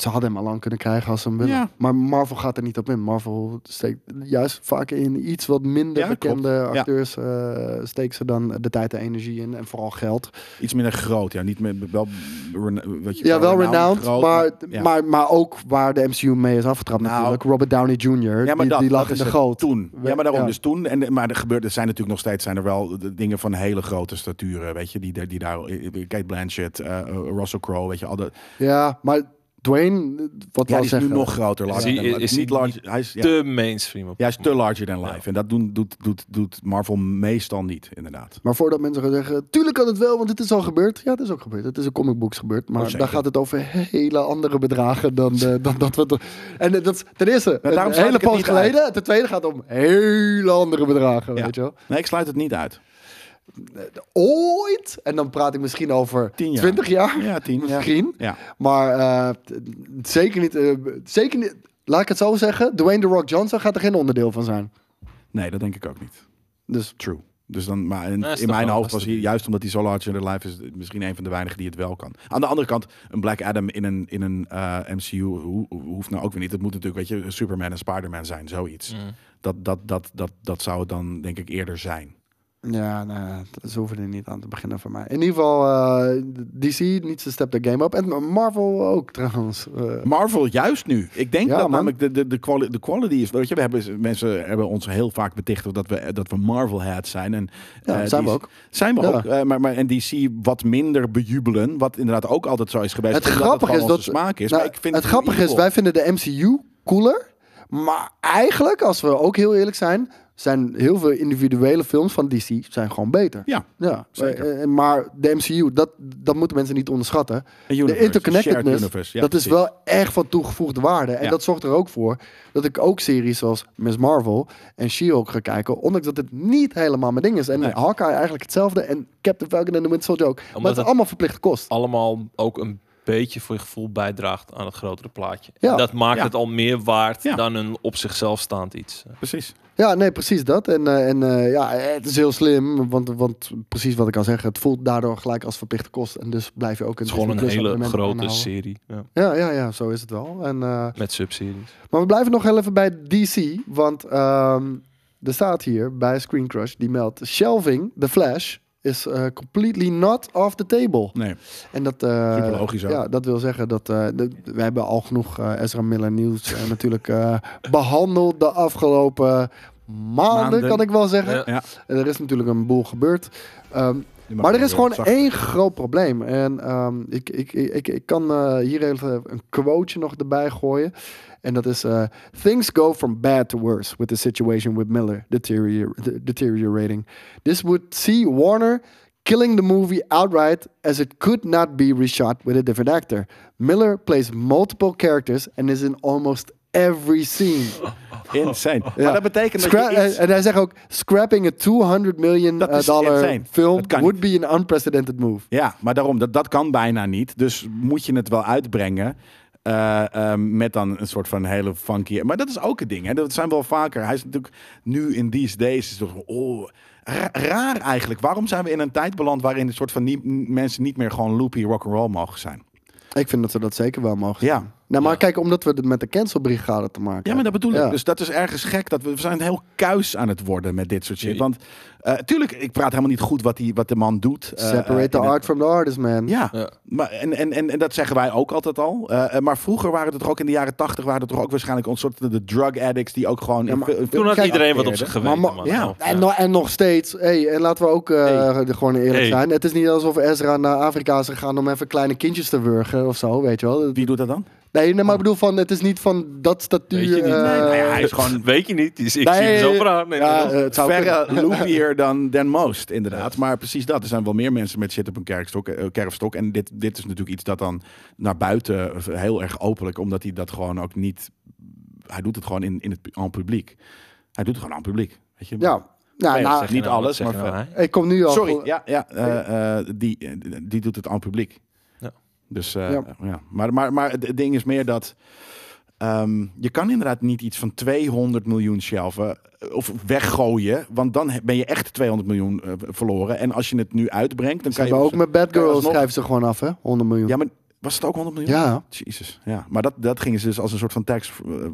Speaker 4: ze hadden hem al lang kunnen krijgen als ze hem willen.
Speaker 2: Ja.
Speaker 4: Maar Marvel gaat er niet op in. Marvel steekt juist vaak in iets wat minder
Speaker 2: Ja,
Speaker 4: bekende
Speaker 2: klopt. Ja.
Speaker 4: acteurs. eh, steekt ze dan de tijd en energie in. En vooral geld.
Speaker 2: Iets minder groot, ja. Niet meer, wel, rena- wat je,
Speaker 4: Ja, wel renowned.
Speaker 2: groot,
Speaker 4: maar,
Speaker 2: ja.
Speaker 4: maar, maar ook waar de MCU mee is afgetrapt
Speaker 2: Nou.
Speaker 4: natuurlijk. Robert Downey Jr.
Speaker 2: Ja, maar
Speaker 4: die,
Speaker 2: dat,
Speaker 4: die lag
Speaker 2: dat
Speaker 4: in
Speaker 2: is
Speaker 4: de
Speaker 2: het.
Speaker 4: goot.
Speaker 2: Toen. Ja, maar daarom
Speaker 4: Ja.
Speaker 2: dus toen. En, maar er, gebeurt, er zijn natuurlijk nog steeds zijn er wel de dingen van hele grote staturen. Weet je, die, daar- die daar. eh, Kate Blanchett, eh, eh, Russell Crowe, weet je, al dat.
Speaker 4: Ja, maar Dwayne, eh, wat
Speaker 2: Ja,
Speaker 4: wou
Speaker 2: die is
Speaker 4: zeggen.
Speaker 2: nu nog groter. Larger
Speaker 3: Is
Speaker 2: than
Speaker 3: hij-
Speaker 2: life.
Speaker 3: is hij
Speaker 2: niet larger, hij is, ja,
Speaker 3: Te mainstream op
Speaker 2: ja, hij is
Speaker 3: dit
Speaker 2: te
Speaker 3: moment.
Speaker 2: larger than life. En dat doen, doet, doet, doet Marvel meestal niet, inderdaad.
Speaker 4: Maar voordat mensen gaan zeggen, tuurlijk kan het wel, want het is al gebeurd. Ja, het is ook gebeurd. Het is in comic books gebeurd. Maar
Speaker 2: Oh, zeker.
Speaker 4: daar gaat het over hele andere bedragen dan, eh, dan dat we... het- En eh, dat is ten eerste
Speaker 2: daarom
Speaker 4: een
Speaker 2: sluit
Speaker 4: hele
Speaker 2: ik het
Speaker 4: poos
Speaker 2: niet
Speaker 4: geleden. Ten tweede gaat het om hele andere bedragen,
Speaker 2: Ja.
Speaker 4: weet je wel.
Speaker 2: Nee, ik sluit het niet uit.
Speaker 4: Ooit, en dan praat ik misschien over
Speaker 2: Tien jaar.
Speaker 4: 20 jaar,
Speaker 2: Ja, tien. Ja.
Speaker 4: misschien.
Speaker 2: Ja.
Speaker 4: Maar eh, t- zeker niet... eh, zeker niet Laat ik het zo zeggen, Dwayne The Rock Johnson gaat er geen onderdeel van zijn.
Speaker 2: Nee, dat denk ik ook niet.
Speaker 4: Dus
Speaker 2: True. Dus dan, maar in,
Speaker 3: Nee, is
Speaker 2: in
Speaker 3: toch
Speaker 2: mijn
Speaker 3: wel
Speaker 2: hoofd was hij,
Speaker 3: lastig.
Speaker 2: juist omdat hij zo larger in the life is, misschien een van de weinigen die het wel kan. Aan de andere kant, een Black Adam in een, in een eh, MCU ho- hoeft nou ook weer niet. Het moet natuurlijk, weet je, Superman en Spider-Man zijn, zoiets.
Speaker 3: Mm.
Speaker 2: Dat, dat, dat, dat, dat zou het dan denk ik eerder zijn.
Speaker 4: Ja, nou, ze hoeven er niet aan te beginnen voor mij. In ieder geval, eh, DC, niet ze step de game op. En Marvel ook trouwens. Eh,
Speaker 2: Marvel juist nu. Ik denk
Speaker 4: Ja,
Speaker 2: dat
Speaker 4: man.
Speaker 2: namelijk de, de, de, quali- de quality is. Weet je, we hebben, mensen hebben ons heel vaak beticht dat we, dat we Marvel heads zijn. En,
Speaker 4: Ja,
Speaker 2: eh,
Speaker 4: zijn we
Speaker 2: die-
Speaker 4: ook.
Speaker 2: Zijn we
Speaker 4: Ja.
Speaker 2: ook. eh, maar, maar, en DC wat minder bejubelen. Wat inderdaad ook altijd zo is geweest.
Speaker 4: het
Speaker 2: omdat
Speaker 4: grappige is
Speaker 2: gewoon
Speaker 4: dat...
Speaker 2: onze smaak is.
Speaker 4: nou,
Speaker 2: maar ik vind
Speaker 4: het
Speaker 2: heel
Speaker 4: grappige is,
Speaker 2: evil.
Speaker 4: wij vinden de MCU cooler. Maar eigenlijk, als we ook heel eerlijk zijn... zijn heel veel individuele films van DC zijn gewoon beter.
Speaker 2: Ja.
Speaker 4: Ja,
Speaker 2: Zeker.
Speaker 4: eh, eh, maar de MCU, dat, dat moeten mensen niet onderschatten.
Speaker 2: universe,
Speaker 4: de interconnectedness,
Speaker 2: shared universe, ja,
Speaker 4: dat is
Speaker 2: precies.
Speaker 4: wel echt van toegevoegde waarde. En
Speaker 2: Ja.
Speaker 4: dat zorgt er ook voor dat ik ook series zoals Miss Marvel en She-Hulk ga kijken. Ondanks dat het niet helemaal mijn ding is. En
Speaker 2: Nee.
Speaker 4: Hawkeye eigenlijk hetzelfde en Captain Falcon en The Winter Soldier ook. maar het is
Speaker 3: het- Oh.
Speaker 4: allemaal verplichte kost.
Speaker 3: allemaal ook een beetje voor je gevoel bijdraagt aan het grotere plaatje.
Speaker 4: Ja.
Speaker 3: En dat maakt
Speaker 2: Ja.
Speaker 3: het al meer waard
Speaker 2: Ja.
Speaker 3: dan een op zichzelf staand iets.
Speaker 2: Precies.
Speaker 4: Ja, nee, precies dat. En, eh, en eh, ja, het is heel slim, want, want precies wat ik al zeg, het voelt daardoor gelijk als verplichte kost. En dus blijf je ook een
Speaker 3: Het is gewoon
Speaker 4: Disney
Speaker 3: een
Speaker 4: Plus
Speaker 3: hele
Speaker 4: abonnement
Speaker 3: grote
Speaker 4: aanhouden.
Speaker 3: serie. Ja.
Speaker 4: Ja, ja, ja, zo is het wel. En, eh,
Speaker 3: Met subsidies.
Speaker 4: Maar we blijven nog heel even bij DC. Want ehm, er staat hier bij Screen Crush, die meldt... Shelving, The Flash, is eh, completely not off the table.
Speaker 2: Nee.
Speaker 4: En dat, eh,
Speaker 2: Super logisch ook.
Speaker 4: ja, dat wil zeggen dat... eh, de- we hebben al genoeg eh, Ezra Miller nieuws eh, natuurlijk eh, behandeld de afgelopen maanden,
Speaker 2: Maanden.
Speaker 4: kan ik wel zeggen.
Speaker 3: Ja.
Speaker 2: Ja.
Speaker 4: En er is natuurlijk een boel gebeurd. Ehm, maar er is gewoon één groot probleem. En ehm, ik, ik, ik, ik, ik kan eh, hier even een quoteje nog erbij gooien. En dat is... eh, Things go from bad to worse with the situation with Miller deterior- de- deteriorating. This would see Warner killing the movie outright as it could not be reshot with a different actor. Miller plays multiple characters and is in almost every scene.
Speaker 2: Insane. Maar dat betekent dat
Speaker 4: Scra- eh,
Speaker 2: je iets...
Speaker 4: en- En hij zegt ook, scrapping a 200 million
Speaker 2: Dat
Speaker 4: eh,
Speaker 2: is
Speaker 4: dollar
Speaker 2: insane.
Speaker 4: film
Speaker 2: Dat kan
Speaker 4: would be an unprecedented move.
Speaker 2: Ja, maar daarom, dat, dat kan bijna niet. Dus moet je het wel uitbrengen. eh, eh, met dan een soort van hele funky. Maar dat is ook het ding. Hè? Dat zijn wel vaker. Hij is natuurlijk nu in these days. Is toch, oh, ra- raar eigenlijk. Waarom zijn we in een tijd beland waarin een soort van niet, m- mensen niet meer gewoon loopy rock'n'roll mogen zijn?
Speaker 4: Ik vind dat ze dat zeker wel mogen
Speaker 2: Ja.
Speaker 4: doen. Nou, maar kijk, omdat we het met de cancelbrigade te maken
Speaker 2: Ja, maar dat bedoel ik.
Speaker 4: Ja.
Speaker 2: Dus dat is ergens gek. Dat we, we zijn heel kuis aan het worden met dit soort shit.
Speaker 3: Ja.
Speaker 2: Want eh, tuurlijk, ik praat helemaal niet goed wat, die, wat de man doet. Eh, eh,
Speaker 4: Separate
Speaker 2: in
Speaker 4: the
Speaker 2: het-
Speaker 4: art from the artist, man.
Speaker 2: Ja,
Speaker 3: Ja.
Speaker 2: Maar, en, en, en, en dat zeggen wij ook altijd al. Eh, eh, maar vroeger waren het toch ook in de jaren tachtig... waren het toch ook waarschijnlijk een soort de, de drug addicts... die ook gewoon... in
Speaker 4: maar
Speaker 2: veel- in veel-
Speaker 3: Toen had
Speaker 4: Kijk,
Speaker 3: iedereen wat op zich
Speaker 2: acteerde.
Speaker 3: geweten.
Speaker 4: Maar-
Speaker 3: man.
Speaker 2: ja.
Speaker 3: Oh,
Speaker 4: En, no- en nog steeds, hey, en laten we ook eh,
Speaker 2: Hey.
Speaker 4: de- gewoon eerlijk
Speaker 3: Hey.
Speaker 4: zijn. Het is niet alsof Ezra naar Afrika is gegaan om even kleine kindjes te wurgen of zo, weet je wel.
Speaker 2: Wie doet dat dan?
Speaker 4: Nee, nee maar ik bedoel van, het is niet van dat statuur.
Speaker 3: Weet je niet.
Speaker 4: eh,
Speaker 3: Nee, nou
Speaker 2: ja, hij is gewoon-
Speaker 3: <laughs> Weet je niet. Dus ik
Speaker 4: Nee,
Speaker 3: zie hem zo verhaal.
Speaker 4: ja, eh, het zou
Speaker 3: <laughs>
Speaker 4: kunnen.
Speaker 2: Verre loopier dan dan most, inderdaad. Maar precies dat. Er zijn wel meer mensen met shit op een kerkstok, eh, kerfstok. En dit, dit is natuurlijk iets dat dan naar buiten... eh, heel erg openlijk, omdat hij dat gewoon ook niet... Hij doet het gewoon in, in het pu- aan publiek. Hij doet het gewoon aan het publiek. Weet je?
Speaker 4: Ja, nou,
Speaker 2: Nee,
Speaker 4: nou,
Speaker 2: zeg niet alles, maar
Speaker 4: ik kom nu al...
Speaker 2: Sorry, ja, ja eh, eh, die, eh, die doet het aan het publiek.
Speaker 3: Ja.
Speaker 2: Dus eh,
Speaker 4: Ja.
Speaker 2: ja. Maar, maar, maar het ding is meer dat. ehm, je kan inderdaad niet iets van 200 miljoen shelven eh, of weggooien, want dan he- ben je echt 200 miljoen eh, verloren. En als je het nu uitbrengt, dan
Speaker 4: Ze
Speaker 2: kan je
Speaker 4: hebben ook met Bad
Speaker 2: kan je
Speaker 4: Girls
Speaker 2: alsnog-
Speaker 4: schrijven ze gewoon af, hè? 100 miljoen.
Speaker 2: Ja, maar was het ook 100 miljoen?
Speaker 4: Ja,
Speaker 2: Jezus. Ja, maar dat, dat gingen ze dus als een soort van tax. eh,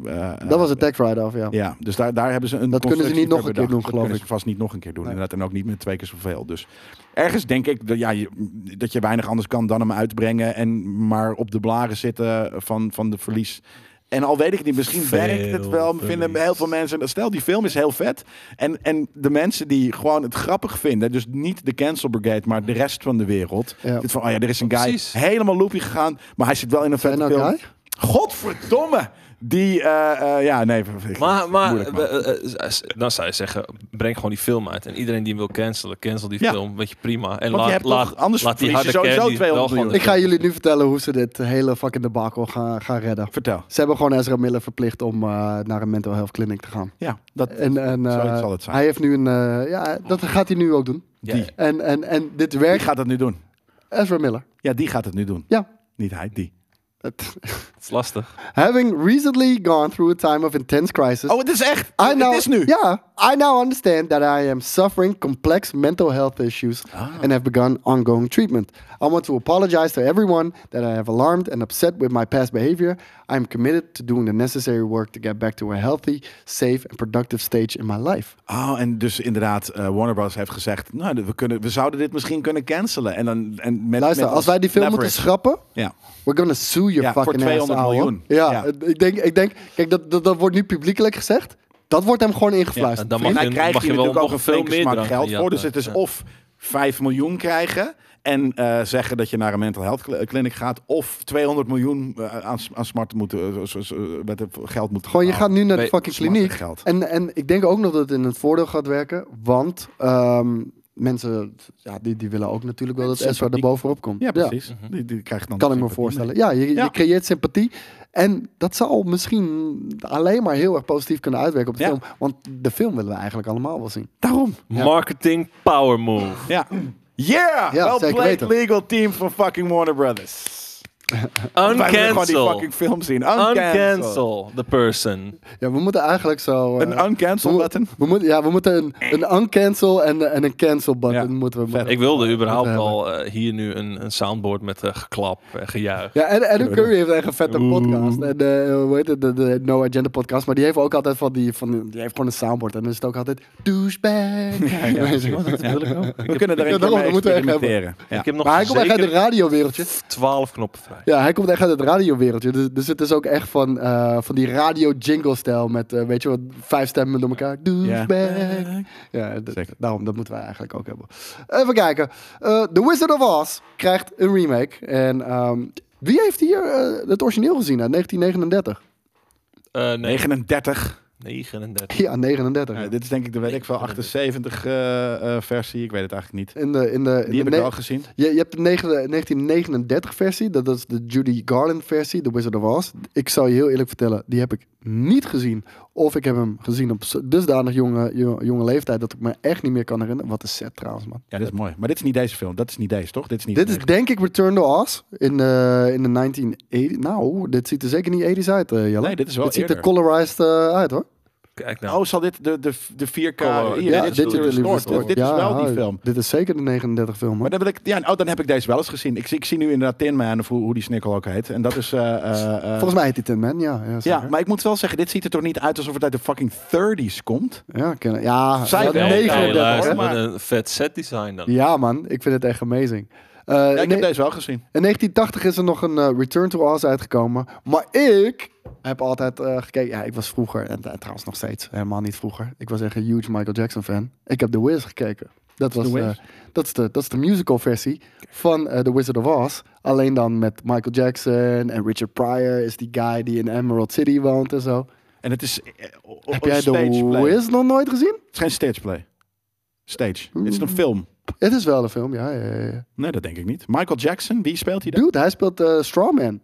Speaker 2: eh,
Speaker 4: dat was een tax write-off, ja.
Speaker 2: ja, dus daar, daar hebben ze een.
Speaker 4: Dat kunnen ze
Speaker 2: constructie
Speaker 4: niet nog
Speaker 2: voor
Speaker 4: een keer
Speaker 2: bedacht.
Speaker 4: doen,
Speaker 2: Dat
Speaker 4: geloof
Speaker 2: kunnen
Speaker 4: ik.
Speaker 2: ze vast niet nog een keer doen.
Speaker 4: Nee.
Speaker 2: Inderdaad, en ook niet met twee keer zoveel. Dus ergens denk ik dat, ja, je, dat je weinig anders kan dan hem uitbrengen. En maar op de blaren zitten van, van de verlies. En al weet ik het niet, misschien
Speaker 3: Veel
Speaker 2: werkt het wel. Vinden
Speaker 3: verlies.
Speaker 2: heel veel mensen. Stel, die film is heel vet. En, en de mensen die gewoon het grappig vinden. Dus niet de Cancel Brigade, maar de rest van de wereld.
Speaker 4: Ja.
Speaker 2: Dit van, oh ja, er is een guy
Speaker 3: Precies.
Speaker 2: helemaal loopy gegaan. Maar hij zit wel in een
Speaker 4: Zijn
Speaker 2: vette
Speaker 4: nou
Speaker 2: film.
Speaker 4: guy?
Speaker 2: Godverdomme! Die, eh, eh, ja, nee. ik-
Speaker 3: Maar, maar
Speaker 2: moeilijk, man.
Speaker 3: eh, eh, eh, dan zou je zeggen, breng gewoon die film uit. En iedereen die hem wil cancelen, cancel die
Speaker 2: Ja.
Speaker 3: film. Weet je, prima. En
Speaker 2: Want je
Speaker 3: laat,
Speaker 2: hebt
Speaker 3: laat,
Speaker 2: toch- anders
Speaker 3: laat die harde
Speaker 2: verlies je sowieso
Speaker 3: candy wel
Speaker 2: 200
Speaker 3: gewoon de
Speaker 4: Ik ga
Speaker 3: film.
Speaker 4: jullie nu vertellen hoe ze dit hele fucking debacle gaan, gaan redden.
Speaker 2: Vertel.
Speaker 4: Ze hebben gewoon Ezra Miller verplicht om eh, naar een mental health clinic te gaan.
Speaker 2: Ja, dat,
Speaker 4: En, en eh,
Speaker 2: Zoiets zal het zijn.
Speaker 4: hij heeft nu een. eh, ja, dat gaat hij nu ook doen.
Speaker 3: Ja,
Speaker 2: die.
Speaker 4: En, en, en dit
Speaker 2: die
Speaker 4: werkt.
Speaker 2: gaat dat nu doen.
Speaker 4: Ezra Miller.
Speaker 2: Ja, die gaat het nu doen.
Speaker 4: Ja.
Speaker 2: Niet hij, die.
Speaker 3: Het is lastig.
Speaker 4: Having recently gone through a time of intense crisis.
Speaker 2: Oh, het is echt.
Speaker 4: Dus- I now,
Speaker 2: Het is nu.
Speaker 4: Yeah, I now understand that I am suffering complex mental health issues
Speaker 2: Ah.
Speaker 4: and have begun ongoing treatment. I want to apologize to everyone that I have alarmed and upset with my past behavior. I am committed to doing the necessary work to get back to a healthy, safe and productive stage in my life.
Speaker 2: Oh, en dus inderdaad, eh, Warner Bros. heeft gezegd, nou, we, kunnen, we zouden dit misschien kunnen cancelen. En dan, en met,
Speaker 4: Luister,
Speaker 2: met
Speaker 4: als wij die film moeten
Speaker 2: leverage.
Speaker 4: schrappen,
Speaker 2: Ja.
Speaker 4: we're gonna sue your
Speaker 2: Ja, voor
Speaker 4: fucking ass,
Speaker 2: 200
Speaker 4: ouwe.
Speaker 2: miljoen.
Speaker 4: Ja,
Speaker 2: Ja.
Speaker 4: het- ik denk, ik denk kijk, dat, dat, dat wordt nu publiekelijk gezegd. Dat wordt hem gewoon ingefluisterd.
Speaker 3: dan
Speaker 2: En
Speaker 3: mag
Speaker 2: hij
Speaker 3: je,
Speaker 2: krijgt
Speaker 3: mag
Speaker 2: hier
Speaker 3: je wel
Speaker 2: natuurlijk ook
Speaker 3: nog
Speaker 2: een
Speaker 3: veel
Speaker 2: flinke
Speaker 3: meer
Speaker 2: smaak
Speaker 3: drank
Speaker 2: geld
Speaker 3: in
Speaker 2: voor. Dus
Speaker 3: jatten.
Speaker 2: het is
Speaker 3: Ja.
Speaker 2: of 5 miljoen krijgen en eh, zeggen dat je naar een mental health cl- clinic gaat. Of 200 miljoen eh, aan, s- aan smart moeten, eh, zo- zo- zo- met het geld moeten
Speaker 4: Gewoon, je
Speaker 2: betalen.
Speaker 4: gaat nu naar de
Speaker 3: Nee,
Speaker 4: fucking
Speaker 2: smarte
Speaker 4: kliniek.
Speaker 2: geld.
Speaker 4: En, en ik denk ook nog dat het in het voordeel gaat werken. Want ehm, mensen, ja, die, die willen ook natuurlijk wel dat Ezra er
Speaker 2: Sympathie.
Speaker 4: bovenop komt.
Speaker 2: Ja, precies.
Speaker 3: Mhm.
Speaker 2: Die, die krijgt dan
Speaker 4: Kan ik me
Speaker 2: sympathie mee.
Speaker 4: voorstellen. Ja, je,
Speaker 2: Ja.
Speaker 4: je creëert sympathie. En dat zal misschien alleen maar heel erg positief kunnen uitwerken op de
Speaker 2: Ja.
Speaker 4: film. Want de film willen we eigenlijk allemaal wel zien.
Speaker 2: Daarom.
Speaker 3: Marketing power
Speaker 2: <laughs>
Speaker 3: move.
Speaker 2: Ja. Yeah!
Speaker 4: Ja,
Speaker 2: well
Speaker 4: zeker
Speaker 2: played
Speaker 4: weten.
Speaker 2: legal team van fucking Warner Brothers. Wij willen gewoon die
Speaker 3: Uncancel.
Speaker 2: fucking film zien. Uncancel.
Speaker 3: Uncancel the person.
Speaker 4: Ja, we moeten eigenlijk zo... eh,
Speaker 2: Een uncancel
Speaker 4: we-
Speaker 2: button.
Speaker 4: We moeten, ja, we moeten een, een uncancel en, en een cancel button
Speaker 2: Ja,
Speaker 4: moeten we
Speaker 2: vet.
Speaker 3: Ik wilde überhaupt
Speaker 4: hebben.
Speaker 3: al eh, hier nu een, een soundboard met eh, geklap en gejuich.
Speaker 4: Ja, en Adam Curry heeft echt een vette podcast. En eh hoe heet het? De, de No Agenda podcast. Maar die heeft ook altijd van die... Van, die heeft gewoon een soundboard. En dan is het ook altijd... Douchebag.
Speaker 2: Ja, ja.
Speaker 4: <laughs> Weet je wel.
Speaker 2: We kunnen daar
Speaker 4: Ja,
Speaker 2: een keer
Speaker 4: daarom,
Speaker 2: mee
Speaker 4: dat moeten we echt
Speaker 2: experimenteren. Ja.
Speaker 3: Ik heb nog
Speaker 4: Maar hij komt echt uit het
Speaker 3: zeker
Speaker 4: radiowereldje.
Speaker 3: 12 knoppen vrij.
Speaker 4: Ja, hij komt echt uit het radiowereldje. Dus, dus het is ook echt van, eh, van die radio jingle stijl. Met, eh, weet je wat, vijf stemmen door elkaar. Douchebag. Ja, d-
Speaker 2: Zeker.
Speaker 4: daarom, dat moeten wij eigenlijk ook hebben. Even kijken. Eh, The Wizard of Oz krijgt een remake. En ehm, wie heeft hier eh, het origineel gezien uit 1939?
Speaker 3: Eh, nee,
Speaker 2: 39.
Speaker 3: 39.
Speaker 4: <laughs> Ja, 39.
Speaker 2: Ja, Eh, dit is denk ik de weet ik wel 78 eh, eh, versie. Ik weet het eigenlijk niet.
Speaker 4: In de, in de, in
Speaker 2: Die
Speaker 4: de
Speaker 2: heb ik
Speaker 4: ne-
Speaker 2: al gezien.
Speaker 4: je, je hebt de negen- 1939 versie, dat, dat is de Judy Garland versie, The Wizard of Oz. Ik zou je heel eerlijk vertellen, die heb ik niet gezien. Of ik heb hem gezien op z- dusdanig jonge, jo- jonge leeftijd dat ik me echt niet meer kan herinneren. Wat een set trouwens, man.
Speaker 2: Ja, dat is mooi. Maar dit is niet deze film. Dat is niet deze, toch? Dit is niet.
Speaker 4: Dit is denk ik Return to Oz in de, in de 1980. Nou, dit ziet er zeker niet 80s uit, eh Jelle.
Speaker 2: Nee, dit is wel
Speaker 4: Dit ziet er
Speaker 2: eerder.
Speaker 4: colorized eh, uit, hoor.
Speaker 3: Kijk nou.
Speaker 2: Oh, zal dit de, de, de 4K...
Speaker 3: Color.
Speaker 2: Hier,
Speaker 3: Ja,
Speaker 2: dit is
Speaker 3: dit is
Speaker 2: natuurlijk
Speaker 3: really
Speaker 2: gestoord. Dit, dit is
Speaker 4: Ja,
Speaker 2: wel die
Speaker 4: ah,
Speaker 2: film.
Speaker 4: Dit is zeker de 39 film,
Speaker 2: Maar
Speaker 4: hoor.
Speaker 2: dan, wil ik, ja, oh, dan heb ik deze wel eens gezien. Ik, zie- ik zie nu inderdaad Tin Man, of hoe, hoe die snikkel ook heet. En dat is... eh, eh, eh,
Speaker 4: Volgens mij heet die Tin Man, ja. Ja,
Speaker 2: ja,
Speaker 4: zeker.
Speaker 2: maar ik moet wel zeggen, dit ziet er toch niet uit alsof het uit de fucking 30s komt?
Speaker 4: ja, ken- ja,
Speaker 2: Zij
Speaker 4: ja,
Speaker 2: wel.
Speaker 3: Nee,
Speaker 4: 39,
Speaker 3: nee, luister,
Speaker 4: hè?
Speaker 2: hoor, maar-
Speaker 3: wat nou, een vet set design dan.
Speaker 4: Ja, man. Ik vind het echt amazing. Eh,
Speaker 2: Ja, ik
Speaker 4: nee,
Speaker 2: heb deze wel gezien.
Speaker 4: In 1980 is er nog een eh, Return to Oz uitgekomen. Maar ik heb altijd eh, gekeken. Ja, ik was vroeger, en eh, trouwens nog steeds, helemaal niet vroeger. Ik was echt een huge Michael Jackson fan. Ik heb The Wiz gekeken. Dat, was,
Speaker 2: The Wiz?
Speaker 4: eh, dat, is de, dat is de musical versie van eh, The Wizard of Oz. Alleen dan met Michael Jackson en Richard Pryor is die guy die in Emerald City woont en zo.
Speaker 2: En het is... eh, o- o-
Speaker 4: Heb jij
Speaker 2: stage
Speaker 4: The
Speaker 2: play.
Speaker 4: Wiz nog nooit gezien?
Speaker 2: Het is geen stageplay. Stage. Dit is een
Speaker 4: Hmm.
Speaker 2: film.
Speaker 4: Het is wel een film, ja. ja, ja, ja.
Speaker 2: Nee, dat denk ik niet. Michael Jackson, wie speelt hij daar?
Speaker 4: Dude, hij speelt eh, Strawman.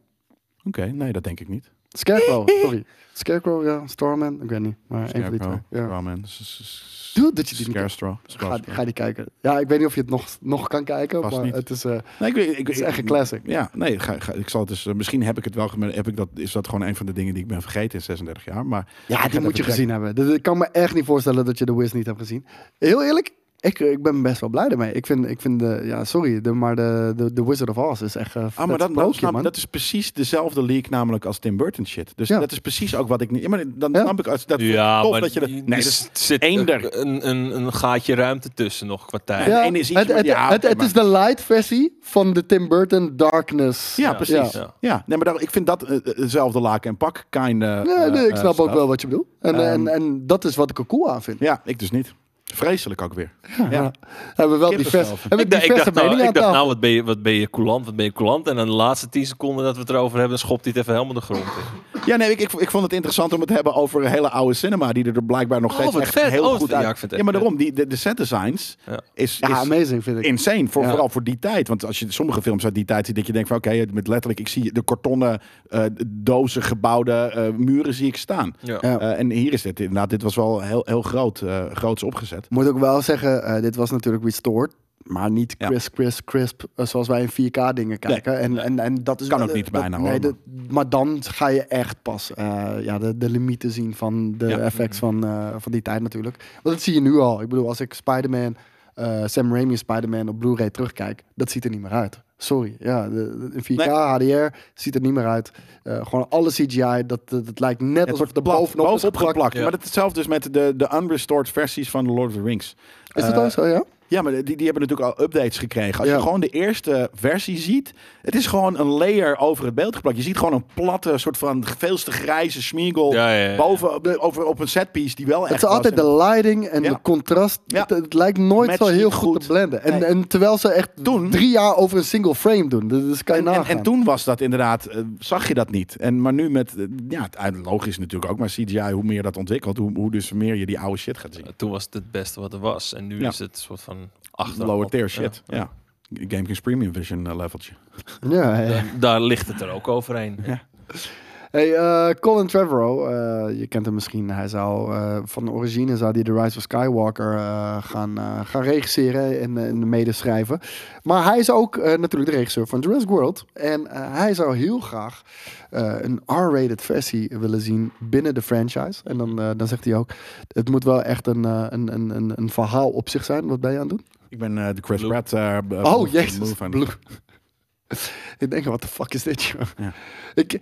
Speaker 2: Oké, nee, dat denk ik niet. <laughs>
Speaker 4: Scarecrow, sorry. Scarecrow, ja. Strawman, ik weet niet. Maar één van die twee.
Speaker 2: Scarecrow,
Speaker 4: Ja.
Speaker 2: Strawman, s- s-
Speaker 4: Dude, dat je die niet
Speaker 2: Scarestraw.
Speaker 4: Ga,
Speaker 2: Scarestraw.
Speaker 4: ga die kijken. Ja, ik weet niet of je het nog, nog kan kijken,
Speaker 2: Vast
Speaker 4: maar
Speaker 2: niet.
Speaker 4: het is, eh,
Speaker 2: Nee, ik, weet- ik,
Speaker 4: het is
Speaker 2: ik-
Speaker 4: echt een classic.
Speaker 2: Ja, nee, ga, ga- ik zal het dus. eh, misschien heb ik het wel. gem- Heb ik dat, is dat gewoon een van de dingen die ik ben vergeten in 36 jaar. Maar
Speaker 4: Ja, die moet
Speaker 2: gezien.
Speaker 4: je gezien hebben. Dus ik kan me echt niet voorstellen dat je The Wiz niet hebt gezien. Heel eerlijk, ik, eh, ik ben best wel blij ermee. Ik vind, ik vind de, ja, sorry, de, maar de, de, de Wizard of Oz is echt eh
Speaker 2: Ah, maar
Speaker 4: vet
Speaker 2: dat,
Speaker 4: sprookje,
Speaker 2: dat, snap,
Speaker 4: man.
Speaker 2: dat is precies dezelfde leak namelijk als Tim Burton shit. Dus
Speaker 4: Ja.
Speaker 2: dat is precies ook wat ik niet... Ja, maar dan
Speaker 4: Ja.
Speaker 2: snap ik... Als, dat
Speaker 3: Ja,
Speaker 2: tof
Speaker 3: maar
Speaker 2: dat je dat... Nee, dat
Speaker 3: er
Speaker 2: is,
Speaker 3: zit
Speaker 2: eender.
Speaker 3: Een, een, een gaatje ruimte tussen nog qua tijd.
Speaker 2: Ja. ene is iets
Speaker 4: het,
Speaker 2: met
Speaker 4: het,
Speaker 2: die aap,
Speaker 4: het, het
Speaker 2: maar-
Speaker 4: is de light versie van de Tim Burton Darkness.
Speaker 2: ja, precies. Ja.
Speaker 3: Ja.
Speaker 2: Nee, maar daar, ik vind dat eh, eh, hetzelfde laken en pak. Kind, eh,
Speaker 4: Ja, nee,
Speaker 2: eh,
Speaker 4: ik snap
Speaker 2: eh,
Speaker 4: ook wel wat je bedoelt. En,
Speaker 2: Ehm,
Speaker 4: en, en dat is wat ik er cool aan vind.
Speaker 2: Ja, ik dus niet. Vreselijk ook weer. Ja.
Speaker 4: Hebben we wel
Speaker 2: Kippenvel.
Speaker 4: divers, hebben we
Speaker 3: Ik, dacht- ik
Speaker 4: diverse
Speaker 3: dacht, nou,
Speaker 4: meningen
Speaker 3: ik dacht,
Speaker 4: aan tafel.
Speaker 3: nou, wat ben je, wat ben je coulant, wat ben je coulant. En dan de laatste 10 seconden dat we het erover hebben, schopt hij het even helemaal de grond in.
Speaker 2: Ja, nee, ik, ik, ik vond het interessant om het te hebben over een hele oude cinema die er blijkbaar nog
Speaker 3: Oh,
Speaker 2: steeds
Speaker 3: wat
Speaker 2: echt
Speaker 3: vet.
Speaker 2: heel
Speaker 3: Oh,
Speaker 2: goed
Speaker 3: ja,
Speaker 2: uit.
Speaker 3: ik vind het
Speaker 2: ja, maar
Speaker 3: echt
Speaker 2: daarom, die, de, de set designs
Speaker 3: Ja.
Speaker 2: is,
Speaker 4: Ja,
Speaker 2: nou, is
Speaker 4: amazing vind ik.
Speaker 2: insane. Voor,
Speaker 4: Ja.
Speaker 2: Vooral voor die tijd. Want als je sommige films uit die tijd ziet, dat je denkt van oké, met letterlijk, ik zie de kartonnen eh, dozen gebouwde eh, muren zie ik staan.
Speaker 3: Ja.
Speaker 4: Ja.
Speaker 2: Eh, en hier is dit inderdaad, dit was wel heel, heel groot, eh, groots opgezet.
Speaker 4: Moet ook wel zeggen, eh, dit was natuurlijk restored. Maar niet
Speaker 2: Ja.
Speaker 4: crisp, crisp, crisp eh, zoals wij in 4K dingen kijken. En, en, en dat is
Speaker 2: Kan
Speaker 4: wel-
Speaker 2: ook niet
Speaker 4: dat-
Speaker 2: bijna,
Speaker 4: nee,
Speaker 2: hoor,
Speaker 4: dat- maar dan ga je echt pas eh, ja, de, de limieten zien van de
Speaker 2: Ja.
Speaker 4: effects van, eh, van die tijd natuurlijk. Want dat zie je nu al. Ik bedoel, als ik Spider-Man, eh, Sam Raimi Spider-Man op Blu-ray terugkijk, dat ziet er niet meer uit. Sorry, ja, de, de- in 4K HDR ziet er niet meer uit. Eh, gewoon alle CGI, dat, dat, dat lijkt net
Speaker 2: Het
Speaker 4: alsof
Speaker 2: wordt
Speaker 4: het er bovenop, is
Speaker 2: bovenop
Speaker 4: geplakt.
Speaker 2: geplakt.
Speaker 3: Ja.
Speaker 2: Maar dat is hetzelfde dus met de, de unrestored versies van The Lord of the Rings.
Speaker 4: Is dat
Speaker 2: Eh,
Speaker 4: ook zo, ja?
Speaker 2: Ja, maar die, die hebben natuurlijk al updates gekregen. Als
Speaker 4: Ja.
Speaker 2: je gewoon de eerste versie ziet, het is gewoon een layer over het beeld geplakt. Je ziet gewoon een platte, soort van veel te grijze smiegel
Speaker 3: Ja, ja, ja.
Speaker 2: boven op, de- over, op een setpiece die wel echt
Speaker 4: Het is
Speaker 2: was.
Speaker 4: altijd de
Speaker 2: En
Speaker 4: lighting en
Speaker 2: Ja.
Speaker 4: de contrast.
Speaker 2: Ja.
Speaker 4: Het, het lijkt nooit
Speaker 2: Matcht
Speaker 4: zo heel
Speaker 2: niet
Speaker 4: goed,
Speaker 2: goed.
Speaker 4: te blenden. En,
Speaker 2: Nee.
Speaker 4: en terwijl ze echt
Speaker 2: Toen-
Speaker 4: drie jaar over een single frame doen. Dus, dus kan je
Speaker 2: en,
Speaker 4: nagaan.
Speaker 2: en toen was dat inderdaad, eh, zag je dat niet. En, maar nu met, eh, ja, het uit- logisch natuurlijk ook, maar CGI, hoe meer dat ontwikkelt, hoe, hoe dus meer je die oude shit gaat zien.
Speaker 3: Toen was het het beste wat er was. En nu
Speaker 2: Ja.
Speaker 3: is het soort van achter.
Speaker 2: Lower tier shit, ja. Gamekings Premium Vision eh, leveltje.
Speaker 4: Ja, ja.
Speaker 3: Daar ligt het er ook overheen. Ja.
Speaker 4: Hey, eh, Colin Trevorrow, eh, je kent hem misschien. Hij zou eh, van origine zou hij The Rise of Skywalker eh, gaan, eh, gaan regisseren en, eh, en medeschrijven. Maar hij is ook eh, natuurlijk de regisseur van Jurassic World. En eh, hij zou heel graag eh, een R-rated versie willen zien binnen de franchise. En dan, eh, dan zegt hij ook, het moet wel echt een, eh, een, een, een, een verhaal op zich zijn. Wat ben je aan het doen?
Speaker 2: Ik ben eh, de Chris
Speaker 3: Blue.
Speaker 2: Pratt. eh, b-
Speaker 4: Oh,
Speaker 2: move-
Speaker 4: jezus.
Speaker 2: move aan-
Speaker 4: Blue. <laughs> ik denk, wat de fuck is dit, joh?
Speaker 2: Ja.
Speaker 4: Ik,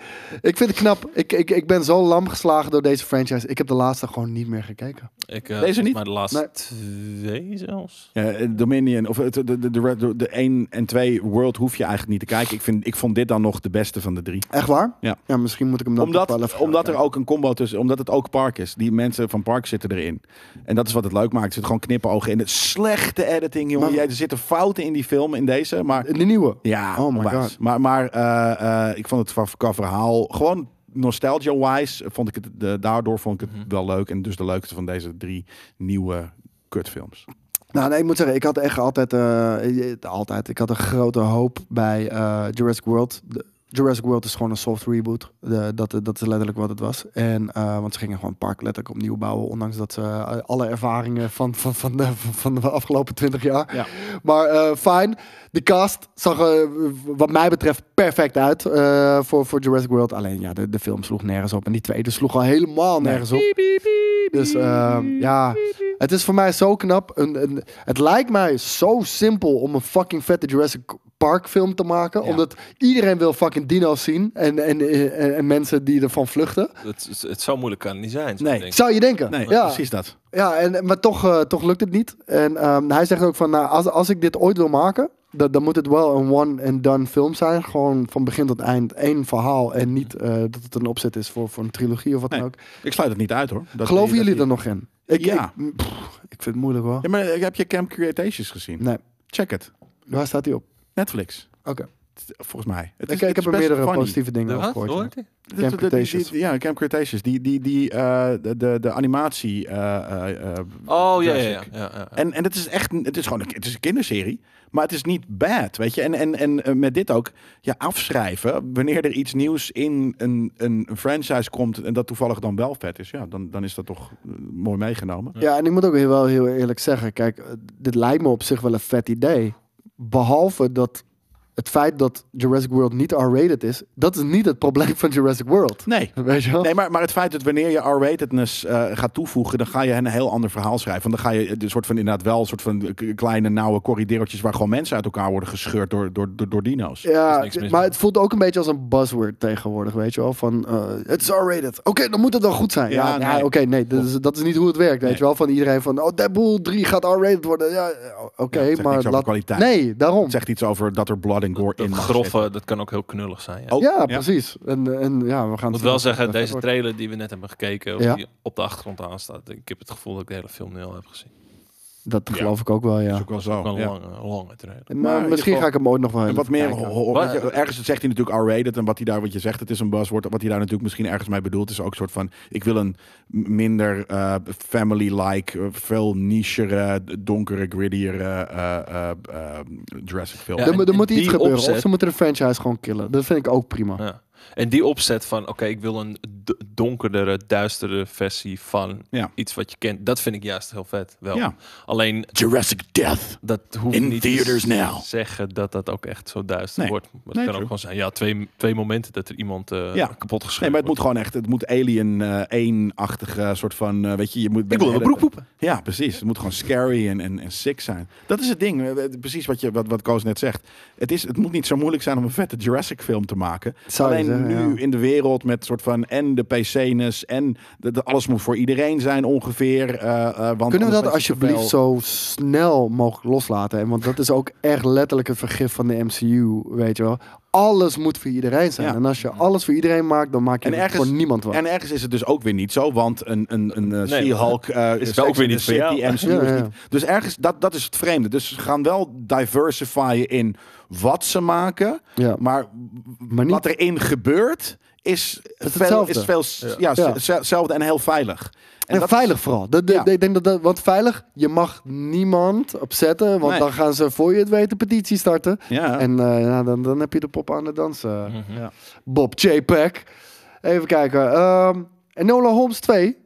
Speaker 4: ik vind het knap. Ik, ik, ik ben zo lam geslagen door deze franchise. Ik heb de laatste gewoon niet meer gekeken.
Speaker 3: Ik, eh,
Speaker 2: Deze
Speaker 3: volgens
Speaker 2: niet?
Speaker 3: mij de laatste
Speaker 4: Nee.
Speaker 3: twee zelfs.
Speaker 2: Ja, eh, Dominion, of het- de, de, de, de, de 1 en 2 World hoef je eigenlijk niet te kijken. Ik, vind, ik vond dit dan nog de beste van de drie.
Speaker 4: Echt waar?
Speaker 2: Ja.
Speaker 4: Ja, misschien moet ik hem dan toch wel
Speaker 2: Omdat,
Speaker 4: even gaan
Speaker 2: omdat er
Speaker 4: kijken.
Speaker 2: ook een combo tussen, omdat het ook Park is. Die mensen van Park zitten erin. En dat is wat het leuk maakt. Er zitten gewoon knippenogen in. Het slechte editing, jongen.
Speaker 4: Maar-
Speaker 2: Jij, er zitten fouten in die film, in deze. Maar
Speaker 4: De nieuwe?
Speaker 2: ja,
Speaker 4: Oh my
Speaker 2: onwijs.
Speaker 4: God.
Speaker 2: Maar, maar eh, eh, ik vond het qua- qua verhaal gewoon nostalgia-wise eh, vond ik het de, daardoor vond ik het wel leuk en dus de leukste van deze drie nieuwe kutfilms.
Speaker 4: Nou, nee, ik moet zeggen, ik had echt altijd, eh, eh, altijd ik had een grote hoop bij eh, Jurassic World. De- Jurassic World is gewoon een soft reboot. De- dat, dat is letterlijk wat het was. En, eh, want ze gingen gewoon het park letterlijk opnieuw bouwen. Ondanks dat ze eh, alle ervaringen van, van, van, de, van de afgelopen 20 jaar.
Speaker 2: Ja.
Speaker 4: Maar eh, fijn. De cast zag er eh, wat mij betreft perfect uit eh, voor, voor Jurassic World. Alleen ja, de, de film sloeg nergens op. En die tweede sloeg al helemaal nergens op. Dus eh, ja, het is voor mij zo knap. Een, een, het lijkt mij zo simpel om een fucking vette Jurassic Park film te maken.
Speaker 2: Ja.
Speaker 4: Omdat iedereen wil fucking dino's zien. En, en, en, en mensen die ervan vluchten.
Speaker 3: Het, het, het zo moeilijk kan het niet zijn.
Speaker 2: Nee.
Speaker 3: Nee. Ik.
Speaker 4: Zou je denken?
Speaker 2: Nee,
Speaker 4: ja.
Speaker 2: precies dat.
Speaker 4: Ja, en, maar toch, eh, toch lukt het niet. En ehm, hij zegt ook van, nou, als, als ik dit ooit wil maken, dan, dan moet het wel een one-and-done film zijn. Gewoon van begin tot eind één verhaal en niet eh, dat het een opzet is voor, voor een trilogie of wat
Speaker 2: Nee.
Speaker 4: dan ook.
Speaker 2: Ik sluit het niet uit hoor. Dat
Speaker 4: Geloven
Speaker 2: dat
Speaker 4: jullie er nog in? Ik,
Speaker 2: Ja.
Speaker 4: Ik, pff, ik vind het moeilijk hoor.
Speaker 2: Ja, maar eh, heb je Camp Creatations gezien?
Speaker 4: Nee,
Speaker 2: Check het.
Speaker 4: waar staat hij op?
Speaker 2: Netflix.
Speaker 4: Oké,
Speaker 2: Het- Volgens mij. Het
Speaker 4: ik, ik heb er meerdere
Speaker 2: positieve.
Speaker 4: positieve dingen
Speaker 3: De
Speaker 4: over
Speaker 3: wat?
Speaker 4: gehoord.
Speaker 3: Hoort
Speaker 4: ja.
Speaker 3: ie?
Speaker 4: Camp Cretaceous.
Speaker 2: Ja, Camp Cretaceous. Die, die, die, eh, de, de, de animatie. eh, eh, eh,
Speaker 3: Oh ja, ja, ja.
Speaker 2: Jurassic.
Speaker 3: ja, ja, ja.
Speaker 2: En, en het is echt, een- het is gewoon een, het is een kinderserie, maar het is niet bad, weet je. En, en, en eh, met dit ook, ja, afschrijven, wanneer er iets nieuws in een, een franchise komt en dat toevallig dan wel vet is, ja, dan, dan is dat toch eh, mooi meegenomen.
Speaker 4: Ja, en ik moet ook heel, wel heel eerlijk zeggen. Kijk, eh, dit lijkt me op zich wel een vet idee. Behalve dat het feit dat Jurassic World niet R-rated is, dat is niet het probleem van Jurassic World.
Speaker 2: Nee,
Speaker 4: Weet je wel?
Speaker 2: Nee, maar, maar het feit dat wanneer je R-ratedness eh, gaat toevoegen, dan ga je een heel ander verhaal schrijven. Want dan ga je een soort van inderdaad wel een soort van eh, k- kleine nauwe corrideertjes waar gewoon mensen uit elkaar worden gescheurd door, door, door, door dino's.
Speaker 3: is
Speaker 4: Ja,
Speaker 3: niks mis
Speaker 4: maar
Speaker 3: mee.
Speaker 4: het voelt ook een beetje als een buzzword tegenwoordig, weet je wel? Van, eh, het is R-rated. Oké, dan moet het wel goed zijn. Ja,
Speaker 2: Ja,
Speaker 4: ja,
Speaker 2: nee.
Speaker 4: oké, nee, dat is, dat is niet hoe het werkt, weet
Speaker 2: Nee.
Speaker 4: je wel? Van iedereen van, oh, Deadpool 3 gaat R-rated worden. Ja, oké,
Speaker 2: Ja, het zegt
Speaker 4: maar...
Speaker 2: niks over kwaliteit.
Speaker 4: Nee, daarom.
Speaker 2: Het zegt iets over dat er blood and gore
Speaker 3: Dat
Speaker 2: in Oh, mag zitten.
Speaker 3: grove, dat kan ook heel knullig zijn. Ja.
Speaker 2: Ook,
Speaker 4: ja, precies. En, en ja, we gaan...
Speaker 3: Ik moet
Speaker 4: zien
Speaker 3: wel
Speaker 4: wat
Speaker 3: zeggen,
Speaker 4: het
Speaker 3: deze
Speaker 4: wordt.
Speaker 3: trailer die we net hebben gekeken,
Speaker 4: Ja.
Speaker 3: die op de achtergrond aanstaat. Ik heb het gevoel dat ik de hele film nu al heb gezien.
Speaker 4: Dat
Speaker 2: Ja.
Speaker 4: geloof ik ook wel, ja.
Speaker 2: Is ook wel
Speaker 3: Ook
Speaker 2: zo.
Speaker 3: een
Speaker 2: Oh, ja.
Speaker 3: lange, lange trailer.
Speaker 2: Maar in
Speaker 4: Maar
Speaker 2: ieder
Speaker 4: misschien
Speaker 2: geval-
Speaker 4: ga ik hem ooit nog wel
Speaker 2: En wat
Speaker 4: even
Speaker 2: meer,
Speaker 4: kijken.
Speaker 2: ho- ho-
Speaker 3: Wat-
Speaker 2: weet je, ergens zegt hij natuurlijk R-rated en wat hij daar, wat je zegt, het is een buzzword. Wat hij daar natuurlijk misschien ergens mee bedoelt, is ook een soort van, ik wil een m- minder eh, family-like, eh, veel nichere, donkere, grittier eh, eh, eh, eh, Jurassic film.
Speaker 3: Ja,
Speaker 4: er,
Speaker 3: en-
Speaker 4: moet- er
Speaker 3: en
Speaker 4: moet iets
Speaker 3: die
Speaker 4: gebeuren. Of
Speaker 3: opzet-
Speaker 4: ze moeten de franchise gewoon killen. Dat vind ik ook prima.
Speaker 3: Ja. En die opzet van, oké, ik wil een d- donkerdere, duisterdere versie van
Speaker 2: Ja.
Speaker 3: iets wat je kent. Dat vind ik juist heel vet. Wel.
Speaker 2: Ja.
Speaker 3: Alleen,
Speaker 2: Jurassic Death.
Speaker 3: dat hoeft
Speaker 2: In
Speaker 3: niet
Speaker 2: theaters
Speaker 3: te
Speaker 2: now.
Speaker 3: zeggen dat dat ook echt zo duister
Speaker 2: Nee.
Speaker 3: wordt. Maar het
Speaker 2: Nee,
Speaker 3: kan ook
Speaker 2: true.
Speaker 3: gewoon zijn, ja, twee, twee momenten dat er iemand eh,
Speaker 2: Ja.
Speaker 3: kapot geschreven
Speaker 2: Nee, maar het moet gewoon echt, het moet Alien eh, 1-achtige soort van, eh, weet je, je moet...
Speaker 3: Ik wil in mijn broek poepen.
Speaker 2: Ja, precies. Het moet gewoon scary en, en, en sick zijn. Dat is het ding, eh, eh, precies wat, je, wat, wat Koos net zegt. Het, is, het moet niet zo moeilijk zijn om een vette Jurassic film te maken.
Speaker 4: Zou je
Speaker 2: Alleen
Speaker 4: zeggen,
Speaker 2: nu
Speaker 4: ja.
Speaker 2: in de wereld met soort van en de PC-ness en de, de- alles moet voor iedereen zijn ongeveer. eh, eh, want
Speaker 4: Kunnen we
Speaker 2: anders weet
Speaker 4: dat
Speaker 2: je
Speaker 4: alsjeblieft
Speaker 2: te veel-
Speaker 4: zo snel mogelijk loslaten? En want dat is ook echt letterlijk een vergif van de MCU, weet je wel. Alles moet voor iedereen zijn.
Speaker 2: Ja.
Speaker 4: En als je alles voor iedereen maakt, dan maak je
Speaker 2: En
Speaker 4: het
Speaker 2: ergens-
Speaker 4: voor niemand wat.
Speaker 2: En ergens is het dus ook weer niet zo, want een, een, een eh,
Speaker 3: Nee,
Speaker 2: She-Hulk eh,
Speaker 3: is
Speaker 2: Sex
Speaker 3: wel ook
Speaker 2: and
Speaker 3: weer
Speaker 2: the
Speaker 3: niet voor jou.
Speaker 2: City, MCU
Speaker 4: Ja,
Speaker 2: is
Speaker 4: ja.
Speaker 2: niet- Dus ergens, dat, dat is het vreemde. Dus ze gaan wel diversifyen in wat ze maken,
Speaker 4: ja.
Speaker 2: maar,
Speaker 4: Maar niet-
Speaker 2: wat erin gebeurt is, veel,
Speaker 4: hetzelfde.
Speaker 2: is veel s-
Speaker 3: Ja.
Speaker 2: ja.
Speaker 4: Ja.
Speaker 2: z- hetzelfde en heel veilig.
Speaker 4: En,
Speaker 2: dat is-
Speaker 4: veilig vooral. Dat, dat-
Speaker 2: Ja.
Speaker 4: ik denk dat dat, want veilig, je mag niemand opzetten. Want
Speaker 2: Nee.
Speaker 4: dan gaan ze voor je het weten petitie starten.
Speaker 2: ja.
Speaker 4: En eh, nou, dan, dan heb je de pop aan het dansen.
Speaker 3: Mhm.
Speaker 2: Ja.
Speaker 4: Bob J. Peck. Even kijken. Ehm Enola Holmes 2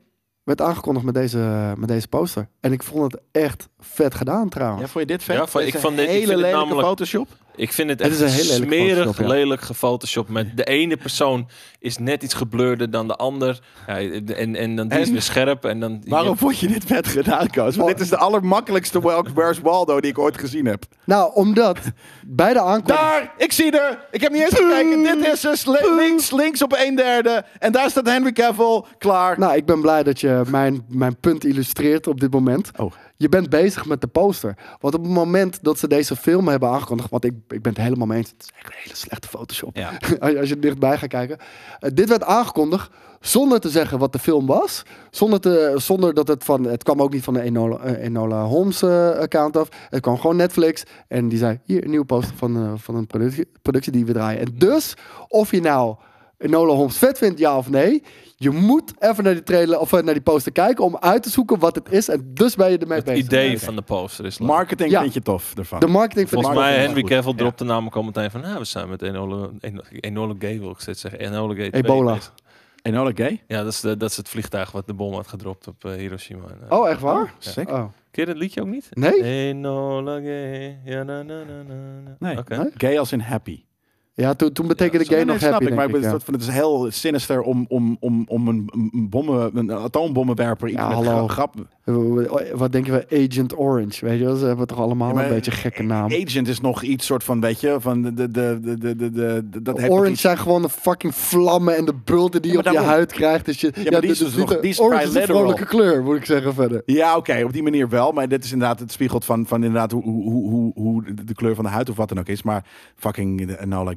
Speaker 4: werd aangekondigd met deze, met deze poster. En ik vond het echt vet gedaan trouwens.
Speaker 2: Ja, vond je dit vet?
Speaker 3: Ja, vond-
Speaker 2: Deze
Speaker 3: ik vond dit- ik
Speaker 2: hele
Speaker 3: vind het
Speaker 2: lelijke
Speaker 3: namelijk-
Speaker 2: Photoshop.
Speaker 3: Ik vind het
Speaker 4: Het
Speaker 3: echt
Speaker 4: is een heel lelijk
Speaker 3: smerig,
Speaker 4: Photoshop, ja.
Speaker 3: lelijk gefotoshopt. Met de ene persoon is net iets geblurder dan de ander. Ja, en, en dan die is
Speaker 2: En?
Speaker 3: weer scherp. En dan,
Speaker 2: Waarom vond je dit vet gedaan, Koos? Want
Speaker 4: Oh.
Speaker 2: dit is de allermakkelijkste Welk Where's Waldo die ik ooit gezien heb.
Speaker 4: Nou,
Speaker 2: <laughs>
Speaker 4: omdat bij de aankondiging...
Speaker 2: Daar! Ik zie er! Ik heb niet eens gekeken. Dit is dus li- links, links op een derde. En daar staat Henry Cavill. Klaar.
Speaker 4: Nou, ik ben blij dat je mijn, mijn punt illustreert op dit moment.
Speaker 2: Oh.
Speaker 4: Je bent bezig met de poster. Want op het moment dat ze deze film hebben aangekondigd... Want ik, ik ben het helemaal mee eens. Het is echt een hele slechte Photoshop.
Speaker 2: Ja.
Speaker 4: <laughs> als, je, als je er dichtbij gaat kijken. Eh, dit werd aangekondigd zonder te zeggen wat de film was. Zonder, te, zonder dat het van... Het kwam ook niet van de Enola, eh, Enola Holmes eh, account af. Het kwam gewoon Netflix. En die zei, hier, een nieuwe poster van, eh, van een productie, productie die we draaien. En dus, of je nou Enola Holmes vet vindt, ja of nee... Je moet even naar die, trailer, of eh, naar die poster kijken om uit te zoeken wat het is. En dus ben je ermee
Speaker 3: Het
Speaker 4: bezig.
Speaker 3: idee van de poster is leuk.
Speaker 2: Marketing
Speaker 4: Ja.
Speaker 2: vind je tof ervan.
Speaker 4: De marketing van
Speaker 3: Volgens
Speaker 2: Maar-
Speaker 3: mij,
Speaker 2: maar
Speaker 3: Henry
Speaker 2: goed,
Speaker 3: Cavill
Speaker 2: ja.
Speaker 3: dropte namelijk al meteen van... Nou, we zijn met Enola, Eno- Enola Gay, wil ik steeds zeggen. Enola Gay 2
Speaker 4: Ebola.
Speaker 3: bezig.
Speaker 2: en alle gay?
Speaker 3: Ja, dat is, de- dat is het vliegtuig wat de bom had gedropt op eh, Hiroshima. En, eh,
Speaker 4: Oh, echt waar?
Speaker 2: Sick.
Speaker 4: Oh.
Speaker 3: Ken je dat liedje ook niet?
Speaker 4: Nee?
Speaker 3: Enola Gay. Ja, na, na, na, na, na.
Speaker 2: Nee.
Speaker 3: Oké.
Speaker 4: Nee?
Speaker 2: Gay als in happy.
Speaker 4: Ja, toen, toen betekende
Speaker 2: Nee,
Speaker 4: gay
Speaker 2: nee,
Speaker 4: nog
Speaker 2: snap
Speaker 4: happy,
Speaker 2: ik,
Speaker 4: denk
Speaker 2: maar
Speaker 4: ik,
Speaker 2: ben-
Speaker 4: ja.
Speaker 2: dat- het is heel sinister om, om, om, om een, een, bommen, een atoombommenwerper iets
Speaker 4: Ja,
Speaker 2: met
Speaker 4: hallo.
Speaker 2: gra- grap...
Speaker 4: Wat denken we? Agent Orange, weet je wel? Ze hebben toch allemaal
Speaker 2: Ja, maar-
Speaker 4: een beetje een gekke naam.
Speaker 2: Agent is nog iets soort van, weet je, van de... de, de, de, de, de, de- dat heeft
Speaker 4: Orange
Speaker 2: iets-
Speaker 4: zijn gewoon de fucking vlammen en de bulten die
Speaker 2: Ja,
Speaker 4: je
Speaker 2: maar
Speaker 4: op je
Speaker 2: daarom.
Speaker 4: huid krijgt. Dus je, ja,
Speaker 2: maar die
Speaker 4: dit
Speaker 2: is dus nog-
Speaker 4: niet een-
Speaker 2: die is
Speaker 4: Orange is een
Speaker 2: trilateral.
Speaker 4: vrolijke kleur, moet ik zeggen verder.
Speaker 2: Ja, oké, op die manier wel. Maar dit is inderdaad het spiegelt van, van inderdaad hoe, hoe, hoe, hoe de kleur van de huid of wat dan ook is. Maar fucking Enola,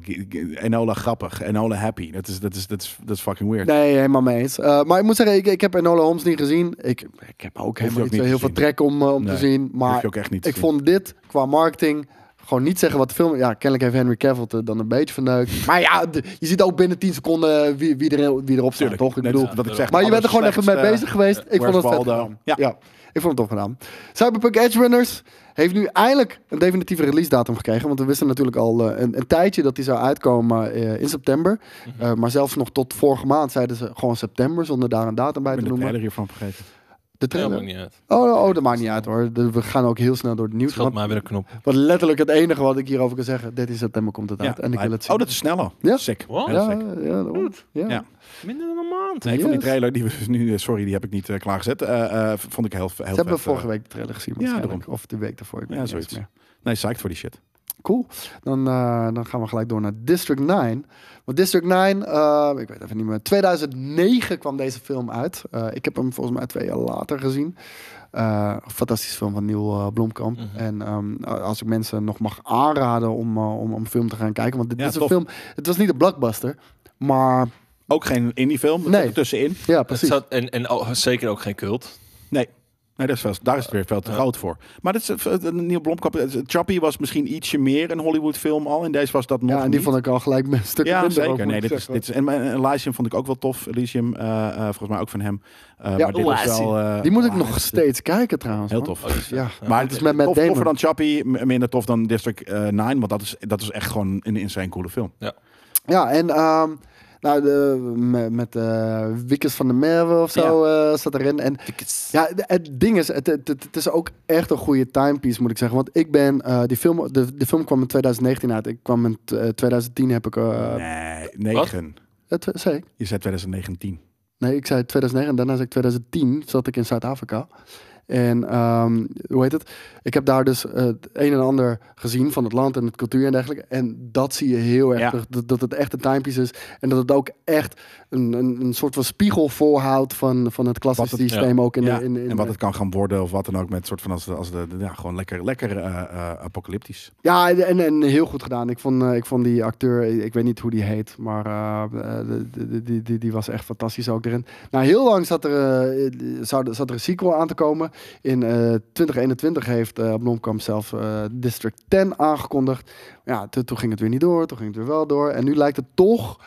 Speaker 2: Enola grappig, Enola happy. Dat is, dat is, dat is, dat is fucking weird.
Speaker 4: Nee, helemaal mee eens. Eh, maar ik moet zeggen, ik, ik heb Enola Holmes niet gezien. Ik, ik heb ook helemaal
Speaker 2: ook
Speaker 4: niet zo
Speaker 2: niet
Speaker 4: heel
Speaker 2: te
Speaker 4: veel
Speaker 2: zien.
Speaker 4: trek om, eh, om
Speaker 2: Nee,
Speaker 4: te zien.
Speaker 2: Hoef
Speaker 4: Maar
Speaker 2: je ook echt niet te
Speaker 4: ik
Speaker 2: zien.
Speaker 4: vond dit, qua marketing, gewoon niet zeggen wat de film... Ja, kennelijk heeft Henry Cavill het er dan een beetje verneukt. Maar ja, d- je ziet ook binnen 10 seconden wie, wie, er, wie erop staat,
Speaker 2: Tuurlijk.
Speaker 4: toch? Ik
Speaker 2: Net
Speaker 4: bedoel,
Speaker 2: wat ik zeg,
Speaker 4: Maar je bent er gewoon even
Speaker 2: allerslechtste-
Speaker 4: mee bezig geweest. Ik vond
Speaker 2: eh, Where's
Speaker 4: het vet
Speaker 2: Waldo?
Speaker 4: gedaan.
Speaker 2: Ja.
Speaker 4: Ja. ik vond het tof gedaan. Cyberpunk Edge Runners heeft nu eindelijk een definitieve release datum gekregen. Want we wisten natuurlijk al eh, een, een tijdje dat die zou uitkomen eh, in september. Eh, maar zelfs nog tot vorige maand zeiden ze gewoon september zonder daar een datum bij
Speaker 2: Ik
Speaker 4: te
Speaker 2: ben de
Speaker 4: noemen.
Speaker 2: trailer hiervan vergeten.
Speaker 4: De
Speaker 3: Ja,
Speaker 4: trailer?
Speaker 3: maakt niet uit. Het
Speaker 4: Oh, oh, dat maakt niet uit hoor. De- We gaan ook heel snel door het nieuws.
Speaker 3: scheelt
Speaker 4: Want,
Speaker 3: mij weer een knop.
Speaker 4: wat letterlijk het enige wat ik hierover kan zeggen. 13 september komt het
Speaker 2: Ja,
Speaker 4: uit. en ik wil het zien.
Speaker 2: oh, dat is sneller.
Speaker 4: Ja.
Speaker 2: Sick.
Speaker 3: Wow.
Speaker 2: Heel
Speaker 4: ja,
Speaker 2: sick.
Speaker 4: ja, daarom. Ja.
Speaker 2: Ja.
Speaker 3: Minder dan een maand.
Speaker 2: Nee, ik vond die
Speaker 4: Yes.
Speaker 2: trailer, die we dus nu, eh, sorry, die heb ik niet eh, klaargezet. Eh, eh, vond ik heel, heel
Speaker 4: Ze
Speaker 2: vet,
Speaker 4: hebben
Speaker 2: eh,
Speaker 4: vorige week de trailer gezien
Speaker 2: Ja,
Speaker 4: waarschijnlijk. of de week daarvoor. Ik weet
Speaker 2: Ja,
Speaker 4: niet eens
Speaker 2: zoiets. Nee, psyched voor die shit.
Speaker 4: Cool. Dan, eh, dan gaan we gelijk door naar District 9. Want District 9, eh, ik weet even niet meer. 2009 kwam deze film uit. Eh, ik heb hem volgens mij twee jaar later gezien. Eh fantastische film van Neil eh, Blomkamp.
Speaker 3: Mhm.
Speaker 4: En ehm, als ik mensen nog mag aanraden om, eh, om, om film te gaan kijken. Want dit
Speaker 2: Ja,
Speaker 4: is een
Speaker 2: tof.
Speaker 4: film. Het was niet een blockbuster. Maar
Speaker 2: Ook geen indie film, dat
Speaker 4: Nee.
Speaker 2: zat er tussenin.
Speaker 4: ja,
Speaker 3: Het
Speaker 4: precies.
Speaker 3: zat, en en oh, zeker ook geen cult.
Speaker 2: Nee. Nee, dat is wel, daar is het weer veel te
Speaker 3: Ja.
Speaker 2: groot voor. Maar dat is, eh, Neil Blomkamp, eh, Chappie was misschien ietsje meer een Hollywood film al. En deze was dat nog
Speaker 4: Ja, en die
Speaker 2: niet.
Speaker 4: vond ik al gelijk een stuk
Speaker 2: ja,
Speaker 4: minder. ook,
Speaker 2: zeker.
Speaker 4: moet
Speaker 2: Nee,
Speaker 4: ik
Speaker 2: dit is,
Speaker 4: zeggen.
Speaker 2: dit is, en, en Elysium vond ik ook wel tof. Elysium, eh, eh, volgens mij ook van hem. Eh,
Speaker 4: Ja,
Speaker 2: maar dit was wel, eh,
Speaker 4: die moet ik
Speaker 2: ah, dit
Speaker 4: nog
Speaker 2: is-
Speaker 4: steeds kijken trouwens.
Speaker 2: Heel
Speaker 4: man.
Speaker 2: tof.
Speaker 3: Oh, die is-
Speaker 4: Ja.
Speaker 2: Maar
Speaker 4: het is met Matt
Speaker 2: tof,
Speaker 4: Damon.
Speaker 2: toffer dan Chappie, m- minder tof dan District eh, 9. Want dat is, dat is echt gewoon een insane coole film.
Speaker 4: Ja, en ehm, Nou, de, me- met eh Wickes van de Merwe of zo eh, zat erin. En ja, de- het ding is, het, het, het is ook echt een goede timepiece, moet ik zeggen. Want ik ben, eh, die film, de, de film kwam in 2019 uit. Ik kwam in t- eh, 2010 heb ik, eh,
Speaker 2: Nee, 9.
Speaker 4: het, eh, zei ik?
Speaker 2: Je zei 2019.
Speaker 4: Nee, ik zei 2009 en daarna zei ik 2010 zat ik in Zuid-Afrika. En ehm, hoe heet het? Ik heb daar dus eh, het een en ander gezien van het land en het cultuur en dergelijke. En dat zie je heel erg
Speaker 2: Ja.
Speaker 4: terug. Dat, dat het echt een timepiece is. En dat het ook echt een, een, een soort van spiegel voorhoudt van, van het klassisch
Speaker 2: Wat het-
Speaker 4: systeem. Ook in
Speaker 2: ja.
Speaker 4: de, in, in
Speaker 2: en wat
Speaker 4: de-
Speaker 2: het kan gaan worden of wat dan ook. Met soort van als, als de, de- ja, gewoon lekker, lekker eh, eh, apocalyptisch.
Speaker 4: Ja, en, en heel goed gedaan. Ik vond, eh, ik vond die acteur, ik ik weet niet hoe die heet, maar eh, eh, de- de- die, die, die was echt fantastisch ook erin. Nou, heel lang zat er, eh, zou, zat er een sequel aan te komen. In eh, 2021 heeft eh Blomkamp zelf eh, District 10 aangekondigd. Ja, toen, toen ging het weer niet door, toen ging het weer wel door. En nu lijkt het toch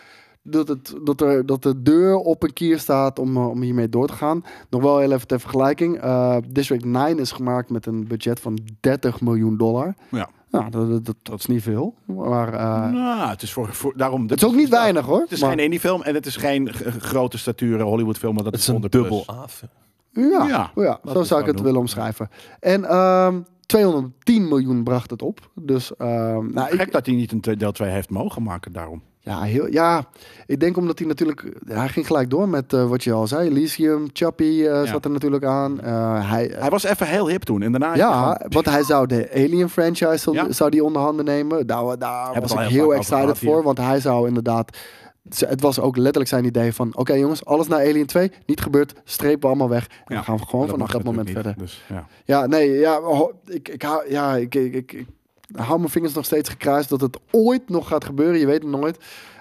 Speaker 4: dat, het, dat, er, dat de deur op een kier staat om, eh, om hiermee door te gaan. Nog wel heel even ter vergelijking. eh, District 9 is gemaakt met een budget van 30 miljoen dollar.
Speaker 2: Ja.
Speaker 4: Nou, dat, dat, dat, dat is niet veel. Maar eh,
Speaker 2: nou, het is, voor, voor- daarom,
Speaker 4: het is ook niet weinig hoor.
Speaker 2: Het is
Speaker 4: maar-
Speaker 2: geen indie film en het is geen g- grote stature Hollywood film. Maar dat
Speaker 3: Het is
Speaker 2: is
Speaker 3: een
Speaker 2: 100 plus.
Speaker 3: dubbel A-film.
Speaker 4: Ja, oh
Speaker 2: Ja,
Speaker 4: ja,
Speaker 2: we
Speaker 4: zo
Speaker 2: het
Speaker 4: zou
Speaker 2: gewoon
Speaker 4: ik het
Speaker 2: doen.
Speaker 4: willen omschrijven. En ehm, 210 miljoen bracht het op. Dus ehm, nou, ik,
Speaker 2: Gek dat hij niet een te- deel 2 heeft mogen maken daarom.
Speaker 4: ja, heel, ja, ik denk omdat hij natuurlijk... Hij ging gelijk door met eh, wat je al zei. Elysium, Chappie eh, zat er natuurlijk aan. Eh, hij,
Speaker 2: Hij was even heel hip toen en daarna... is hij gewoon-
Speaker 4: ja, want hij zou de Alien franchise zou,
Speaker 2: Ja.
Speaker 4: zou die onder handen nemen. Daar, daar
Speaker 2: het
Speaker 4: was
Speaker 2: al heel vaak
Speaker 4: ik heel
Speaker 2: over
Speaker 4: excited
Speaker 2: gehad hier.
Speaker 4: voor, want hij zou inderdaad... ze- Het was ook letterlijk zijn idee van... Oké jongens, alles naar Alien 2, niet gebeurd, strepen we allemaal weg. En
Speaker 2: Ja,
Speaker 4: dan gaan we
Speaker 2: maar
Speaker 4: gewoon vanaf
Speaker 2: mag
Speaker 4: dat moment
Speaker 2: natuurlijk
Speaker 4: verder.
Speaker 2: niet, Dus, ja.
Speaker 4: Ja, nee, ja, ho- ik, ik, hou, ja ik, ik, ik, ik hou mijn vingers nog steeds gekruist dat het ooit nog gaat gebeuren. Je weet het nooit.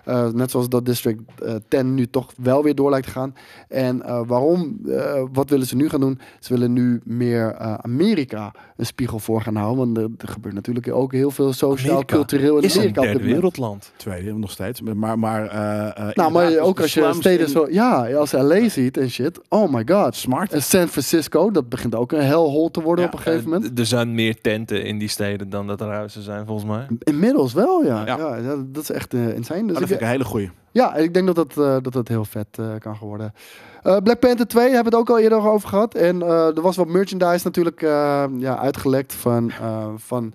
Speaker 4: Eh, net zoals dat District eh, 10 nu toch wel weer door lijkt te gaan. En eh, waarom? eh, wat willen ze nu gaan doen? Ze willen nu meer eh, Amerika een spiegel voor gaan houden. Want er, er gebeurt natuurlijk ook heel veel sociaal,
Speaker 3: Amerika
Speaker 4: cultureel in
Speaker 3: Is een
Speaker 4: Amerika. op dit
Speaker 3: derde
Speaker 4: moment.
Speaker 3: wereldland.
Speaker 2: Tweede nog steeds. Maar, maar, eh, eh,
Speaker 4: Nou,
Speaker 2: inderdaad,
Speaker 4: maar
Speaker 2: dus
Speaker 4: ook
Speaker 2: de
Speaker 4: als je
Speaker 2: slums
Speaker 4: steden
Speaker 2: in-
Speaker 4: zo... Ja, als LA ziet en shit. Oh my god.
Speaker 2: Smart.
Speaker 4: En San Francisco, dat begint ook een hellhole te worden
Speaker 2: Ja,
Speaker 4: op een gegeven moment.
Speaker 3: Eh, d- Er zijn meer tenten in die steden dan dat er huizen zijn, volgens mij.
Speaker 4: Inmiddels wel, ja.
Speaker 2: Ja. Oh,
Speaker 4: ja. dat, dat is echt eh, insane. Dus
Speaker 2: dat vind
Speaker 4: ik,
Speaker 2: ik een hele goeie.
Speaker 4: ja, en ik denk dat dat, eh, dat, dat heel vet eh, kan gaan worden. Eh, Black Panther 2 hebben we het ook al eerder over gehad. En eh, er was wat merchandise natuurlijk eh, ja, uitgelekt van, eh, van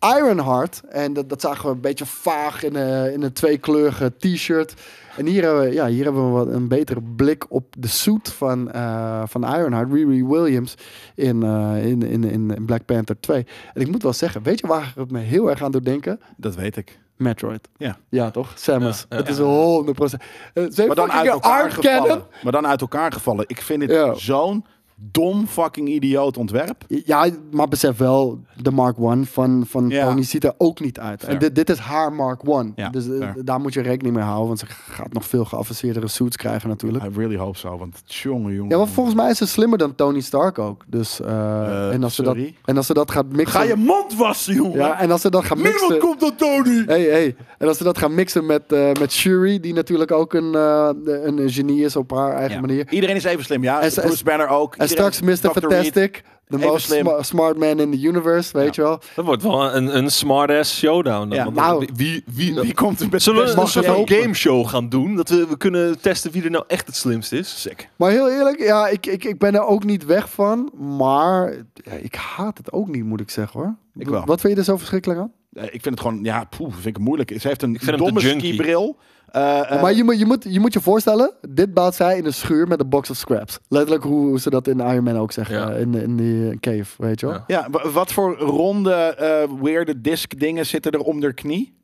Speaker 4: Ironheart. En dat, dat zagen we een beetje vaag in, eh, in een tweekleurige t-shirt. En hier hebben we, ja, hier hebben we wat, een betere blik op de suit van, eh, van Ironheart, Riri Williams, in, eh, in, in, in, in Black Panther 2. En ik moet wel zeggen, weet je waar het me heel erg aan doet denken?
Speaker 2: Dat weet ik.
Speaker 4: Metroid.
Speaker 2: Ja.
Speaker 4: Ja, toch? Samus.
Speaker 3: Ja, ja,
Speaker 4: het is
Speaker 3: ja.
Speaker 4: 100 procent. Eh,
Speaker 2: Maar dan uit elkaar
Speaker 4: kennen.
Speaker 2: gevallen. Maar dan uit elkaar gevallen. Ik vind het
Speaker 4: Ja.
Speaker 2: zo'n dom fucking idioot ontwerp.
Speaker 4: Ja, maar besef wel, de Mark One van, van
Speaker 2: Ja.
Speaker 4: Pony ziet er ook niet uit.
Speaker 2: Fair.
Speaker 4: En dit, dit is haar Mark One.
Speaker 2: Ja,
Speaker 4: dus eh,
Speaker 2: fair.
Speaker 4: daar moet je rekening mee houden, want ze gaat nog veel geavanceerdere suits krijgen natuurlijk.
Speaker 2: I really hope so, want tjonge jongen.
Speaker 4: Ja, want volgens mij is ze slimmer dan Tony Stark ook. Dus, eh,
Speaker 2: Eh,
Speaker 4: en, als ze dat,
Speaker 2: sorry?
Speaker 4: en als ze dat gaat mixen...
Speaker 2: Ga je mond wassen, jongen!
Speaker 4: ja, en als ze dat gaat
Speaker 2: Niemand
Speaker 4: mixen...
Speaker 2: komt door Tony!
Speaker 4: Hey, hey. En als ze dat gaan mixen met, eh, met Shuri, die natuurlijk ook een, eh, een een genie is op haar eigen
Speaker 2: Ja.
Speaker 4: manier.
Speaker 2: Iedereen is even slim, ja.
Speaker 4: En s- en
Speaker 2: Bruce
Speaker 4: s-
Speaker 2: Banner ook.
Speaker 4: En
Speaker 2: Iedereen
Speaker 4: straks
Speaker 2: is
Speaker 4: Mr.
Speaker 2: Dr. Reed.
Speaker 4: Fantastic, de
Speaker 2: Even
Speaker 4: most
Speaker 2: slim.
Speaker 4: sma- smart man in the universe, weet je wel.
Speaker 3: Dat wordt wel een, een smart-ass showdown. Dan.
Speaker 2: Ja,
Speaker 3: Want
Speaker 4: nou.
Speaker 3: wie- wie, wie,
Speaker 2: Wie komt er met
Speaker 3: Zullen we
Speaker 2: best-
Speaker 3: een
Speaker 4: mag
Speaker 3: soort
Speaker 4: jij
Speaker 3: van
Speaker 4: hopen?
Speaker 3: gameshow gaan doen? Dat we, we kunnen testen wie er nou echt het slimst is?
Speaker 2: Sick.
Speaker 4: Maar heel eerlijk, ja, ik, ik, ik ben er ook niet weg van, maar ja, ik haat het ook niet, moet ik zeggen hoor.
Speaker 2: Ik wel.
Speaker 4: Wat vind je er zo verschrikkelijk aan?
Speaker 2: Eh, ik vind het gewoon, ja, poeh, vind ik het moeilijk. Ze heeft een
Speaker 3: vind hem te
Speaker 2: domme
Speaker 3: junky.
Speaker 2: ski-bril. Eh, eh,
Speaker 4: maar je moet, je, moet, je moet je voorstellen, dit bouwt zij in een schuur met een box of scraps. Letterlijk hoe, hoe ze dat in Iron Man ook zeggen,
Speaker 3: Ja.
Speaker 4: eh, in, in die cave, weet je wel.
Speaker 3: Ja.
Speaker 2: Ja, wa- wat voor ronde, eh weirde disc dingen zitten er om haar knie?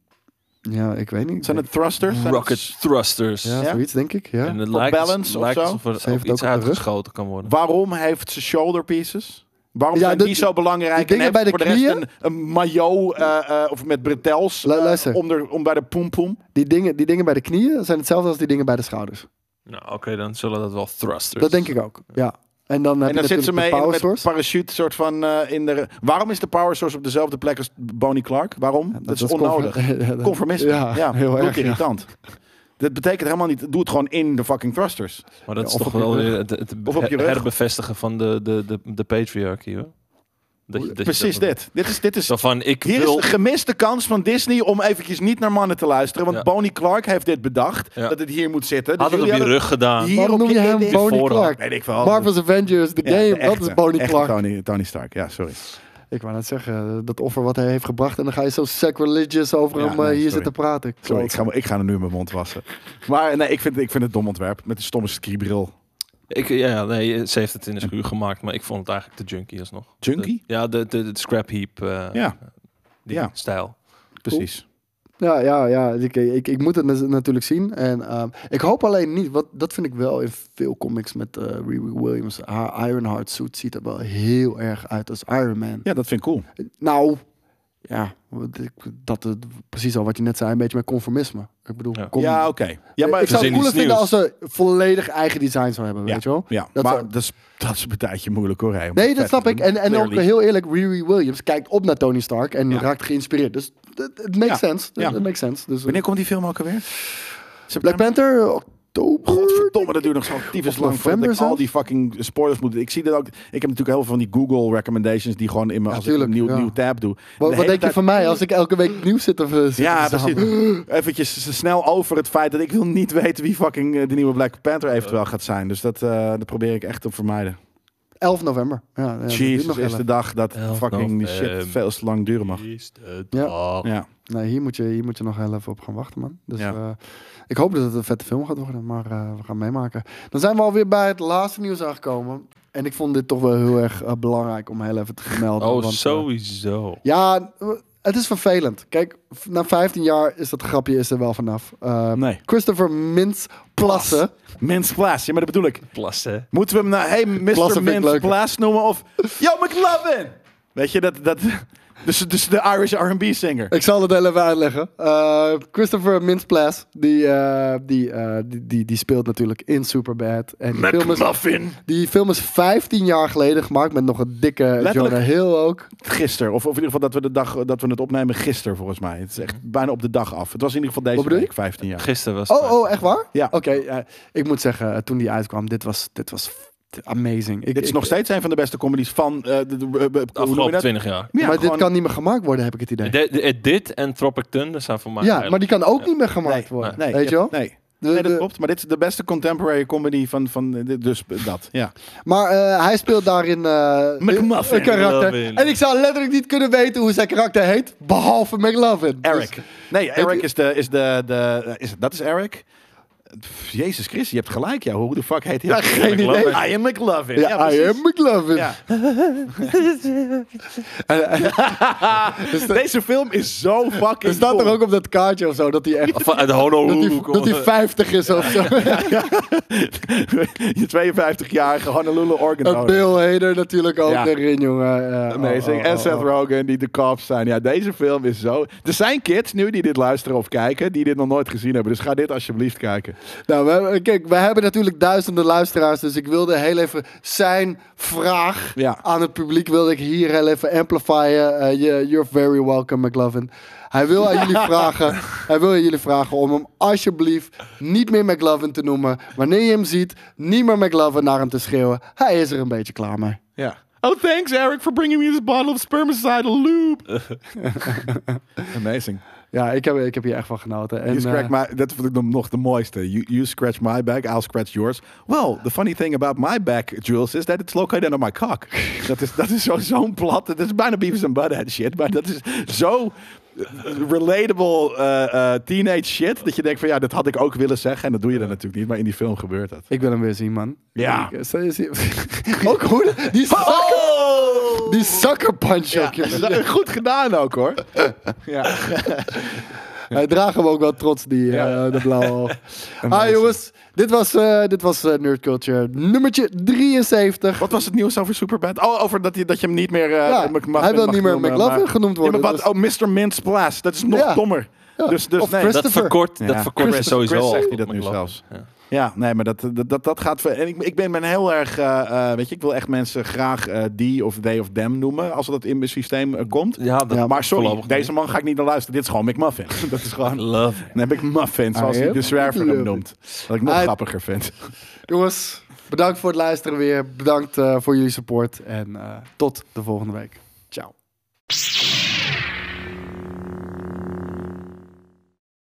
Speaker 4: Ja, ik weet niet.
Speaker 2: Zijn het thrusters? Zijn het-
Speaker 3: Rocket thrusters.
Speaker 4: ja,
Speaker 2: ja? eh,
Speaker 4: zoiets denk ik, ja.
Speaker 3: En het
Speaker 2: Op
Speaker 3: lijkt,
Speaker 2: balance of
Speaker 3: lijkt
Speaker 2: zo?
Speaker 3: alsof er
Speaker 4: Ze heeft
Speaker 3: ook iets
Speaker 4: ook op de rug.
Speaker 3: uitgeschoten kan worden.
Speaker 2: Waarom heeft ze shoulder pieces? Waarom
Speaker 4: Ja,
Speaker 2: zijn
Speaker 4: dat-
Speaker 2: die zo belangrijk?
Speaker 4: die dingen
Speaker 2: en heeft
Speaker 4: bij de
Speaker 2: voor de
Speaker 4: knieën?
Speaker 2: rest een, een maillot eh, eh, of met bretels
Speaker 4: Lu-
Speaker 2: eh,
Speaker 4: luister.
Speaker 2: om, er, om bij de poempoem.
Speaker 4: Die, dingen, die dingen bij de knieën zijn hetzelfde als die dingen bij de schouders.
Speaker 3: Nou, oké, dan zullen dat wel thrusters.
Speaker 4: Dat denk ik ook, ja. En dan heb
Speaker 2: En
Speaker 4: je
Speaker 2: daar zit ze
Speaker 4: natuurlijk
Speaker 2: mee
Speaker 4: de
Speaker 2: in,
Speaker 4: power
Speaker 2: met
Speaker 4: source.
Speaker 2: parachute soort van eh, in de... Waarom is de power source op dezelfde plek als Bonnie Clark? Waarom? dat, is
Speaker 4: conform-
Speaker 2: onnodig.
Speaker 4: <laughs>
Speaker 2: <laughs>
Speaker 4: Ja, dat-
Speaker 2: Conformisme.
Speaker 4: Ja, heel erg. ja.
Speaker 2: irritant. Dat betekent helemaal niet... Doe het gewoon in de fucking thrusters.
Speaker 3: maar dat
Speaker 4: Ja,
Speaker 3: is
Speaker 4: of
Speaker 3: toch
Speaker 4: op je
Speaker 3: wel
Speaker 4: rug.
Speaker 3: weer het, het
Speaker 2: Of op je
Speaker 3: her-
Speaker 2: rug.
Speaker 3: herbevestigen van de, de, de, de patriarchy, hoor. Dat je- dat je
Speaker 2: Precies
Speaker 3: dat-
Speaker 2: dit. Dit is, dit is,
Speaker 3: Zo van, ik
Speaker 2: hier is
Speaker 3: wil...
Speaker 2: de gemiste kans van Disney om eventjes niet naar mannen te luisteren. Want
Speaker 3: Ja.
Speaker 2: Bonnie Clark heeft dit bedacht,
Speaker 3: Ja.
Speaker 2: dat het hier moet zitten. Dus
Speaker 3: Had het op
Speaker 2: jullie
Speaker 3: je
Speaker 2: hadden-
Speaker 3: rug gedaan.
Speaker 2: Hier
Speaker 4: Waarom
Speaker 2: op
Speaker 4: noem je hem
Speaker 2: index-
Speaker 4: Bonnie
Speaker 3: voorhand.
Speaker 4: Clark?
Speaker 2: Weet ik wel.
Speaker 4: Marvel's Avengers, The
Speaker 2: Ja, de
Speaker 4: Game, dat
Speaker 2: echte,
Speaker 4: is Bonnie
Speaker 2: echte
Speaker 4: Clark.
Speaker 2: Tony, Tony Stark, ja, sorry.
Speaker 4: Ik wou net zeggen, eh, dat offer wat hij heeft gebracht. En dan ga je zo sacrilegious over
Speaker 2: Ja,
Speaker 4: hem
Speaker 2: nee,
Speaker 4: eh, hier
Speaker 2: sorry.
Speaker 4: zitten praten.
Speaker 2: Sorry, ik ga, ik ga er nu mijn mond wassen. Maar nee, ik vind, ik vind het dom ontwerp. Met een stomme skibril.
Speaker 3: Ik, ja, nee, ze heeft het in de schuur gemaakt, maar ik vond het eigenlijk te junkie alsnog.
Speaker 2: Junkie?
Speaker 3: De- ja, de, de, de scrap heap eh,
Speaker 2: Ja,
Speaker 3: die
Speaker 2: ja.
Speaker 3: stijl.
Speaker 2: precies.
Speaker 4: Ja, ja, ja. Ik, ik, ik moet het nat- natuurlijk zien. En ehm, ik hoop alleen niet, wat, dat vind ik wel in veel comics met eh, Riri Williams. Haar Ironheart suit ziet er wel heel erg uit als Iron Man.
Speaker 2: Ja, dat vind ik cool.
Speaker 4: Nou, ja, wat ik- dat, eh, precies al wat je net zei, een beetje met conformisme. Ik bedoel,
Speaker 3: Ja.
Speaker 4: kom-
Speaker 2: Ja, oké. Ja, maar
Speaker 4: ik zou het
Speaker 3: Verzin
Speaker 4: cooler
Speaker 3: iets
Speaker 4: vinden als
Speaker 3: nieuws.
Speaker 4: ze volledig eigen design zou hebben,
Speaker 2: Ja,
Speaker 4: weet je wel?
Speaker 2: Ja,
Speaker 4: Dat
Speaker 2: maar
Speaker 4: zou-
Speaker 2: dat is, dat is een tijdje moeilijk hoor. hè, om
Speaker 4: Nee,
Speaker 2: vet
Speaker 4: dat
Speaker 2: te
Speaker 4: snap ik.
Speaker 2: doen.
Speaker 4: En, en ook
Speaker 2: Clearly.
Speaker 4: heel eerlijk, Riri Williams kijkt op naar Tony Stark en
Speaker 2: Ja.
Speaker 4: raakt geïnspireerd. Dus het het makes
Speaker 2: Ja.
Speaker 4: sense.
Speaker 2: Ja.
Speaker 4: Het makes sense. Dus, eh,
Speaker 2: Wanneer komt die film ook alweer?
Speaker 4: Black
Speaker 2: September?
Speaker 4: Panther, oktober.
Speaker 2: Godverdomme, dat duurt nog zo tyfus
Speaker 4: Of
Speaker 2: lang voordat
Speaker 4: november
Speaker 2: ik al
Speaker 4: zelfs?
Speaker 2: die fucking spoilers moet... Ik zie dat ook... Ik heb natuurlijk heel veel van die Google recommendations die gewoon in mijn...
Speaker 4: Ja,
Speaker 2: als ik een
Speaker 4: tuurlijk,
Speaker 2: nieuw,
Speaker 4: ja.
Speaker 2: nieuw tab doe.
Speaker 4: Wat,
Speaker 2: De
Speaker 4: wat
Speaker 2: hele
Speaker 4: denk je
Speaker 2: tijd-
Speaker 4: van mij als ik elke week nieuws zit te zit
Speaker 2: Ja,
Speaker 4: te <laughs>
Speaker 2: precies.
Speaker 4: zappen?
Speaker 2: Eventjes snel over het feit dat ik wil niet <laughs> weten wie fucking eh, de nieuwe Black Panther eventueel gaat zijn. Dus dat, eh, dat probeer ik echt te vermijden.
Speaker 4: 11 november. Ja, Ja, dat duurt
Speaker 2: Jezus,
Speaker 4: nog
Speaker 2: is
Speaker 4: even.
Speaker 2: de dag dat
Speaker 3: Elf
Speaker 2: fucking die shit
Speaker 3: november.
Speaker 2: veel te lang duren mag.
Speaker 3: Is de
Speaker 4: Ja.
Speaker 3: dag.
Speaker 2: Ja.
Speaker 4: Nee, hier moet, je, hier moet je nog heel even op gaan wachten, man. Dus
Speaker 2: Ja.
Speaker 4: eh, ik hoop dat het een vette film gaat worden, maar eh, we gaan meemaken. Dan zijn we alweer bij het laatste nieuws aangekomen. En ik vond dit toch wel heel erg eh, belangrijk om heel even te vermelden.
Speaker 3: Oh,
Speaker 4: want, eh,
Speaker 3: sowieso.
Speaker 4: Ja, het is vervelend. Kijk, v- na 15 jaar is dat grapje is er wel vanaf. Eh,
Speaker 2: Nee.
Speaker 4: Christopher Mintz Plassen.
Speaker 2: Mins Plaas, ja, maar dat bedoel ik.
Speaker 3: Plassen.
Speaker 2: Moeten we hem nou, hey,
Speaker 4: Plassen
Speaker 2: Mr.
Speaker 4: vind ik
Speaker 2: Mins
Speaker 4: leuker.
Speaker 2: Plaas noemen of Yo McLovin? Weet je, dat... dat dus, dus de Irish R&B singer.
Speaker 4: Ik zal het heel even uitleggen. Eh, Christopher Mintz-Plasse, die, eh, die, eh, die, die, die speelt natuurlijk in Superbad. En die film, is,
Speaker 2: McLovin.
Speaker 4: die film is 15 jaar geleden gemaakt met nog een dikke Jonah Hill ook.
Speaker 2: Gisteren, of, of in ieder geval dat we, de dag, dat we het opnemen gisteren volgens mij. Het is echt bijna op de dag af. Het was in ieder geval
Speaker 4: Wat
Speaker 2: deze
Speaker 4: bedoel
Speaker 2: week, 15 jaar.
Speaker 3: Gisteren was
Speaker 4: Oh, oh, echt waar?
Speaker 2: Ja.
Speaker 4: Oké, eh, ik moet zeggen, eh, toen die uitkwam, dit was, dit was f- amazing. Ik,
Speaker 2: Dit is
Speaker 4: ik-
Speaker 2: nog steeds een van de beste comedies van eh, de, de- eh, eh, hoe
Speaker 3: de
Speaker 2: noem je
Speaker 3: afgelopen
Speaker 2: dat?
Speaker 3: 20 jaar.
Speaker 2: Ja,
Speaker 4: maar
Speaker 2: gewoon-
Speaker 4: dit kan niet meer gemaakt worden, heb ik het idee.
Speaker 3: De- de- dit en Tropic Thunder zijn voor mij...
Speaker 4: ja,
Speaker 3: eigenlijk-
Speaker 4: maar die kan ook niet meer gemaakt
Speaker 2: Nee,
Speaker 4: worden.
Speaker 2: Nee,
Speaker 4: weet je wel?
Speaker 2: Nee.
Speaker 4: De-
Speaker 2: nee, dat
Speaker 4: de-
Speaker 2: klopt. Maar dit is de beste contemporary comedy van, van eh, dit- dus dat. Ja.
Speaker 4: Maar eh, hij speelt daarin eh,
Speaker 2: McMuffin.
Speaker 4: een karakter.
Speaker 3: McLovin.
Speaker 4: En ik zou letterlijk niet kunnen weten hoe zijn karakter heet, behalve McLovin. Dus-
Speaker 2: Eric. Nee, Eric
Speaker 4: Ik-
Speaker 2: is de... Is de, de eh, is, dat is Eric. Pff, Jezus Christus, je hebt gelijk. Ja, hoe de fuck heet hij?
Speaker 4: Ja, geen
Speaker 2: McLovin.
Speaker 4: idee.
Speaker 2: I am McLovin.
Speaker 4: ja,
Speaker 2: Ja, precies.
Speaker 4: I am McLovin.
Speaker 2: Ja. <laughs> Deze film is zo <laughs> fucking
Speaker 4: Dus Er staat er
Speaker 2: cool.
Speaker 4: ook op dat kaartje of zo dat hij echt
Speaker 3: Van- Uit
Speaker 4: dat hij,
Speaker 3: eh, Honolulu.
Speaker 4: dat hij 50 is of <laughs> zo.
Speaker 2: je 52-jarige Honolulu organ
Speaker 4: En
Speaker 2: donor.
Speaker 4: Bill Hader natuurlijk ook
Speaker 2: Oh, Ja.
Speaker 4: erin, jongen. Ja,
Speaker 2: Amazing.
Speaker 4: oh, oh,
Speaker 2: en
Speaker 4: oh,
Speaker 2: Seth
Speaker 4: oh.
Speaker 2: Rogen, die de cops zijn. Ja, deze film is zo... Er zijn kids nu die dit luisteren of kijken, die dit nog nooit gezien hebben. Dus ga dit alsjeblieft kijken.
Speaker 4: Nou, we hebben- kijk, we hebben natuurlijk duizenden luisteraars, dus ik wilde heel even zijn vraag
Speaker 2: Ja.
Speaker 4: aan het publiek wilde ik hier heel even amplifyen. Eh, je- you're very welcome, McLovin. Hij wil aan
Speaker 2: <laughs>
Speaker 4: jullie vragen, hij wil aan jullie vragen om hem alsjeblieft niet meer McLovin te noemen. Wanneer je hem ziet, niet meer McLovin naar hem te schreeuwen. Hij is er een beetje klaar mee.
Speaker 2: Ja. Oh, thanks Eric for bringing me this bottle of spermicidal lube. <laughs> Amazing.
Speaker 4: Ja, ik heb, ik heb hier echt van genoten. En,
Speaker 2: You scratch
Speaker 4: eh,
Speaker 2: my, dat vond ik dan nog de mooiste. You, you scratch my back, I'll scratch yours. Well, the funny thing about my back, Jules, is that it's located on my
Speaker 4: <laughs>
Speaker 2: cock. dat is, dat is zo- zo'n plat. Dat is bijna Beavis and Butthead shit. Maar dat is zo eh, relatable eh, eh, teenage shit. Dat je denkt van ja, dat had ik ook willen zeggen. En dat doe je dan natuurlijk niet. Maar in die film gebeurt dat.
Speaker 4: ik wil hem weer zien, man.
Speaker 2: Ja.
Speaker 4: Ik- eh, zou je zien- <laughs> ook hoe... Die zakker,
Speaker 2: Oh!
Speaker 4: die sucker punch ook,
Speaker 2: Ja,
Speaker 4: jongen.
Speaker 2: goed gedaan ook
Speaker 4: <laughs>
Speaker 2: hoor. ja.
Speaker 4: Hij draagt hem ook wel trots, die
Speaker 2: Ja.
Speaker 4: eh, de
Speaker 2: <laughs>
Speaker 4: blauwe oog. Ah jongens, dit was, eh, dit was eh, Nerd Culture nummertje 73.
Speaker 2: Wat was het nieuws over Superbad? Oh, over dat je, dat je hem niet meer... eh,
Speaker 4: Ja,
Speaker 2: McMuffin
Speaker 4: hij wil
Speaker 2: mag
Speaker 4: niet meer
Speaker 2: noemen,
Speaker 4: McLovin genoemd worden, dus-
Speaker 2: Ja, maar wat, oh, Mr. Mince Plaas. Dat is nog
Speaker 4: Ja.
Speaker 2: dommer.
Speaker 4: Ja.
Speaker 2: Dus, dus
Speaker 4: Of
Speaker 2: nee.
Speaker 4: Chris-
Speaker 2: dat-
Speaker 3: Dat
Speaker 4: Christopher.
Speaker 3: verkort,
Speaker 2: Ja.
Speaker 3: dat verkort
Speaker 2: Chris-
Speaker 3: is sowieso
Speaker 2: Chris
Speaker 3: al
Speaker 2: zegt hij dat
Speaker 3: op
Speaker 2: nu
Speaker 3: mijn lap.
Speaker 2: zelfs.
Speaker 3: Ja.
Speaker 2: ja, nee, maar dat, dat, dat, dat gaat... ver- En ik, ik ben ben heel erg... eh, eh, weet je, ik wil echt mensen graag eh die of they of them noemen. Als dat in mijn systeem eh, komt.
Speaker 3: Ja, dat
Speaker 2: maar sorry,
Speaker 3: voorlopig
Speaker 2: deze man ga ik niet naar luisteren. Dit is gewoon
Speaker 4: <laughs>
Speaker 2: McMuffin. dat is gewoon...
Speaker 3: Love.
Speaker 2: Dan heb ik Muffin, zoals
Speaker 4: I
Speaker 2: hij de
Speaker 4: am
Speaker 2: zwerver hem
Speaker 4: McLovin.
Speaker 2: noemt. Wat ik nog
Speaker 4: I-
Speaker 2: grappiger vind.
Speaker 4: Jongens, bedankt voor het luisteren weer. Bedankt eh, voor jullie support. En eh, tot de volgende week. Ciao.